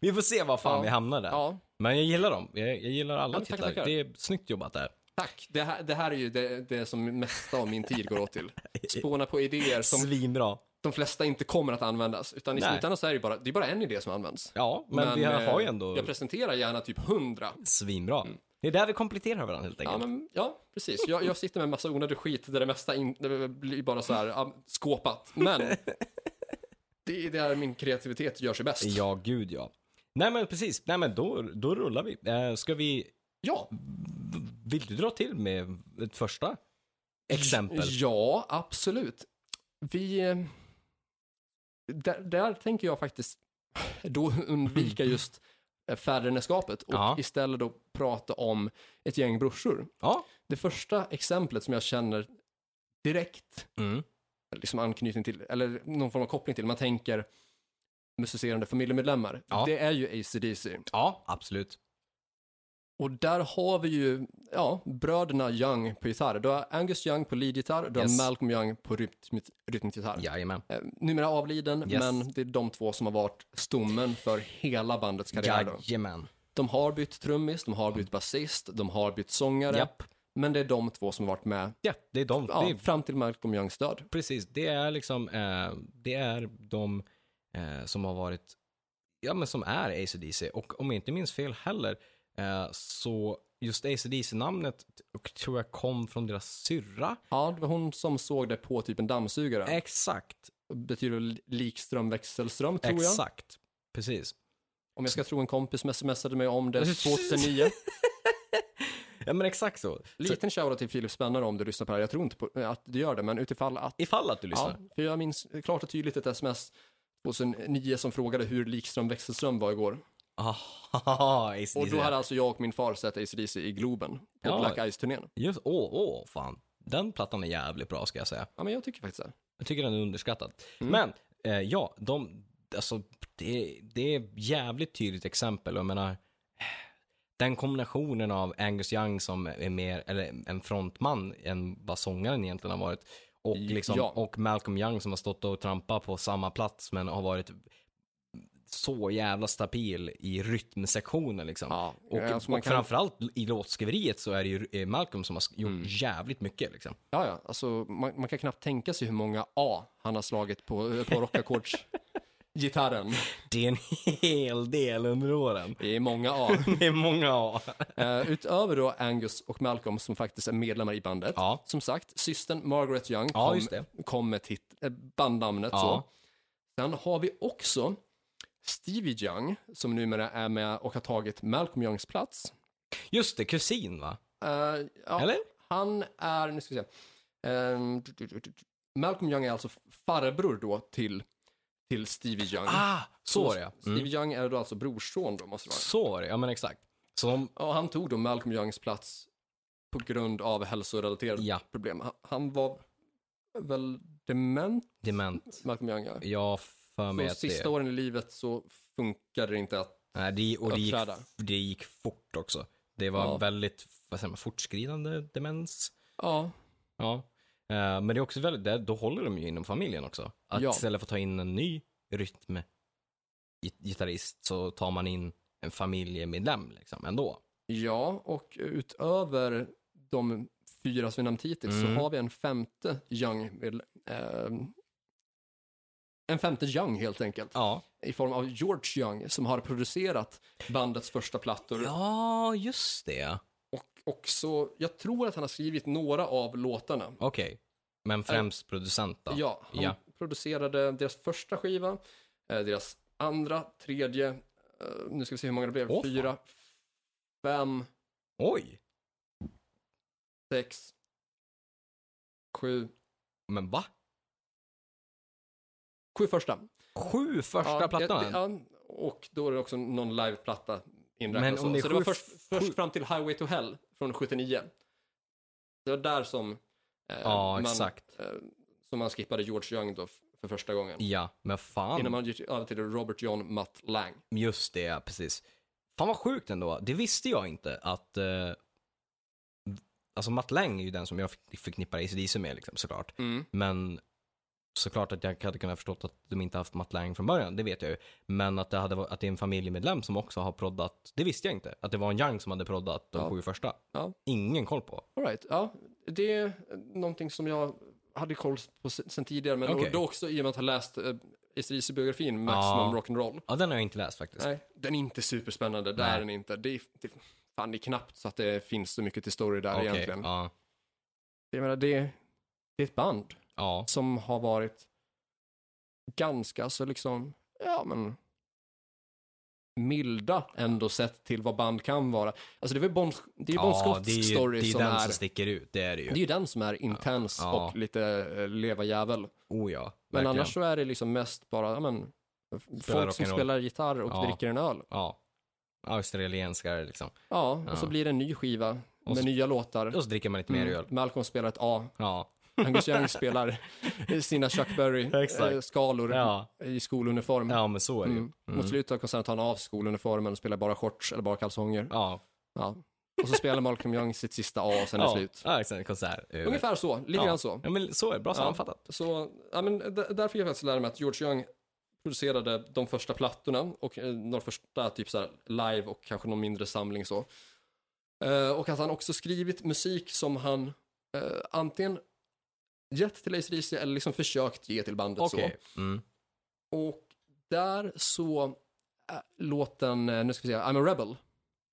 [SPEAKER 2] vi får se vad fan
[SPEAKER 1] Ja.
[SPEAKER 2] vi hamnar där.
[SPEAKER 1] Ja,
[SPEAKER 2] Men jag gillar dem. Jag, jag gillar alla
[SPEAKER 1] Ja, tack,
[SPEAKER 2] titlar.
[SPEAKER 1] tackar.
[SPEAKER 2] Det är snyggt jobbat där.
[SPEAKER 1] tack. Det här, det här är ju det, det som mesta av min tid går åt till. Spåna på idéer som
[SPEAKER 2] Svinbra.
[SPEAKER 1] de flesta inte kommer att användas. Utan i
[SPEAKER 2] Nej.
[SPEAKER 1] slutändan så är det ju bara, det är bara en idé som används.
[SPEAKER 2] Ja, men, vi har,
[SPEAKER 1] eh,
[SPEAKER 2] har ju ändå
[SPEAKER 1] Jag Mm. presenterar gärna typ hundra.
[SPEAKER 2] svinbra. Det är där vi kompletterar varandra helt
[SPEAKER 1] Ja,
[SPEAKER 2] enkelt.
[SPEAKER 1] men, ja precis. Jag, jag sitter med en massa onödig skit där det mesta in, det blir bara så här ja, skåpat. Men (laughs) det är där min kreativitet gör sig bäst.
[SPEAKER 2] Ja, gud ja. Nej men precis, Nej, men då, då rullar vi. Eh, ska vi,
[SPEAKER 1] Ja.
[SPEAKER 2] vill du dra till med ett första exempel?
[SPEAKER 1] Ja, absolut. Vi... eh, Där, där tänker jag faktiskt då undvika just eh, fädernesskapet och
[SPEAKER 2] Ja.
[SPEAKER 1] istället då prata om ett gäng brorsor.
[SPEAKER 2] Ja.
[SPEAKER 1] Det första exemplet som jag känner direkt
[SPEAKER 2] Mm.
[SPEAKER 1] liksom anknytning till, eller någon form av koppling till, man tänker musicerande familjemedlemmar.
[SPEAKER 2] Ja.
[SPEAKER 1] Det är ju ACDC.
[SPEAKER 2] Ja, absolut.
[SPEAKER 1] Och där har vi ju, ja, bröderna Young på gitarr. Du har Angus Young på leadgitarr, du
[SPEAKER 2] Yes.
[SPEAKER 1] har Malcolm Young på rytmit- rytmgitarr.
[SPEAKER 2] Jajamän.
[SPEAKER 1] Eh, Numera avliden,
[SPEAKER 2] Yes.
[SPEAKER 1] men det är de två som har varit stommen för hela bandets karriär. Då.
[SPEAKER 2] Jajamän.
[SPEAKER 1] De har bytt trummis, de har bytt basist, de har bytt sångare,
[SPEAKER 2] Japp.
[SPEAKER 1] men det är de två som har varit med
[SPEAKER 2] Ja, det är de.
[SPEAKER 1] ja,
[SPEAKER 2] Det är,
[SPEAKER 1] fram till Malcolm Youngs död.
[SPEAKER 2] precis, det är liksom, eh, det är de eh, som har varit, ja men som är ACDC. Och om jag inte minns fel heller, eh, så just ACDC-namnet och tror jag kom från deras syrra.
[SPEAKER 1] Ja, det var hon som såg det på typ en dammsugare.
[SPEAKER 2] Exakt,
[SPEAKER 1] betyder väl likström växelström tror jag.
[SPEAKER 2] exakt. Precis.
[SPEAKER 1] Om jag ska tro en kompis som smsade mig om det
[SPEAKER 2] (laughs)
[SPEAKER 1] 2009.
[SPEAKER 2] Ja men exakt så. så
[SPEAKER 1] Liten shoutout till Filip Spännare om du lyssnar på det här. Jag tror inte på, eh, att du gör det, men utifall att.
[SPEAKER 2] ifall att du
[SPEAKER 1] Ja,
[SPEAKER 2] lyssnar. (laughs)
[SPEAKER 1] för jag minns klart och tydligt ett sms 2009 som frågade hur likström växelström var igår.
[SPEAKER 2] Aha, ACDC.
[SPEAKER 1] Och då hade alltså jag och min far sett ACDC i Globen på
[SPEAKER 2] Ja.
[SPEAKER 1] Black Ice-turnén.
[SPEAKER 2] Just, åh, åh, fan. Den plattan är jävligt bra ska jag säga.
[SPEAKER 1] Ja, men jag tycker faktiskt det.
[SPEAKER 2] Jag tycker den är underskattad.
[SPEAKER 1] Mm.
[SPEAKER 2] Men, eh, ja, de, alltså, det, det är ett jävligt tydligt exempel. Jag menar, den kombinationen av Angus Young som är mer, eller en frontman än vad sångaren egentligen har varit. Och, liksom,
[SPEAKER 1] Ja.
[SPEAKER 2] och Malcolm Young som har stått och trampat på samma plats men har varit så jävla stabil i rytmsektionen liksom.
[SPEAKER 1] Ja,
[SPEAKER 2] Och,
[SPEAKER 1] alltså man
[SPEAKER 2] och
[SPEAKER 1] kan-
[SPEAKER 2] framförallt i låtskriveriet så är det ju eh, Malcolm som har sk- gjort
[SPEAKER 1] Mm.
[SPEAKER 2] jävligt mycket liksom.
[SPEAKER 1] Ja, ja, alltså man, man kan knappt tänka sig hur många A han har slagit på, på rockackordsgitarren.
[SPEAKER 2] (laughs) Det är en hel del under åren.
[SPEAKER 1] Det är många A.
[SPEAKER 2] Det är många A.
[SPEAKER 1] Eh, utöver då Angus och Malcolm som faktiskt är medlemmar i bandet.
[SPEAKER 2] Ja.
[SPEAKER 1] Som sagt, systern Margaret Young
[SPEAKER 2] Ja,
[SPEAKER 1] kom,
[SPEAKER 2] just det.
[SPEAKER 1] kom med tit- eh, bandnamnet.
[SPEAKER 2] Ja.
[SPEAKER 1] Så. Sen har vi också Stevie Young som numera är med och har tagit Malcolm Youngs plats.
[SPEAKER 2] Just det, kusin va?
[SPEAKER 1] Eh, ja,
[SPEAKER 2] Eller?
[SPEAKER 1] Han är, nu ska vi se. Eh, du- du- du- du- Malcolm Young är alltså farbror då till, till Stevie Young.
[SPEAKER 2] Ah, så var det ja. Mm.
[SPEAKER 1] Stevie Young är då alltså brorson då, måste det vara.
[SPEAKER 2] Så var det, ja men exakt. Så de,
[SPEAKER 1] Ja, han tog då Malcolm Youngs plats på grund av hälsorelaterade
[SPEAKER 2] Ja.
[SPEAKER 1] problem. Han, han var väl dement,
[SPEAKER 2] dement.
[SPEAKER 1] Malcolm Young, ja.
[SPEAKER 2] Jag har för mig
[SPEAKER 1] Så
[SPEAKER 2] att det...
[SPEAKER 1] sista åren i livet så funkade det inte att...
[SPEAKER 2] Nej, det, och det gick,
[SPEAKER 1] uppträda.
[SPEAKER 2] det gick fort också. Det var
[SPEAKER 1] Ja.
[SPEAKER 2] väldigt, vad säger man, fortskridande demens.
[SPEAKER 1] Ja,
[SPEAKER 2] Ja. Eh, men det är också väldigt, där- då håller de ju inom familjen också. Att
[SPEAKER 1] Ja.
[SPEAKER 2] istället för att ta in en ny rytmgitarrist så tar man in en familjemedlem liksom ändå.
[SPEAKER 1] ja och utöver de fyra som vi nämnt hittills
[SPEAKER 2] Mm.
[SPEAKER 1] så har vi en femte Young. med- ehm, en femte Young helt enkelt.
[SPEAKER 2] Ja.
[SPEAKER 1] I form av George Young som har producerat bandets första plattor.
[SPEAKER 2] Ja, just det.
[SPEAKER 1] Och också, jag tror att han har skrivit några av låtarna.
[SPEAKER 2] Okej. Men främst producent då?
[SPEAKER 1] Äh, Ja, han
[SPEAKER 2] Ja.
[SPEAKER 1] producerade deras första skiva, eh, deras andra, tredje, eh, nu ska vi se hur många det blev,
[SPEAKER 2] Åh, fan.
[SPEAKER 1] fyra, fem,
[SPEAKER 2] Oj!
[SPEAKER 1] sex, sju,
[SPEAKER 2] Men va?
[SPEAKER 1] sju första.
[SPEAKER 2] Sju första
[SPEAKER 1] ja,
[SPEAKER 2] plattan?
[SPEAKER 1] det- Ja, och då är det också någon liveplatta inräknad.
[SPEAKER 2] Men om
[SPEAKER 1] så
[SPEAKER 2] det är
[SPEAKER 1] så det var
[SPEAKER 2] sju-
[SPEAKER 1] först, först
[SPEAKER 2] sju-
[SPEAKER 1] fram till Highway to Hell från 79. Det var där som, eh,
[SPEAKER 2] ja,
[SPEAKER 1] man,
[SPEAKER 2] exakt.
[SPEAKER 1] eh, som man skippade George Young då f- för första gången.
[SPEAKER 2] Ja, men fan.
[SPEAKER 1] Innan man gick över till Robert John Mutt Lang.
[SPEAKER 2] Just det, ja, precis. Fan vad sjukt ändå. Det visste jag inte att... Eh, alltså Matt Lang är ju den som jag fick- förknippar ACDC med liksom, såklart.
[SPEAKER 1] Mm.
[SPEAKER 2] Men såklart att jag hade kunnat förstått att de inte haft Matt Lang från början, det vet jag ju. Men att det, hade, varit- att det är en familjemedlem som också har proddat, det visste jag inte. Att det var en Young som hade proddat de
[SPEAKER 1] Ja.
[SPEAKER 2] sju första.
[SPEAKER 1] Ja.
[SPEAKER 2] Ingen koll på.
[SPEAKER 1] All right, ja. Det är någonting som jag hade koll på se- sen tidigare, men
[SPEAKER 2] Okej.
[SPEAKER 1] och då också i och med att ha läst eh, ACDC-biografin Maximum
[SPEAKER 2] Ja.
[SPEAKER 1] Rock'n'Roll.
[SPEAKER 2] Ja, den har jag inte läst faktiskt.
[SPEAKER 1] Nej, den är inte superspännande, det
[SPEAKER 2] Nej.
[SPEAKER 1] är den inte. Det är, det, fan, det är knappt så att det finns så mycket till story där
[SPEAKER 2] Okej,
[SPEAKER 1] egentligen.
[SPEAKER 2] ja.
[SPEAKER 1] Jag menar, det, det är ett band
[SPEAKER 2] ja.
[SPEAKER 1] som har varit ganska så liksom, ja men milda ändå sett till vad band kan vara. Alltså det är väl Bon, det är ju bon
[SPEAKER 2] ja,
[SPEAKER 1] Scotts
[SPEAKER 2] det är ju
[SPEAKER 1] story
[SPEAKER 2] det är
[SPEAKER 1] som
[SPEAKER 2] den
[SPEAKER 1] är...
[SPEAKER 2] som sticker ut, det är det ju.
[SPEAKER 1] Det är ju den som är intens
[SPEAKER 2] Ja.
[SPEAKER 1] och lite eh, leva jävel. Men
[SPEAKER 2] Oh ja,
[SPEAKER 1] annars så är det liksom mest bara, ja men, folk som
[SPEAKER 2] rock'n'roll.
[SPEAKER 1] spelar gitarr och
[SPEAKER 2] Ja.
[SPEAKER 1] dricker en öl.
[SPEAKER 2] Ja. Australienskare liksom.
[SPEAKER 1] Ja, och
[SPEAKER 2] Ja.
[SPEAKER 1] så blir det en ny skiva med
[SPEAKER 2] så-
[SPEAKER 1] nya låtar.
[SPEAKER 2] Och så dricker man lite mer öl.
[SPEAKER 1] Mm, Malcolm spelar ett A,
[SPEAKER 2] Ja.
[SPEAKER 1] Angus
[SPEAKER 2] (laughs)
[SPEAKER 1] Young spelar sina Chuck
[SPEAKER 2] Exakt.
[SPEAKER 1] Berry-skalor
[SPEAKER 2] Ja,
[SPEAKER 1] i skoluniform.
[SPEAKER 2] ja men så är det ju.
[SPEAKER 1] Mm. Mot slutet av konserten tar han av skoluniformen och spelar bara shorts eller bara kalsonger.
[SPEAKER 2] Ja.
[SPEAKER 1] Ja. Och så spelar Malcolm Young sitt sista A och sen är det
[SPEAKER 2] ja.
[SPEAKER 1] slut.
[SPEAKER 2] Ja, exakt. Konsert. över.
[SPEAKER 1] Ungefär så, lite
[SPEAKER 2] ja.
[SPEAKER 1] grann så.
[SPEAKER 2] Ja, men så är det. Bra sammanfattat.
[SPEAKER 1] Så, ja, men d- där fick jag faktiskt lära mig att George Young producerade de första plattorna och eh, de första typ så här, live och kanske någon mindre samling så. Eh, och att han också skrivit musik som han eh, antingen gett till ACDC eller liksom försökt ge till bandet
[SPEAKER 2] Okej. Mm.
[SPEAKER 1] så. Och där så eh, låten, eh, nu ska vi se, I'm a Rebel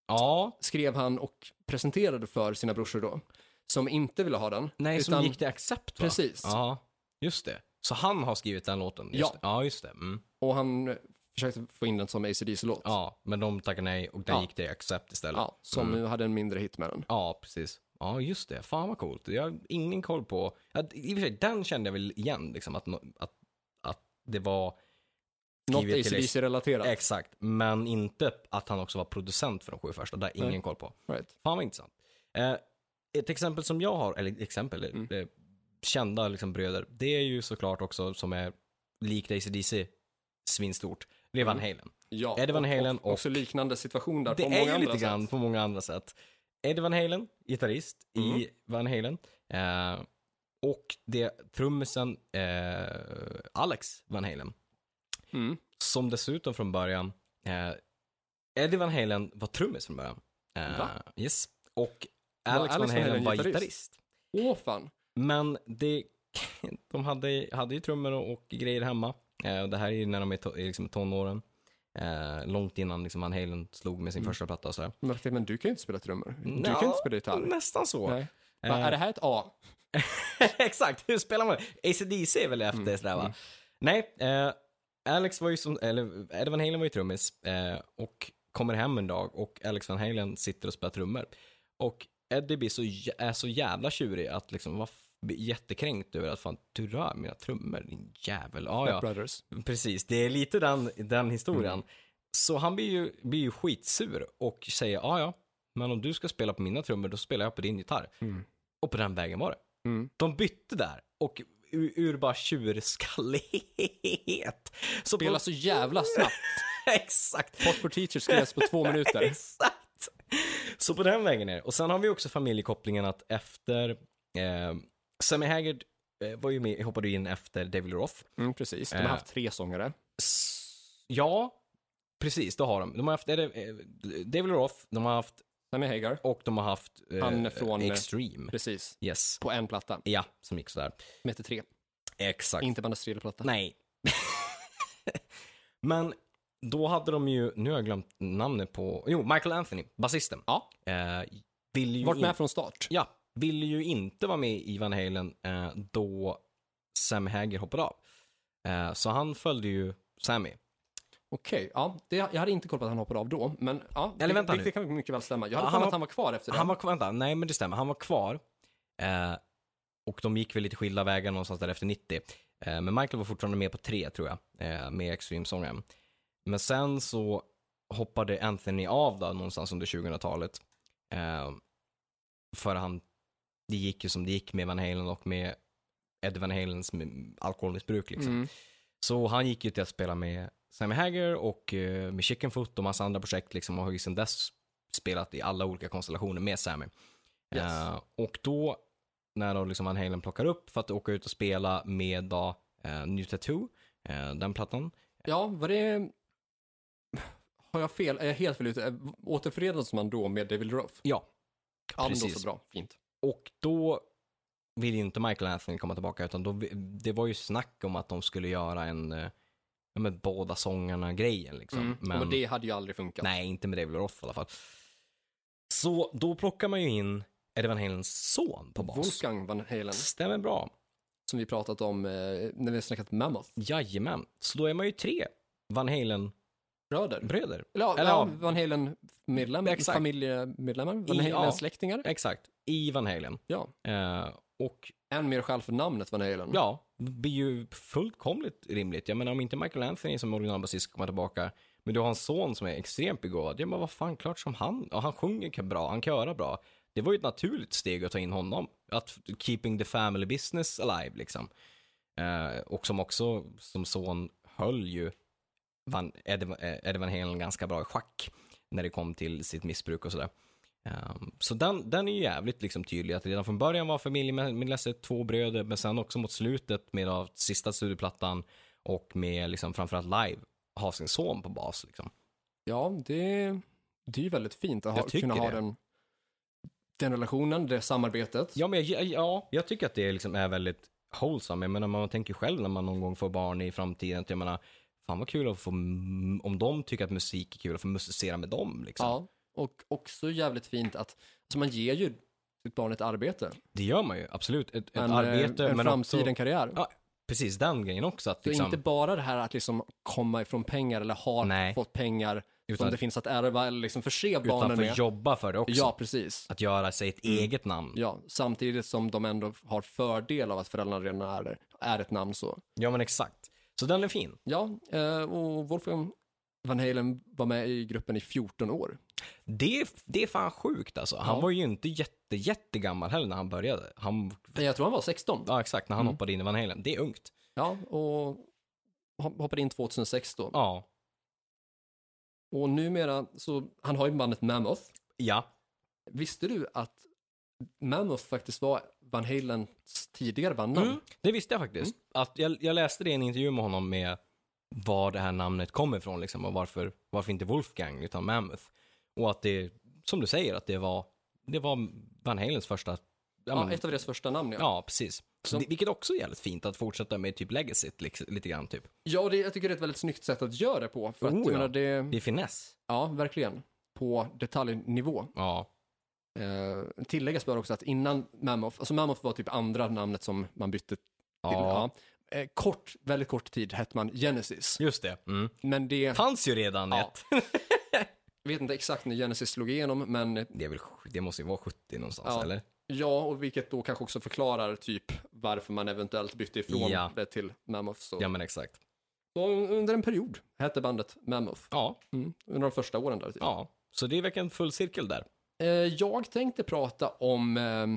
[SPEAKER 2] Ja.
[SPEAKER 1] skrev han och presenterade för sina brorsor då. Som inte ville ha den.
[SPEAKER 2] Nej, som
[SPEAKER 1] utan-
[SPEAKER 2] gick till Accept va?
[SPEAKER 1] Precis.
[SPEAKER 2] Ja, just det. Så han har skrivit den låten? Just
[SPEAKER 1] Ja.
[SPEAKER 2] Det. Ja, just det. Mm.
[SPEAKER 1] Och han eh, försökte få in den som ACDC-låt.
[SPEAKER 2] Ja, men de tackade nej och den
[SPEAKER 1] Ja.
[SPEAKER 2] gick till Accept istället.
[SPEAKER 1] Ja, Mm. som nu hade en mindre hit med den.
[SPEAKER 2] Ja, precis. Ja, just det. Fan vad coolt. Jag har ingen koll på... Att, I och för sig, den kände jag väl igen, liksom, att, nå- att, att det var...
[SPEAKER 1] Något
[SPEAKER 2] skrivet till
[SPEAKER 1] ACDC-relaterat.
[SPEAKER 2] Exakt, men inte att han också var producent för de sju första. Det har ingen
[SPEAKER 1] Nej.
[SPEAKER 2] koll på.
[SPEAKER 1] Right.
[SPEAKER 2] Fan vad intressant. Eh, ett exempel som jag har, eller exempel,
[SPEAKER 1] Mm.
[SPEAKER 2] eh, kända liksom bröder, det är ju såklart också som är likt ACDC, svinstort. Det är
[SPEAKER 1] Mm.
[SPEAKER 2] Van Halen.
[SPEAKER 1] Ja,
[SPEAKER 2] Eddie Van Halen och-
[SPEAKER 1] Också liknande situation där
[SPEAKER 2] Det
[SPEAKER 1] på
[SPEAKER 2] är
[SPEAKER 1] många
[SPEAKER 2] ju
[SPEAKER 1] andra
[SPEAKER 2] lite grann
[SPEAKER 1] sätt.
[SPEAKER 2] på många andra sätt. Eddie Van Halen, gitarrist
[SPEAKER 1] Mm.
[SPEAKER 2] i Van Halen. Eh, och det trummisen eh, Alex Van Halen.
[SPEAKER 1] Mm.
[SPEAKER 2] Som dessutom från början, eh, Eddie Van Halen var trummis från början. Eh,
[SPEAKER 1] Va?
[SPEAKER 2] Yes. Och
[SPEAKER 1] Var
[SPEAKER 2] Alex, Van Halen, var gitarrist.
[SPEAKER 1] Åh fan.
[SPEAKER 2] Men det, (laughs) de hade, hade ju trummor och, och grejer hemma. Eh, och det här är ju när de är, to, är liksom tonåren. Eh, långt innan liksom Van Halen slog med
[SPEAKER 1] Mm.
[SPEAKER 2] sin första platta och sådär.
[SPEAKER 1] Men, Martin, men du kan ju inte spela trummor. Du
[SPEAKER 2] Nja,
[SPEAKER 1] kan ju inte spela gitarr.
[SPEAKER 2] Nästan så.
[SPEAKER 1] Nej. Va,
[SPEAKER 2] Eh.
[SPEAKER 1] Är det här ett A?
[SPEAKER 2] (laughs) Exakt, hur spelar man? ACDC är väl efter
[SPEAKER 1] Mm,
[SPEAKER 2] sådär va? Nej, eh, Alex var ju som, eller Eddie Van Halen var ju trummis eh, och kommer hem en dag och Alex Van Halen sitter och spelar trummor. Och Eddie blir så, jä- är så jävla tjurig att liksom var f- blir jättekränkt över att fan du rör mina trummor din jävel. Ja,
[SPEAKER 1] Step
[SPEAKER 2] ja.
[SPEAKER 1] Brothers.
[SPEAKER 2] Precis, det är lite den, den historien.
[SPEAKER 1] Mm.
[SPEAKER 2] Så han blir ju, blir ju skitsur och säger ja, ja, men om du ska spela på mina trummor då spelar jag på din gitarr. Och på den vägen var det.
[SPEAKER 1] Mm.
[SPEAKER 2] De bytte där och ur, ur bara tjurskallighet. Så på- (laughs)
[SPEAKER 1] Spela så jävla snabbt.
[SPEAKER 2] Exakt.
[SPEAKER 1] Pop for Teachers skrevs på (laughs) två minuter.
[SPEAKER 2] Exakt. Så på den vägen är det. Och sen har vi också familjekopplingen att efter, eh, Sammy Haggard eh, var ju med, hoppade ju in efter David Lee Roth.
[SPEAKER 1] Mm, precis. De har
[SPEAKER 2] Eh.
[SPEAKER 1] haft tre sångare.
[SPEAKER 2] S- Ja, precis, det har de. De har haft är det, eh, David Lee Roth, de har haft,
[SPEAKER 1] Sammy Hagar.
[SPEAKER 2] och de har haft eh,
[SPEAKER 1] Han är från-
[SPEAKER 2] Extreme.
[SPEAKER 1] Precis.
[SPEAKER 2] Yes.
[SPEAKER 1] På en platta.
[SPEAKER 2] Ja, som gick sådär.
[SPEAKER 1] Som heter Tre.
[SPEAKER 2] Exakt.
[SPEAKER 1] Inte bandets tredje platta.
[SPEAKER 2] Nej. (laughs) Men då hade de ju, nu har jag glömt namnet på, jo, Michael Anthony, basisten.
[SPEAKER 1] Ja.
[SPEAKER 2] Eh, vill ju
[SPEAKER 1] Vart
[SPEAKER 2] in-
[SPEAKER 1] med från start.
[SPEAKER 2] Ja, ville ju inte vara med i Van Halen eh, då Sam Hager hoppade av. Eh, så han följde ju Sammy.
[SPEAKER 1] Okej, ja, det, jag hade inte koll på att han hoppade av då, men ja,
[SPEAKER 2] Eller
[SPEAKER 1] det,
[SPEAKER 2] vänta
[SPEAKER 1] det,
[SPEAKER 2] nu.
[SPEAKER 1] det kan mycket väl stämma. Jag hade för
[SPEAKER 2] Ja, han
[SPEAKER 1] mig
[SPEAKER 2] var-
[SPEAKER 1] att han var kvar efter det.
[SPEAKER 2] Han var kvar, vänta, nej men det stämmer, han var kvar. Eh, och de gick väl lite skilda vägar någonstans där efter 90. Eh, men Michael var fortfarande med på tre tror jag, eh, med Extreme Songam. Men sen så hoppade Anthony av där någonstans under 2000-talet. Eh, för han, det gick ju som det gick med Van Halen och med Eddie Van Halens m- alkoholmissbruk liksom.
[SPEAKER 1] Mm.
[SPEAKER 2] Så han gick ju till att spela med Sammy Hager och eh, med Chickenfoot och massa andra projekt liksom och har ju sedan dess spelat i alla olika konstellationer med Sammy.
[SPEAKER 1] Yes.
[SPEAKER 2] Eh, och då när då liksom Van Halen plockar upp för att åka ut och spela med då, eh, New Tattoo, eh, den plattan.
[SPEAKER 1] Ja, var det... Har jag fel? Är jag helt fel ute? Återförenades man då med David Ruff?
[SPEAKER 2] Ja,
[SPEAKER 1] Ja, men då
[SPEAKER 2] precis.
[SPEAKER 1] så bra. Fint.
[SPEAKER 2] Och då ville ju inte Michael Anthony komma tillbaka utan då, det var ju snack om att de skulle göra en, eh, ja, men båda sångarna grejen liksom.
[SPEAKER 1] Mm. Men...
[SPEAKER 2] Men-
[SPEAKER 1] det hade ju aldrig funkat.
[SPEAKER 2] Nej, inte med David Roth i alla fall. Så då plockar man ju in Eddie Van Halens son på bas.
[SPEAKER 1] Wolfgang Van Halen,
[SPEAKER 2] Stämmer bra.
[SPEAKER 1] som vi pratat om eh, när vi har snackat Mammoth.
[SPEAKER 2] Jajamän. Så då är man ju tre Van Halen-bröder.
[SPEAKER 1] Bröder. Eller, ja,
[SPEAKER 2] Eller,
[SPEAKER 1] ja,
[SPEAKER 2] ja.
[SPEAKER 1] Van Halen-medlemmar,
[SPEAKER 2] Exakt.
[SPEAKER 1] familjemedlemmar, Van
[SPEAKER 2] I- ja.
[SPEAKER 1] Halen-släktingar.
[SPEAKER 2] Exakt. I Van Halen.
[SPEAKER 1] Ja.
[SPEAKER 2] Eh, och
[SPEAKER 1] Än mer skäl för namnet Van Halen.
[SPEAKER 2] ja, det blir ju fullkomligt rimligt. Jag menar om inte Michael Anthony som originalbasist ska komma tillbaka, men du har en son som är extremt begåvad. Ja men vad fan, klart som han. Och han sjunger bra, han körar bra. Det var ju ett naturligt steg att ta in honom. Att keeping the family business alive liksom. Eh, och som också, som son, höll ju Van, Eddie, Van- eh, Eddie Van Halen ganska bra i schack när det kom till sitt missbruk och sådär. Ehm, så den, den är ju jävligt liksom tydlig, att redan från början var familjemedlemmet två bröder, men sen också mot slutet med av sista studioplattan och med liksom framförallt live, ha sin son på bas liksom.
[SPEAKER 1] Ja, det, det är ju väldigt fint att ha,
[SPEAKER 2] Jag tycker
[SPEAKER 1] kunna ha
[SPEAKER 2] det.
[SPEAKER 1] den, den relationen, det samarbetet.
[SPEAKER 2] Ja, men jag- jag, ja, jag tycker att det liksom är väldigt wholesome. Jag menar, man tänker själv när man någon gång får barn i framtiden, att jag menar, fan vad kul att få, om de tycker att musik är kul, att få musicera med dem liksom.
[SPEAKER 1] Ja, och också jävligt fint att alltså man ger ju sitt barn ett arbete.
[SPEAKER 2] Det gör man ju, absolut. Ett, ett
[SPEAKER 1] en, eh,
[SPEAKER 2] arbete,
[SPEAKER 1] en
[SPEAKER 2] men
[SPEAKER 1] framtid, en
[SPEAKER 2] också,
[SPEAKER 1] karriär.
[SPEAKER 2] Ja, precis den grejen också. Att
[SPEAKER 1] det är
[SPEAKER 2] liksom,
[SPEAKER 1] inte bara det här att liksom komma ifrån pengar eller ha
[SPEAKER 2] Nej.
[SPEAKER 1] fått pengar
[SPEAKER 2] Utan-
[SPEAKER 1] som det finns att ärva eller liksom förse
[SPEAKER 2] utan
[SPEAKER 1] barnen
[SPEAKER 2] för
[SPEAKER 1] med.
[SPEAKER 2] att jobba för det också.
[SPEAKER 1] Ja, precis.
[SPEAKER 2] Att göra sig ett eget namn.
[SPEAKER 1] Mm. Ja, samtidigt som de ändå har fördel av att föräldrarna redan är, är ett namn så.
[SPEAKER 2] Ja, men exakt. Så den är fin.
[SPEAKER 1] Ja, eh, och Wolfgang Van Halen var med i gruppen i 14 år.
[SPEAKER 2] Det, det är fan sjukt alltså. Han
[SPEAKER 1] Ja.
[SPEAKER 2] var ju inte jätte, jättegammal heller när han började. Han,
[SPEAKER 1] Nej, Jag tror han var 16.
[SPEAKER 2] ja, exakt, när han
[SPEAKER 1] Mm.
[SPEAKER 2] hoppade in i Van Halen. Det är ungt.
[SPEAKER 1] Ja, och hop- hoppade in 2006 då.
[SPEAKER 2] Ja.
[SPEAKER 1] Och numera, så han har ju bandet Mammoth.
[SPEAKER 2] Ja.
[SPEAKER 1] Visste du att Mammoth faktiskt var Van Halens tidigare bandnamn?
[SPEAKER 2] Det visste jag faktiskt.
[SPEAKER 1] Mm.
[SPEAKER 2] Att jag, jag läste det i en intervju med honom med var det här namnet kommer ifrån liksom, och varför, varför inte Wolfgang utan Mammoth. Och att det, som du säger, att det var, det var Van Halens första... Ja,
[SPEAKER 1] Ja,
[SPEAKER 2] men-
[SPEAKER 1] ett av deras första namn, ja. Ja,
[SPEAKER 2] ja precis. Så det, vilket också är jävligt fint att fortsätta med typ legacyt liksom, lite grann typ.
[SPEAKER 1] och det, jag tycker det är ett väldigt snyggt sätt att göra det på. För att,
[SPEAKER 2] Oh,
[SPEAKER 1] jag
[SPEAKER 2] ja.
[SPEAKER 1] menar, det,
[SPEAKER 2] Det är finess.
[SPEAKER 1] ja, verkligen. På detaljnivå.
[SPEAKER 2] Ja.
[SPEAKER 1] Eh, tilläggas bör också att innan Mammoth, alltså Mammoth var typ andra namnet som man bytte till.
[SPEAKER 2] Ja.
[SPEAKER 1] ja. Eh, kort, väldigt kort tid hette man Genesis.
[SPEAKER 2] Just det. Mm.
[SPEAKER 1] Men det,
[SPEAKER 2] Fanns ju redan
[SPEAKER 1] Ja.
[SPEAKER 2] ett. (laughs)
[SPEAKER 1] jag vet inte exakt när Genesis slog igenom, men
[SPEAKER 2] Det, är väl, det måste ju vara 70 någonstans
[SPEAKER 1] Ja.
[SPEAKER 2] eller?
[SPEAKER 1] Ja, och vilket då kanske också förklarar typ varför man eventuellt bytte ifrån
[SPEAKER 2] Ja.
[SPEAKER 1] det till Mammoth. Så.
[SPEAKER 2] Ja men exakt.
[SPEAKER 1] så under en period hette bandet Mammoth.
[SPEAKER 2] Ja.
[SPEAKER 1] Mm. Under de första åren där. Typ.
[SPEAKER 2] ja. Så det är verkligen full cirkel där.
[SPEAKER 1] Eh, jag tänkte prata om eh,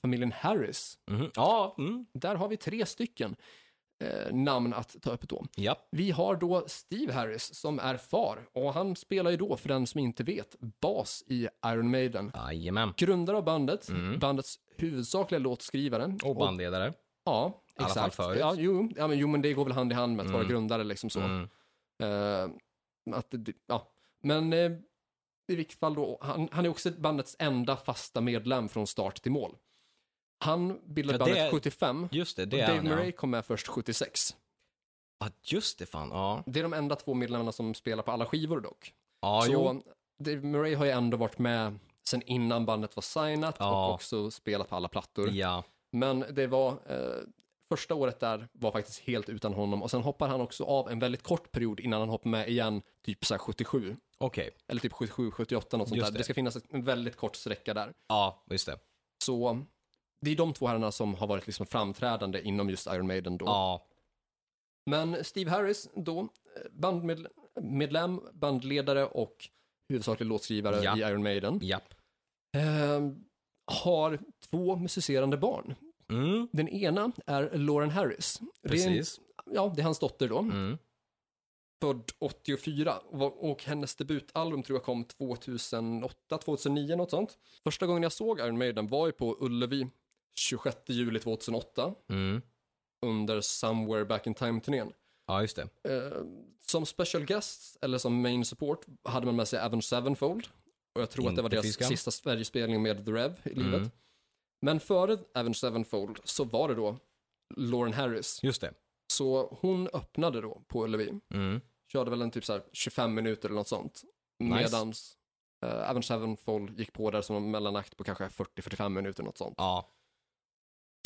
[SPEAKER 1] familjen Harris.
[SPEAKER 2] Mhm. Ja. Mm.
[SPEAKER 1] Där har vi tre stycken eh, namn att ta upp då.
[SPEAKER 2] Ja.
[SPEAKER 1] Vi har då Steve Harris som är far och han spelar ju då, för den som inte vet, bas i Iron Maiden.
[SPEAKER 2] Jajamän.
[SPEAKER 1] Grundare av bandet, bandets huvudsakliga låtskrivare
[SPEAKER 2] Mm. Och bandledare.
[SPEAKER 1] Ja,
[SPEAKER 2] alla
[SPEAKER 1] exakt.
[SPEAKER 2] fall förut.
[SPEAKER 1] Ja, jo, ja, men, jo, men det går väl hand i hand med att vara grundare liksom så.
[SPEAKER 2] Mm.
[SPEAKER 1] Eh, att, det- det- ja. Men eh, i vilket fall då, han, han är också bandets enda fasta medlem från start till mål. Han bildade
[SPEAKER 2] Ja, det
[SPEAKER 1] bandet
[SPEAKER 2] är-
[SPEAKER 1] 75
[SPEAKER 2] Just det,
[SPEAKER 1] och
[SPEAKER 2] det är
[SPEAKER 1] Dave
[SPEAKER 2] han,
[SPEAKER 1] Murray
[SPEAKER 2] ja.
[SPEAKER 1] kom med först 76.
[SPEAKER 2] ja. Just det, fan. Ja,
[SPEAKER 1] Det är de enda två medlemmarna som spelar på alla skivor dock.
[SPEAKER 2] ja jo.
[SPEAKER 1] så Dave Murray har ju ändå varit med sen innan bandet var signat
[SPEAKER 2] Ja.
[SPEAKER 1] och också spelat på alla plattor.
[SPEAKER 2] Ja,
[SPEAKER 1] Men det var, eh, första året där var faktiskt helt utan honom och sen hoppar han också av en väldigt kort period innan han hoppar med igen, typ så här 77.
[SPEAKER 2] okej.
[SPEAKER 1] Eller typ 77, 78 något sånt
[SPEAKER 2] Just
[SPEAKER 1] där.
[SPEAKER 2] det.
[SPEAKER 1] Det. ska finnas ett- en väldigt kort sträcka där.
[SPEAKER 2] Ja, just det.
[SPEAKER 1] Så det är de två herrarna som har varit liksom framträdande inom just Iron Maiden då.
[SPEAKER 2] Ja,
[SPEAKER 1] Men Steve Harris då, eh, bandmedlem, medlem, bandledare och huvudsaklig låtskrivare
[SPEAKER 2] Ja.
[SPEAKER 1] i Iron Maiden,
[SPEAKER 2] japp.
[SPEAKER 1] eh, har två musicerande barn.
[SPEAKER 2] Mm,
[SPEAKER 1] Den ena är Lauren Harris. Det är, en-
[SPEAKER 2] precis.
[SPEAKER 1] ja, det är hans dotter då,
[SPEAKER 2] Mm.
[SPEAKER 1] född 84 och, var- och hennes debutalbum tror jag kom 2008, 2009 något sånt. Första gången jag såg Iron Maiden var ju på Ullevi 26 juli 2008
[SPEAKER 2] Mm.
[SPEAKER 1] under Somewhere Back In Time-turnén.
[SPEAKER 2] Ja, just det.
[SPEAKER 1] Eh, som special guest eller som main support hade man med sig Avenged Sevenfold. Och jag tror att det var
[SPEAKER 2] Inte
[SPEAKER 1] deras
[SPEAKER 2] fiskan.
[SPEAKER 1] sista Sverigespelning med The Rev i livet.
[SPEAKER 2] Mm.
[SPEAKER 1] Men före Avenged Sevenfold så var det då Lauren Harris.
[SPEAKER 2] Just det.
[SPEAKER 1] Så hon öppnade då på Ullevi.
[SPEAKER 2] Mm.
[SPEAKER 1] Körde väl en typ så här 25 minuter eller något sånt.
[SPEAKER 2] Nice.
[SPEAKER 1] Medans eh, Avenged Sevenfold gick på där som en mellanakt på kanske 40-45 minuter något sånt.
[SPEAKER 2] Ja.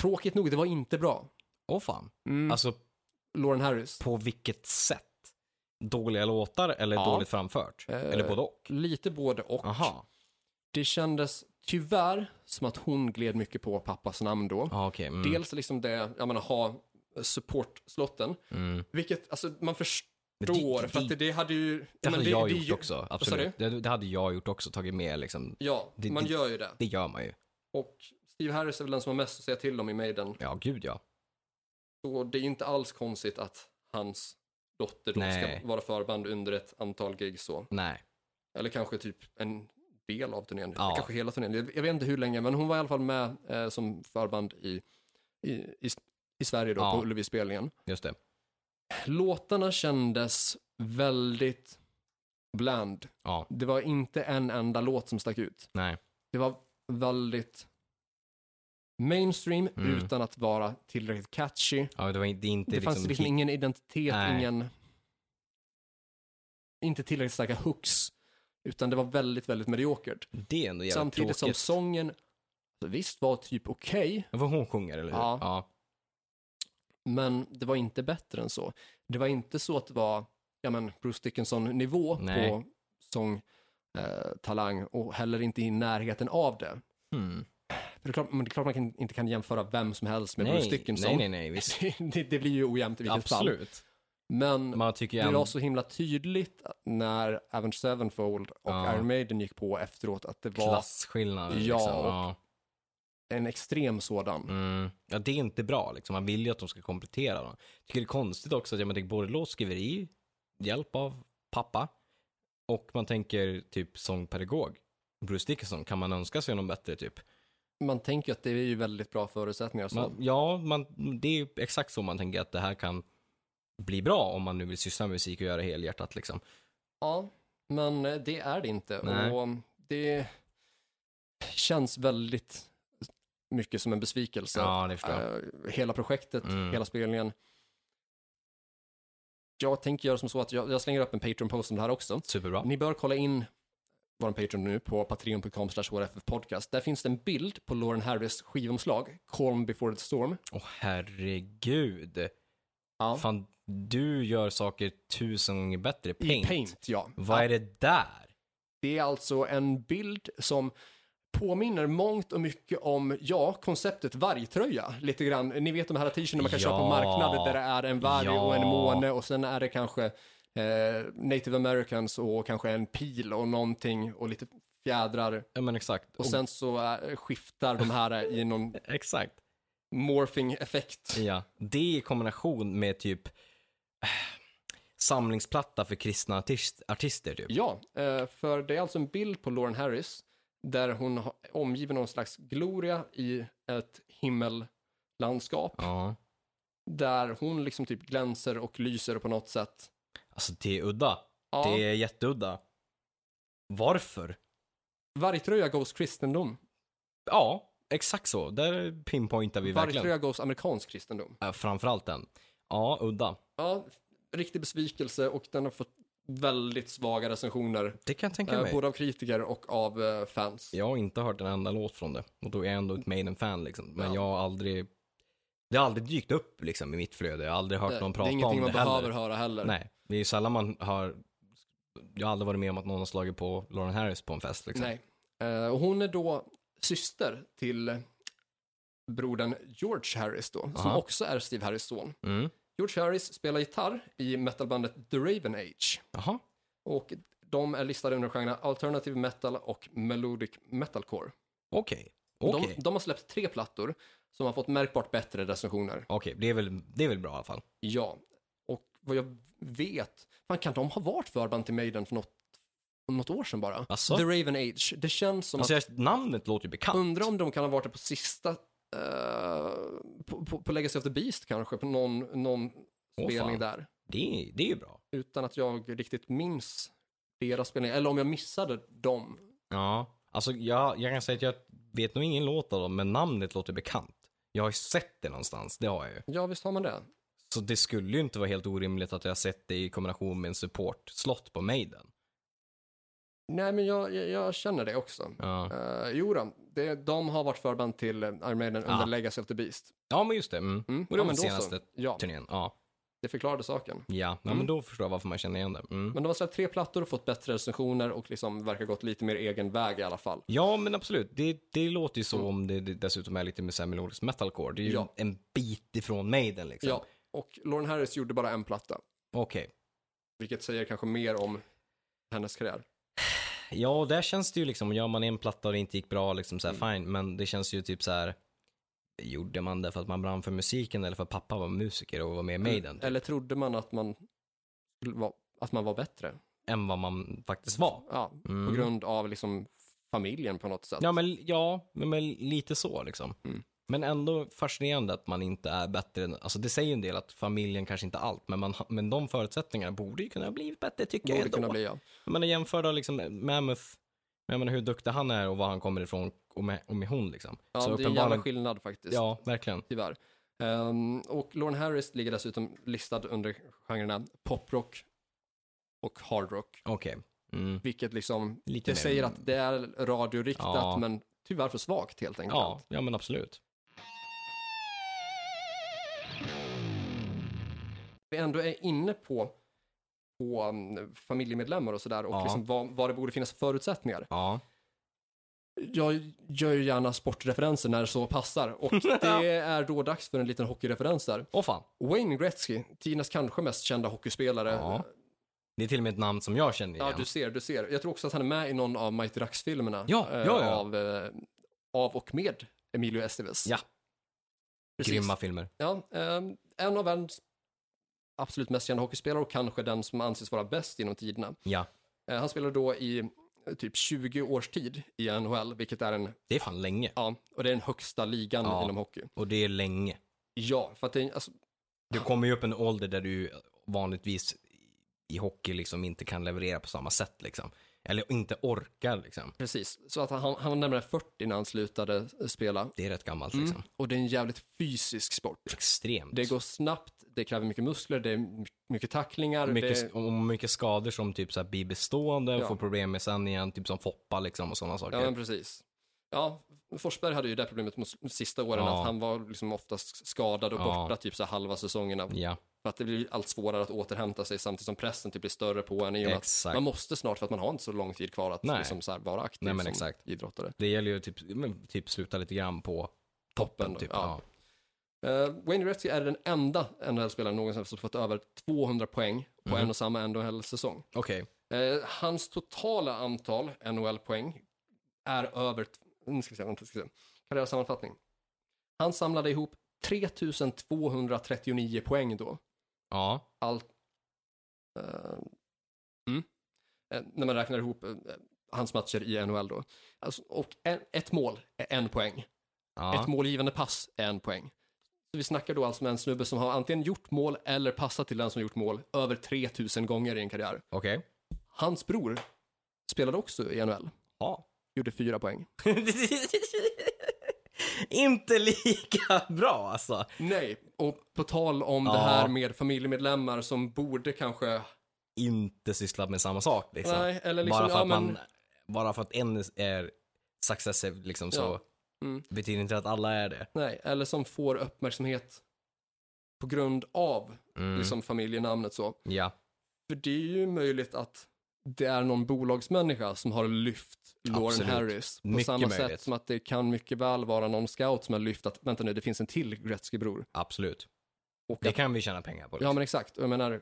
[SPEAKER 1] Tråkigt nog, det var inte bra.
[SPEAKER 2] Åh fan. Alltså,
[SPEAKER 1] Lauren Harris.
[SPEAKER 2] på vilket sätt? Dåliga låtar eller
[SPEAKER 1] Ja.
[SPEAKER 2] dåligt framfört?
[SPEAKER 1] Eh,
[SPEAKER 2] Eller både och?
[SPEAKER 1] Lite både och.
[SPEAKER 2] Aha.
[SPEAKER 1] det kändes tyvärr som att hon gled mycket på pappas namn då.
[SPEAKER 2] Ja, okej. Mm.
[SPEAKER 1] Dels liksom det, jag menar ha supportslotten,
[SPEAKER 2] Mm.
[SPEAKER 1] vilket alltså man förstår
[SPEAKER 2] Men det-
[SPEAKER 1] för att det, det hade ju...
[SPEAKER 2] Det
[SPEAKER 1] men
[SPEAKER 2] hade
[SPEAKER 1] det-
[SPEAKER 2] jag
[SPEAKER 1] det är
[SPEAKER 2] gjort
[SPEAKER 1] ju-
[SPEAKER 2] också,
[SPEAKER 1] sa
[SPEAKER 2] absolut. Det, det hade jag gjort också, tagit med liksom.
[SPEAKER 1] Ja,
[SPEAKER 2] Det-
[SPEAKER 1] man
[SPEAKER 2] det-
[SPEAKER 1] gör ju det.
[SPEAKER 2] Det gör man ju.
[SPEAKER 1] Och Steve Harris är väl den som har mest att säga till om i Maiden.
[SPEAKER 2] Ja, gud ja.
[SPEAKER 1] Så det är inte alls konstigt att hans dotter då
[SPEAKER 2] Nej.
[SPEAKER 1] ska vara förband under ett antal gig så.
[SPEAKER 2] Nej.
[SPEAKER 1] Eller kanske typ en del av turnén,
[SPEAKER 2] Ja.
[SPEAKER 1] kanske hela turnén. Jag, jag vet inte hur länge, men hon var i alla fall med eh, som förband i, i, i, i Sverige då,
[SPEAKER 2] Ja.
[SPEAKER 1] på Ullevi-spelningen.
[SPEAKER 2] Just det.
[SPEAKER 1] Låtarna kändes väldigt bland.
[SPEAKER 2] Ja.
[SPEAKER 1] Det var inte en enda låt som stack ut.
[SPEAKER 2] Nej.
[SPEAKER 1] Det var väldigt mainstream
[SPEAKER 2] Mm.
[SPEAKER 1] utan att vara tillräckligt catchy.
[SPEAKER 2] Ja, det var inte, det är inte
[SPEAKER 1] Det, fanns liksom ingen identitet,
[SPEAKER 2] Nej.
[SPEAKER 1] ingen... Inte tillräckligt starka hooks. Utan det var väldigt, väldigt mediokert.
[SPEAKER 2] Det är ändå jävligt
[SPEAKER 1] Samtidigt som
[SPEAKER 2] tråkigt.
[SPEAKER 1] sången alltså, visst var typ okej,
[SPEAKER 2] Vad hon sjunger, eller hur?
[SPEAKER 1] Ja.
[SPEAKER 2] ja.
[SPEAKER 1] men det var inte bättre än så. Det var inte så att det var ja, men Bruce Dickinson-nivå
[SPEAKER 2] Nej.
[SPEAKER 1] på sång, eh, talang och heller inte i närheten av det.
[SPEAKER 2] Hmm.
[SPEAKER 1] För det är klart, men det är klart man kan, inte kan jämföra vem som helst med Bruce
[SPEAKER 2] Nej,
[SPEAKER 1] Dickinson.
[SPEAKER 2] nej, nej, nej, visst.
[SPEAKER 1] (laughs) det, det blir ju ojämnt i vilket fall.
[SPEAKER 2] Absolut.
[SPEAKER 1] Men
[SPEAKER 2] Man tycker ju
[SPEAKER 1] det var
[SPEAKER 2] ändå...
[SPEAKER 1] så himla tydligt när Avenged Sevenfold och
[SPEAKER 2] Ja.
[SPEAKER 1] Iron Maiden gick på efteråt att det var
[SPEAKER 2] Klasskillnader
[SPEAKER 1] Ja,
[SPEAKER 2] liksom.
[SPEAKER 1] och-
[SPEAKER 2] Ja.
[SPEAKER 1] en extrem sådan.
[SPEAKER 2] Mm. ja, det är inte bra liksom. Man vill ju att de ska komplettera dem. Tycker det är konstigt också att ja, man tänker både låtskriveri, hjälp av pappa, och man tänker typ sångpedagog. Bruce Dickinson, kan man önska sig någon bättre typ?
[SPEAKER 1] Man tänker ju att det är ju väldigt bra förutsättningar. Så.
[SPEAKER 2] Man, ja, man, det är ju exakt så man tänker att det här kan bli bra om man nu vill syssla med musik och göra det helhjärtat liksom.
[SPEAKER 1] Ja, men eh, det är det inte.
[SPEAKER 2] Nej.
[SPEAKER 1] Och det känns väldigt mycket som en besvikelse.
[SPEAKER 2] Ja, det förstår jag.
[SPEAKER 1] Eh, hela projektet,
[SPEAKER 2] Mm.
[SPEAKER 1] hela spelningen. Jag tänker göra som så att jag, jag slänger upp en Patreon-post om det här också.
[SPEAKER 2] Superbra.
[SPEAKER 1] Ni bör kolla in vår Patreon nu på patreon.com podcast. Där finns det en bild på Lauren Harris skivomslag, Calm before the storm.
[SPEAKER 2] Åh herregud.
[SPEAKER 1] Ja.
[SPEAKER 2] Fan, du gör saker tusen gånger bättre. Paint.
[SPEAKER 1] I Paint, ja.
[SPEAKER 2] Vad är det där?
[SPEAKER 1] Det är alltså en bild som påminner mångt och mycket om, ja, konceptet vargtröja. Lite grann. Ni vet de här t-shirtarna man kan
[SPEAKER 2] Ja.
[SPEAKER 1] köpa på marknaden där det är en varg
[SPEAKER 2] Ja.
[SPEAKER 1] och en måne och sen är det kanske eh, native americans och kanske en pil och någonting och lite fjädrar.
[SPEAKER 2] Ja men exakt.
[SPEAKER 1] Och sen så eh, skiftar de här i någon
[SPEAKER 2] Exakt.
[SPEAKER 1] morphing-effekt.
[SPEAKER 2] Ja, det i kombination med typ eh, samlingsplatta för kristna artist, artister typ.
[SPEAKER 1] Ja, eh, för det är alltså en bild på Lauren Harris där hon har- omgiven av någon slags gloria i ett himmellandskap.
[SPEAKER 2] Ja.
[SPEAKER 1] där hon liksom typ glänser och lyser på något sätt.
[SPEAKER 2] Alltså det är udda.
[SPEAKER 1] Ja,
[SPEAKER 2] Det är jätteudda. Varför?
[SPEAKER 1] Vargtröja goes kristendom.
[SPEAKER 2] Ja, exakt så. Där pinpointar vi verkligen.
[SPEAKER 1] Vargtröja goes amerikansk kristendom.
[SPEAKER 2] Äh, Framförallt den. Ja, udda.
[SPEAKER 1] Ja, riktig besvikelse och den har fått väldigt svaga recensioner.
[SPEAKER 2] Det kan jag tänka
[SPEAKER 1] Eh,
[SPEAKER 2] mig.
[SPEAKER 1] både av kritiker och av eh, fans.
[SPEAKER 2] Jag har inte hört en enda låt från det. Och då är jag ändå ett Maiden-fan liksom. Men
[SPEAKER 1] Ja.
[SPEAKER 2] jag har aldrig... Det har aldrig dykt upp liksom i mitt flöde. Jag har aldrig hört
[SPEAKER 1] Eh, det,
[SPEAKER 2] någon
[SPEAKER 1] det är
[SPEAKER 2] prata
[SPEAKER 1] ingenting
[SPEAKER 2] om
[SPEAKER 1] man
[SPEAKER 2] det heller.
[SPEAKER 1] behöver höra heller.
[SPEAKER 2] Nej, det är ju sällan man har... Jag har aldrig varit med om att någon har slagit på Lauren Harris på en fest liksom.
[SPEAKER 1] Nej. Eh, och hon är då syster till brodern George Harris då, som
[SPEAKER 2] Aha.
[SPEAKER 1] också är Steve Harris son.
[SPEAKER 2] Mm.
[SPEAKER 1] George Harris spelar gitarr i metalbandet The Raven Age.
[SPEAKER 2] Jaha.
[SPEAKER 1] Och de är listade under genrerna alternative metal och melodic metalcore.
[SPEAKER 2] Okej. Okej.
[SPEAKER 1] De, de har släppt tre plattor som har fått märkbart bättre recensioner.
[SPEAKER 2] Okej, det är väl, det är väl bra i alla fall.
[SPEAKER 1] Ja, och vad jag vet, man kan de ha varit förband till Maiden för något, något år sedan bara?
[SPEAKER 2] Asså?
[SPEAKER 1] The Raven Age. Det känns som
[SPEAKER 2] Alltså,
[SPEAKER 1] att,
[SPEAKER 2] jag- namnet låter ju bekant.
[SPEAKER 1] undrar om de kan ha varit det på sista, eh, på, på, på Legacy of the Beast kanske, på någon, någon
[SPEAKER 2] Åh,
[SPEAKER 1] spelning
[SPEAKER 2] fan.
[SPEAKER 1] där.
[SPEAKER 2] Det, är- det är ju bra.
[SPEAKER 1] Utan att jag riktigt minns deras spelningar, eller om jag missade dem.
[SPEAKER 2] Ja, alltså jag, jag kan säga att jag vet nog ingen låt av dem, men namnet låter bekant. Jag har ju sett det någonstans, det har jag ju.
[SPEAKER 1] Ja, visst har man det.
[SPEAKER 2] Så det skulle ju inte vara helt orimligt att jag har sett det i kombination med en support-slott på Maiden.
[SPEAKER 1] Nej, men jag, jag, jag känner det också.
[SPEAKER 2] Ja,
[SPEAKER 1] Uh, jo då, det, de har varit förband till eh, Iron Maiden under
[SPEAKER 2] Ah.
[SPEAKER 1] Legacy of the Beast.
[SPEAKER 2] ja men just det. Mm.
[SPEAKER 1] Mm.
[SPEAKER 2] Och det
[SPEAKER 1] ja,
[SPEAKER 2] var
[SPEAKER 1] men
[SPEAKER 2] den
[SPEAKER 1] då
[SPEAKER 2] senaste
[SPEAKER 1] så. Ja,
[SPEAKER 2] turnén. Ja,
[SPEAKER 1] det förklarade saken.
[SPEAKER 2] ja. ja
[SPEAKER 1] Mm.
[SPEAKER 2] men då förstår jag varför man känner igen det. Mm.
[SPEAKER 1] Men de har släppt tre plattor och fått bättre recensioner och liksom verkar gått lite mer egen väg i alla fall.
[SPEAKER 2] Ja, men absolut. Det, det låter ju så om det, det dessutom är lite med så här melodisk metalcore. Det är ju
[SPEAKER 1] Mm. Ja.
[SPEAKER 2] en bit ifrån Maiden liksom.
[SPEAKER 1] Ja, och Lauren Harris gjorde bara en platta,
[SPEAKER 2] Okej.
[SPEAKER 1] vilket säger kanske mer om hennes karriär.
[SPEAKER 2] Ja, och där känns det ju liksom, gör man en platta och det inte gick bra, liksom så här,
[SPEAKER 1] Mm.
[SPEAKER 2] fine, men det känns ju typ så här, gjorde man det för att man brann för musiken eller för att pappa var musiker och var med i
[SPEAKER 1] Mm.
[SPEAKER 2] Maiden? typ.
[SPEAKER 1] Eller trodde man att man, skulle vara- att man var bättre?
[SPEAKER 2] Än vad man faktiskt var.
[SPEAKER 1] Ja,
[SPEAKER 2] Mm.
[SPEAKER 1] på grund av liksom familjen på något sätt.
[SPEAKER 2] Ja, men, ja, men, men lite så liksom.
[SPEAKER 1] Mm.
[SPEAKER 2] Men ändå fascinerande att man inte är bättre, än- alltså det säger ju en del att familjen kanske inte är allt, men, man, ha- men de förutsättningarna borde ju kunna ha blivit bättre tycker jag
[SPEAKER 1] Borde
[SPEAKER 2] ändå.
[SPEAKER 1] kunna bli, ja.
[SPEAKER 2] Jag menar jämför då liksom Mammoth, jag menar hur duktig han är och var han kommer ifrån och med, och med hon liksom.
[SPEAKER 1] ja
[SPEAKER 2] så
[SPEAKER 1] det är en jävla
[SPEAKER 2] uppenbarligen-
[SPEAKER 1] skillnad faktiskt.
[SPEAKER 2] Ja, verkligen.
[SPEAKER 1] tyvärr. Ehm, och Lauren Harris ligger dessutom listad under genrerna poprock och hardrock,
[SPEAKER 2] Okej. Mm.
[SPEAKER 1] vilket liksom,
[SPEAKER 2] Lite
[SPEAKER 1] det
[SPEAKER 2] mer-
[SPEAKER 1] säger att det är radioriktat
[SPEAKER 2] Ja.
[SPEAKER 1] men tyvärr för svagt helt enkelt.
[SPEAKER 2] Ja, ja men absolut.
[SPEAKER 1] Vi ändå är inne på, på um, familjemedlemmar och sådär och
[SPEAKER 2] Ja.
[SPEAKER 1] liksom vad, vad det borde finnas förutsättningar.
[SPEAKER 2] Ja.
[SPEAKER 1] Jag gör ju gärna sportreferenser när så passar och
[SPEAKER 2] (laughs)
[SPEAKER 1] det är då dags för en liten hockeyreferens där.
[SPEAKER 2] Åh fan.
[SPEAKER 1] Wayne Gretzky, Tinas kanske mest kända hockeyspelare,
[SPEAKER 2] Ja. Det är till och med ett namn som jag känner igen.
[SPEAKER 1] Ja, du ser, du ser. Jag tror också att han är med i någon av Mighty Ducks-filmerna.
[SPEAKER 2] Ja,
[SPEAKER 1] eh,
[SPEAKER 2] ja, ja.
[SPEAKER 1] Av, eh, av och med Emilio Estevez.
[SPEAKER 2] Ja.
[SPEAKER 1] Precis.
[SPEAKER 2] Grymma filmer.
[SPEAKER 1] Ja, ehm, en av världens absolut mest kända hockeyspelare och kanske den som anses vara bäst genom tiderna.
[SPEAKER 2] Ja.
[SPEAKER 1] Eh, han spelade då i eh, typ 20 års tid i NHL, vilket är en,
[SPEAKER 2] Det är fan länge.
[SPEAKER 1] ja, och det är den högsta ligan
[SPEAKER 2] Ja.
[SPEAKER 1] inom hockey.
[SPEAKER 2] Och det är länge.
[SPEAKER 1] Ja, för att det är, alltså,
[SPEAKER 2] Du kommer ju upp en ålder där du vanligtvis i hockey liksom inte kan leverera på samma sätt liksom. Eller inte orkar liksom.
[SPEAKER 1] precis. Så att han, han var närmare 40 när han slutade eh, spela.
[SPEAKER 2] Det är rätt gammalt
[SPEAKER 1] Mm.
[SPEAKER 2] liksom.
[SPEAKER 1] Och det är en jävligt fysisk sport.
[SPEAKER 2] Extremt.
[SPEAKER 1] Det går snabbt, det kräver mycket muskler, det är my- mycket tacklingar.
[SPEAKER 2] mycket,
[SPEAKER 1] det...
[SPEAKER 2] och mycket skador som typ så här blir bestående och
[SPEAKER 1] Ja.
[SPEAKER 2] får problem med sen igen, typ som Foppa liksom och sådana saker.
[SPEAKER 1] Ja, men precis. Ja, Forsberg hade ju det problemet mot s- sista åren,
[SPEAKER 2] Ja.
[SPEAKER 1] att han var liksom oftast skadad och
[SPEAKER 2] Ja.
[SPEAKER 1] borta typ så här halva säsongerna.
[SPEAKER 2] ja.
[SPEAKER 1] För att det blir allt svårare att återhämta sig samtidigt som pressen typ blir större på en i och med att
[SPEAKER 2] Exakt.
[SPEAKER 1] man måste snart för att man har inte så lång tid kvar att
[SPEAKER 2] Nej.
[SPEAKER 1] liksom så här vara aktiv
[SPEAKER 2] Nej, men
[SPEAKER 1] som
[SPEAKER 2] exakt.
[SPEAKER 1] idrottare.
[SPEAKER 2] Det gäller ju typ, men typ sluta lite grann på toppen
[SPEAKER 1] Toppen,
[SPEAKER 2] typ.
[SPEAKER 1] ja. Eh, Wayne Gretzky är den enda NHL-spelaren någonsin som fått över 200 poäng på
[SPEAKER 2] Mm.
[SPEAKER 1] en och samma NHL-säsong.
[SPEAKER 2] Ja. Okej.
[SPEAKER 1] Eh, hans totala antal NHL-poäng är över... t- Nu ska vi se, vänta, ska vi se. Karriärsammanfattning. Han samlade ihop 3239 poäng då.
[SPEAKER 2] Ja.
[SPEAKER 1] Allt... Eh, mm. eh, när man räknar ihop eh, hans matcher i NHL då. Alltså, och en, ett mål är en poäng.
[SPEAKER 2] ja.
[SPEAKER 1] Ett målgivande pass är en poäng. Så vi snackar då alltså med en snubbe som har antingen gjort mål eller passat till den som gjort mål över 3000 gånger i en karriär.
[SPEAKER 2] Okej.
[SPEAKER 1] Hans bror spelade också i NHL.
[SPEAKER 2] Ja.
[SPEAKER 1] (laughs) Gjorde fyra poäng.
[SPEAKER 2] Inte lika bra alltså.
[SPEAKER 1] Nej, och på tal om
[SPEAKER 2] Ja.
[SPEAKER 1] det här med familjemedlemmar som borde kanske
[SPEAKER 2] inte sysslar med samma sak. Liksom.
[SPEAKER 1] Nej, eller liksom,
[SPEAKER 2] bara, för
[SPEAKER 1] ja,
[SPEAKER 2] att
[SPEAKER 1] men,
[SPEAKER 2] man, bara för att en är successive liksom, så
[SPEAKER 1] Mm.
[SPEAKER 2] betyder inte att alla är det.
[SPEAKER 1] nej, eller som får uppmärksamhet på grund av
[SPEAKER 2] Mm.
[SPEAKER 1] liksom familjenamnet så.
[SPEAKER 2] Ja,
[SPEAKER 1] För det är ju möjligt att det är någon bolagsmänniska som har lyft Lauren
[SPEAKER 2] Absolut.
[SPEAKER 1] Harris. På
[SPEAKER 2] Mycket
[SPEAKER 1] samma
[SPEAKER 2] möjligt.
[SPEAKER 1] sätt som att det kan mycket väl vara någon scout som har lyft att, vänta nu, det finns en till Gretzky-bror.
[SPEAKER 2] absolut.
[SPEAKER 1] Och
[SPEAKER 2] Det
[SPEAKER 1] att-
[SPEAKER 2] kan vi tjäna pengar på.
[SPEAKER 1] Ja
[SPEAKER 2] Liksom.
[SPEAKER 1] men exakt, jag menar,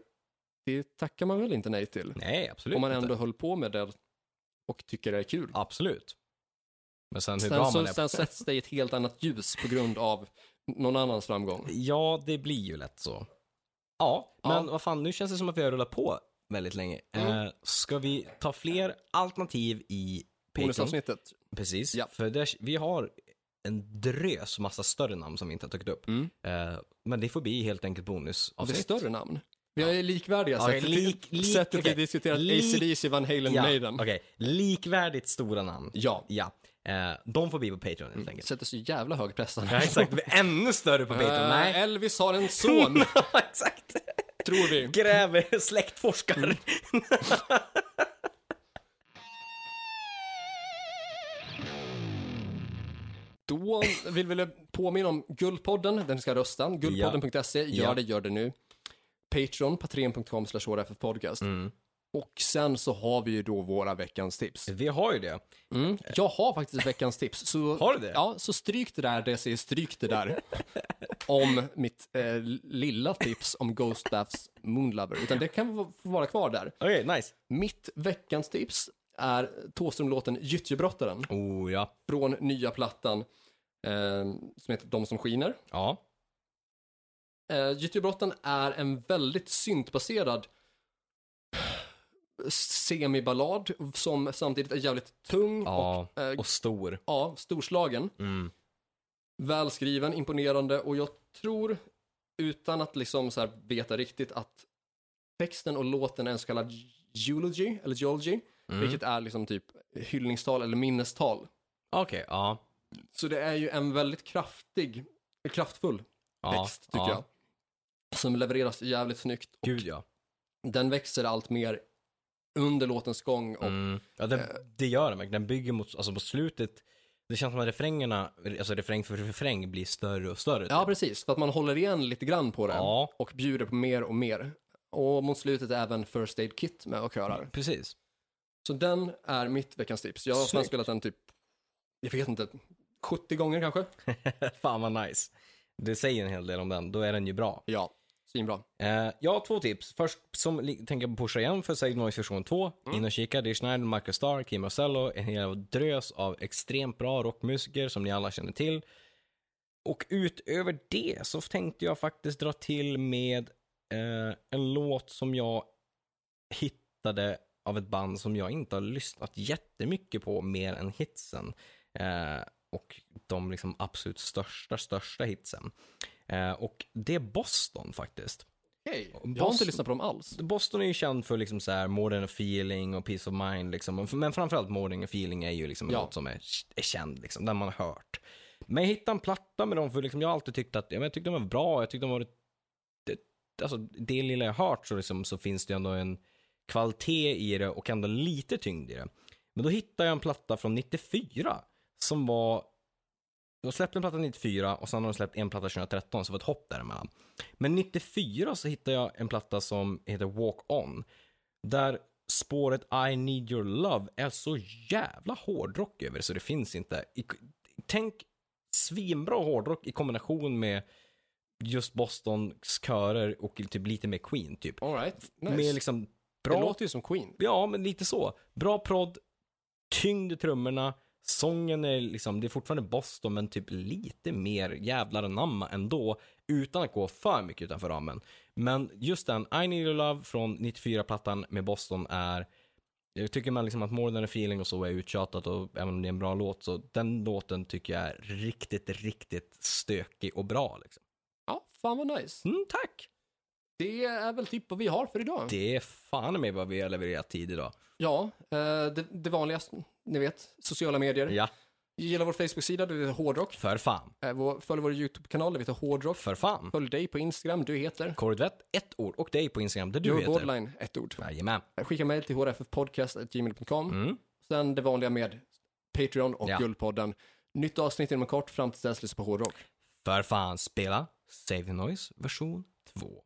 [SPEAKER 1] det tackar man väl inte nej till?
[SPEAKER 2] Nej, absolut
[SPEAKER 1] om man
[SPEAKER 2] inte.
[SPEAKER 1] ändå höll på med det och tycker det är kul.
[SPEAKER 2] Absolut. Men sen hur bra
[SPEAKER 1] Sen,
[SPEAKER 2] man
[SPEAKER 1] så, sen
[SPEAKER 2] är
[SPEAKER 1] sätts det i ett helt annat ljus på grund av någon annans
[SPEAKER 2] (laughs)
[SPEAKER 1] framgång.
[SPEAKER 2] Ja, det blir ju lätt så. Ja,
[SPEAKER 1] Ja.
[SPEAKER 2] men vad fan, nu känns det som att vi har rullat på väldigt länge.
[SPEAKER 1] Mm.
[SPEAKER 2] Eh, ska vi ta fler alternativ i Patreon?
[SPEAKER 1] Bonusavsnittet.
[SPEAKER 2] Precis,
[SPEAKER 1] Ja.
[SPEAKER 2] för där, vi har en drös massa större namn som vi inte har tagit upp.
[SPEAKER 1] Mm.
[SPEAKER 2] Eh, men det får bli helt enkelt
[SPEAKER 1] Det är
[SPEAKER 2] bonusavsnitt.
[SPEAKER 1] större namn. Vi har ju likvärdiga
[SPEAKER 2] Okej,
[SPEAKER 1] sättet,
[SPEAKER 2] lik- lik-
[SPEAKER 1] sättet
[SPEAKER 2] okej.
[SPEAKER 1] vi diskuterat
[SPEAKER 2] Lik-
[SPEAKER 1] ACDC, Van Halen,
[SPEAKER 2] ja,
[SPEAKER 1] Maiden.
[SPEAKER 2] okej. Likvärdigt stora namn.
[SPEAKER 1] Ja,
[SPEAKER 2] Ja, eh, de får bli på Patreon helt enkelt.
[SPEAKER 1] sätter så jävla hög press.
[SPEAKER 2] Ja,
[SPEAKER 1] (laughs)
[SPEAKER 2] exakt. Det blir Ännu större på Patreon.
[SPEAKER 1] Eh,
[SPEAKER 2] Nej,
[SPEAKER 1] Elvis har en
[SPEAKER 2] (laughs)
[SPEAKER 1] son,
[SPEAKER 2] exakt.
[SPEAKER 1] (laughs) tror vi.
[SPEAKER 2] Gräver (laughs) släktforskar.
[SPEAKER 1] Då vill vi påminna om Guldpodden, den ska rösta. Guldpodden.se,
[SPEAKER 2] Ja.
[SPEAKER 1] E. gör det, gör det nu. Patreon, patreon.com slash podcast. Och sen så har vi ju då våra veckans tips.
[SPEAKER 2] Vi har ju det.
[SPEAKER 1] Mm. Jag har faktiskt veckans tips. Så,
[SPEAKER 2] Har du det?
[SPEAKER 1] Ja, så stryk det där, det säger stryk det där. om mitt eh, lilla tips om Ghost Baths Moonlover. Utan det kan få- få vara kvar där.
[SPEAKER 2] Okej, nice.
[SPEAKER 1] Mitt veckans tips är Thåström-låten Gyttjebrottaren
[SPEAKER 2] Oh ja.
[SPEAKER 1] från nya plattan eh, som heter De som skiner.
[SPEAKER 2] Ja.
[SPEAKER 1] Eh, Gyttjebrotten är en väldigt syntbaserad eh, semiballad som samtidigt är jävligt tung
[SPEAKER 2] Ja.
[SPEAKER 1] och, eh,
[SPEAKER 2] Och stor.
[SPEAKER 1] ja, storslagen.
[SPEAKER 2] Mm.
[SPEAKER 1] Välskriven, imponerande och jag tror utan att liksom så här veta riktigt att texten och låten är en så kallad eulogy eller geology,
[SPEAKER 2] Mm.
[SPEAKER 1] vilket är liksom typ hyllningstal eller minnestal.
[SPEAKER 2] Okej, ja.
[SPEAKER 1] Så det är ju en väldigt kraftig, kraftfull
[SPEAKER 2] ja.
[SPEAKER 1] text tycker
[SPEAKER 2] ja.
[SPEAKER 1] jag. Som levereras jävligt snyggt.
[SPEAKER 2] Gud ja.
[SPEAKER 1] Den växer allt mer under låtens gång och eh,
[SPEAKER 2] Mm. ja den, det gör den verkligen. Den bygger mot, alltså på slutet. Det känns som att refrängerna, alltså refräng för refräng blir större och större. typ.
[SPEAKER 1] Ja, precis. För att man håller igen lite grann på det
[SPEAKER 2] Ja.
[SPEAKER 1] och bjuder på mer och mer. Och mot slutet är även First Aid Kit med och körar.
[SPEAKER 2] Precis. (laughs)
[SPEAKER 1] Så den är mitt veckans tips. Jag har fan
[SPEAKER 2] Snyggt.
[SPEAKER 1] spelat den typ, jag vet inte, 70 gånger kanske?
[SPEAKER 2] Fan vad nice. Det säger en hel del om den. Då är den ju bra.
[SPEAKER 1] Ja, svinbra.
[SPEAKER 2] Eh, jag har två tips. Först som li- tänker jag på pusha igen för Save Noise version 2. In och kika. Det är Schneider, Michael Starr, Kim Marcello, en hel drös av extremt bra rockmusiker som ni alla känner till. Och utöver det så tänkte jag faktiskt dra till med eh, en låt som jag hittade av ett band som jag inte har lyssnat jättemycket på mer än hitsen. Eh, och de liksom absolut största, största hitsen. Eh, och det är Boston faktiskt.
[SPEAKER 1] Okej, jag har
[SPEAKER 2] Boss-
[SPEAKER 1] inte lyssnat på dem alls.
[SPEAKER 2] Boston är ju känd för liksom så här more than a feeling och peace of mind liksom. Men framförallt more than a feeling är ju liksom
[SPEAKER 1] Ja.
[SPEAKER 2] något som är, är känd liksom, den man har hört. Men jag hittade en platta med dem för liksom jag har alltid tyckt att, ja, men jag tyckte de var bra, jag tyckte de var det, alltså det lilla jag har hört så liksom så finns det ändå en kvalitet i det och ändå lite tyngd i det. Men då hittade jag en platta från 94 som var de släppte en platta 94 och sen har de släppt en platta 2013, så det var ett hopp däremellan. Men 94 så hittade jag en platta som heter Walk On. Där spåret I Need Your Love är så jävla hårdrock över det, så det finns inte. I, tänk svinbra hårdrock i kombination med just Bostons körer och typ lite mer Queen typ.
[SPEAKER 1] All right, Oh, nice.
[SPEAKER 2] Med liksom
[SPEAKER 1] Det
[SPEAKER 2] bra
[SPEAKER 1] låter ju som Queen.
[SPEAKER 2] Ja, men lite så. Bra prodd, tyngd i trummorna, sången är liksom, det är fortfarande Boston men typ lite mer jävlar anamma ändå utan att gå för mycket utanför ramen. Men just den, I Need Your Love från 94-plattan med Boston är, jag tycker man liksom att More Than A Feeling och så är uttjatat och även om det är en bra låt så den låten tycker jag är riktigt, riktigt stökig och bra liksom.
[SPEAKER 1] Ja, fan vad nice.
[SPEAKER 2] Mm, tack!
[SPEAKER 1] Det är väl typ vad vi har för idag.
[SPEAKER 2] Det är fan med vad vi har levererat tid idag.
[SPEAKER 1] Ja, eh, det, det vanligaste, ni vet, sociala medier.
[SPEAKER 2] Ja,
[SPEAKER 1] Gilla vår Facebook-sida, du heter Hårdrock.
[SPEAKER 2] För fan.
[SPEAKER 1] Eh, vår- Följ vår YouTube-kanal, du heter Hårdrock.
[SPEAKER 2] För fan.
[SPEAKER 1] Följ dig på Instagram, du heter...
[SPEAKER 2] Korvett, ett ord. Och dig på Instagram, där du
[SPEAKER 1] Joey
[SPEAKER 2] heter.
[SPEAKER 1] Borderline, ett ord.
[SPEAKER 2] Jajamän.
[SPEAKER 1] Eh, Skicka mejl till hrffpodcast.gmail.com.
[SPEAKER 2] Mm.
[SPEAKER 1] Sen det vanliga med Patreon och
[SPEAKER 2] Ja.
[SPEAKER 1] Guldpodden. Nytt avsnitt inom kort, fram till dess lyssna på Hårdrock.
[SPEAKER 2] För fan, spela Save the Noise version 2.